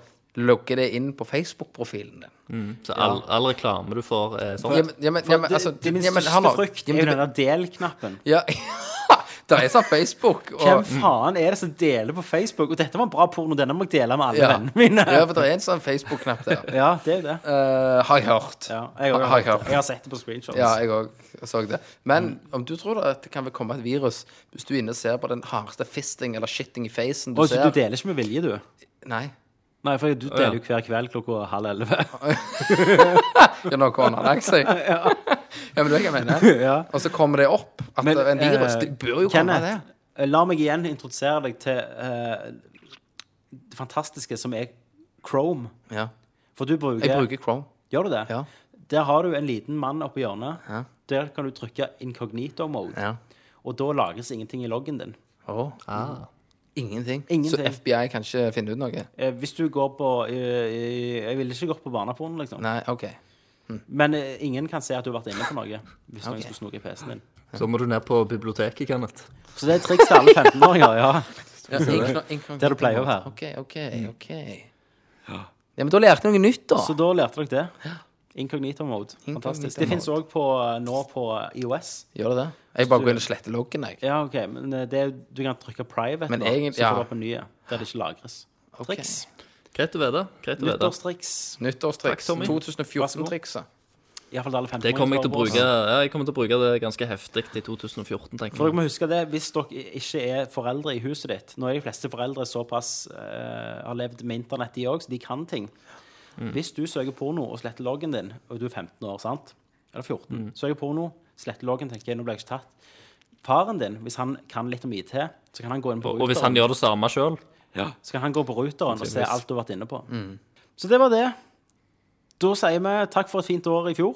logger det inn på Facebook-profilen din. Så all, all reklame du får, er sånn. Ja, men, ja, men, ja, men, altså, det, det er min ja, men, største han har- frykt ja, er jo men, den der del-knappen. Ja, det er sånn Facebook. Og, Hvem faen er det som deler på Facebook? Og dette var en bra porno, denne må jeg dele med alle ja. vennene mine. Ja, for det er en sånn Facebook-knapp der. Ja, det er jo det. Eh, har jeg hørt. Ja, jeg, Har har, jeg hørt. jeg har sett det på screenshots. Ja, jeg òg så det. Men Mm. om du tror da at det kan vel komme et virus hvis du er inne og ser på den hardeste fisting eller shitting i facen du Oi, så ser du deler ikke med vilje, du? Nei. Nei, for du deler jo hver kveld klokka halv elleve. Ja, nå kommer han lagt seg. ja. men du vet hva jeg mener. Ja. Og så kommer det opp at Men, det er en virus. eh, Det bør jo komme, Kenneth, det. eh, la meg igjen introdusere deg til eh, det fantastiske som er Chrome. Ja. For du bruker, Jeg bruker Chrome. Gjør du det? Ja. Der har du en liten mann oppi hjørnet. Ja. Der kan du trykke incognito mode, Ja. og da lagres ingenting i loggen din. Å. Ah. Ingenting. Ingenting. Så FBI kan ikke finne ut noe? Eh, hvis du går på eh, eh, Jeg ville ikke gått på barneporno, liksom. Nei, OK. Men eh, ingen kan se at du har vært inne på noe. Hvis Ok. noen skulle snoke i PC-en din. Så må du ned på biblioteket, Kenneth. Så det er et triks til alle 15-åringer. ja. Ja, inkno- inkno- Der du pleier å være. Mm. OK, OK, OK. Ja, men da lærte jeg noe nytt, da. Så da lærte dere det. Incognito mode. Fantastisk. Incognito Det fins mode. òg nå på IOS. Gjør det det? Jeg bare går inn og sletter loggen, jeg. Ja, OK, men eh, det, er- du kan trykke private, Men nå, egentlig- så ja. får du opp en ny der det ikke lagres. Ok. Triks. Greit å vite. Greit å vite. Nyttårstriks. Nyttårstriks. Takk, Tommy. Vær 2014-trikset. Iallfall alle 15 Det kommer jeg til å bruke ja, jeg kommer til å bruke det ganske heftig i 2014, For tenker dere jeg. må huske det, Hvis dere ikke er foreldre i huset ditt Nå er de fleste foreldre såpass eh, har levd med internett, de òg, så de kan ting. Mm. Hvis du søker porno og sletter loggen din, og du er 15 år, sant? eller 14, Mm. søker porno, sletter loggen, tenker jeg, nå ble jeg ikke tatt. Faren din, hvis han kan litt om IT, så kan han gå inn på Og hvis han gjør det samme sjøl så kan han gå på routeren og se alt du har vært inne på. Mm. Så det var det. Da sier vi takk for et fint år i fjor.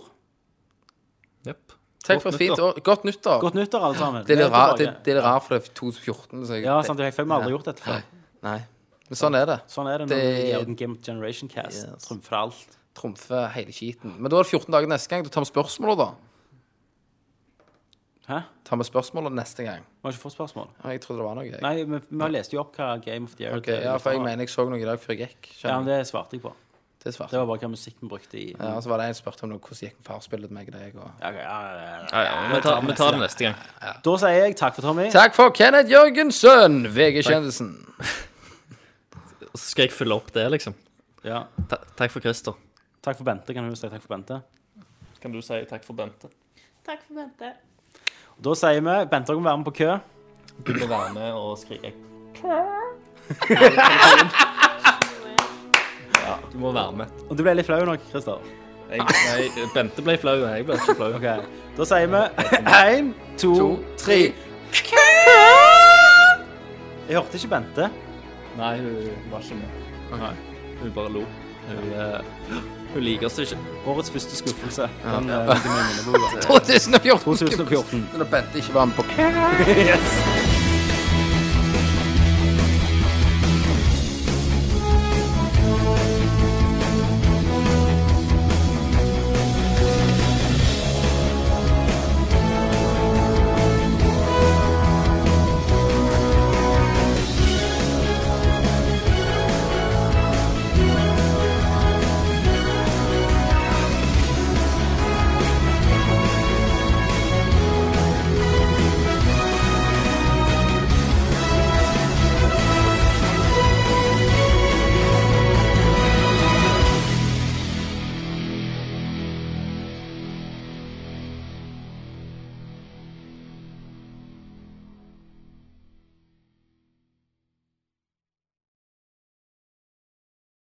Takk for et fint år. Godt nyttår. Godt nyttår, alle sammen. Det er litt Vi rart, det, tilbake. det er litt rart for det er 2014. Så jeg, Ja, sant, jeg føler vi har aldri gjort dette før. Nei. Men sånn er det. Sånn er det når det... Det- Game, Game Generation Cast Yes. trumfer alt. Trumfe hele skiten. Men da er det 14 dager neste gang. Da tar vi spørsmålet, da. Hæ? Tar vi spørsmålet neste gang. Vi har ikke fått spørsmål. Ja, Jeg trodde det var noe. Jeg. Nei, men vi har lest jo opp hva Game of the Year Ok, ja, for jeg mener jeg så noe i dag før jeg gikk. Ja, men Skjønner. det svarte jeg på. Det er svart. Det var bare hva musikk vi brukte i Ja, og så var det en som spurte om noe, hvordan gikk farspillet med meg og deg. Og... Ja, ok, ja, ja, ja. ja, ja, vi, tar- vi tar det neste gang. Da sier jeg takk for Tommy. Takk for Kenneth Jørgensen, VG-kjendisen. Og så skal jeg følge opp det, liksom. Ja. Ta takk for Christer. Takk for Bente. Kan du si takk for Bente? Kan du si takk for Bente? Takk for Bente. Da sier vi Bente dere må være med på kø. Du må være med og skrike. Ja, du må være med. Og du ble litt flau nå, Christer. Jeg, nei, Bente ble flau, jeg ble ikke flau. Ok. Da sier vi én, to To, tre. Jeg hørte ikke Bente. Nei, hun var ikke med. Nei, hun bare lo. Hun, eh, hun liker oss ikke. Årets første skuffelse. Den, eh, ligger meg i minneboka. 2014. 2014. Når Bente ikke var med på Yes.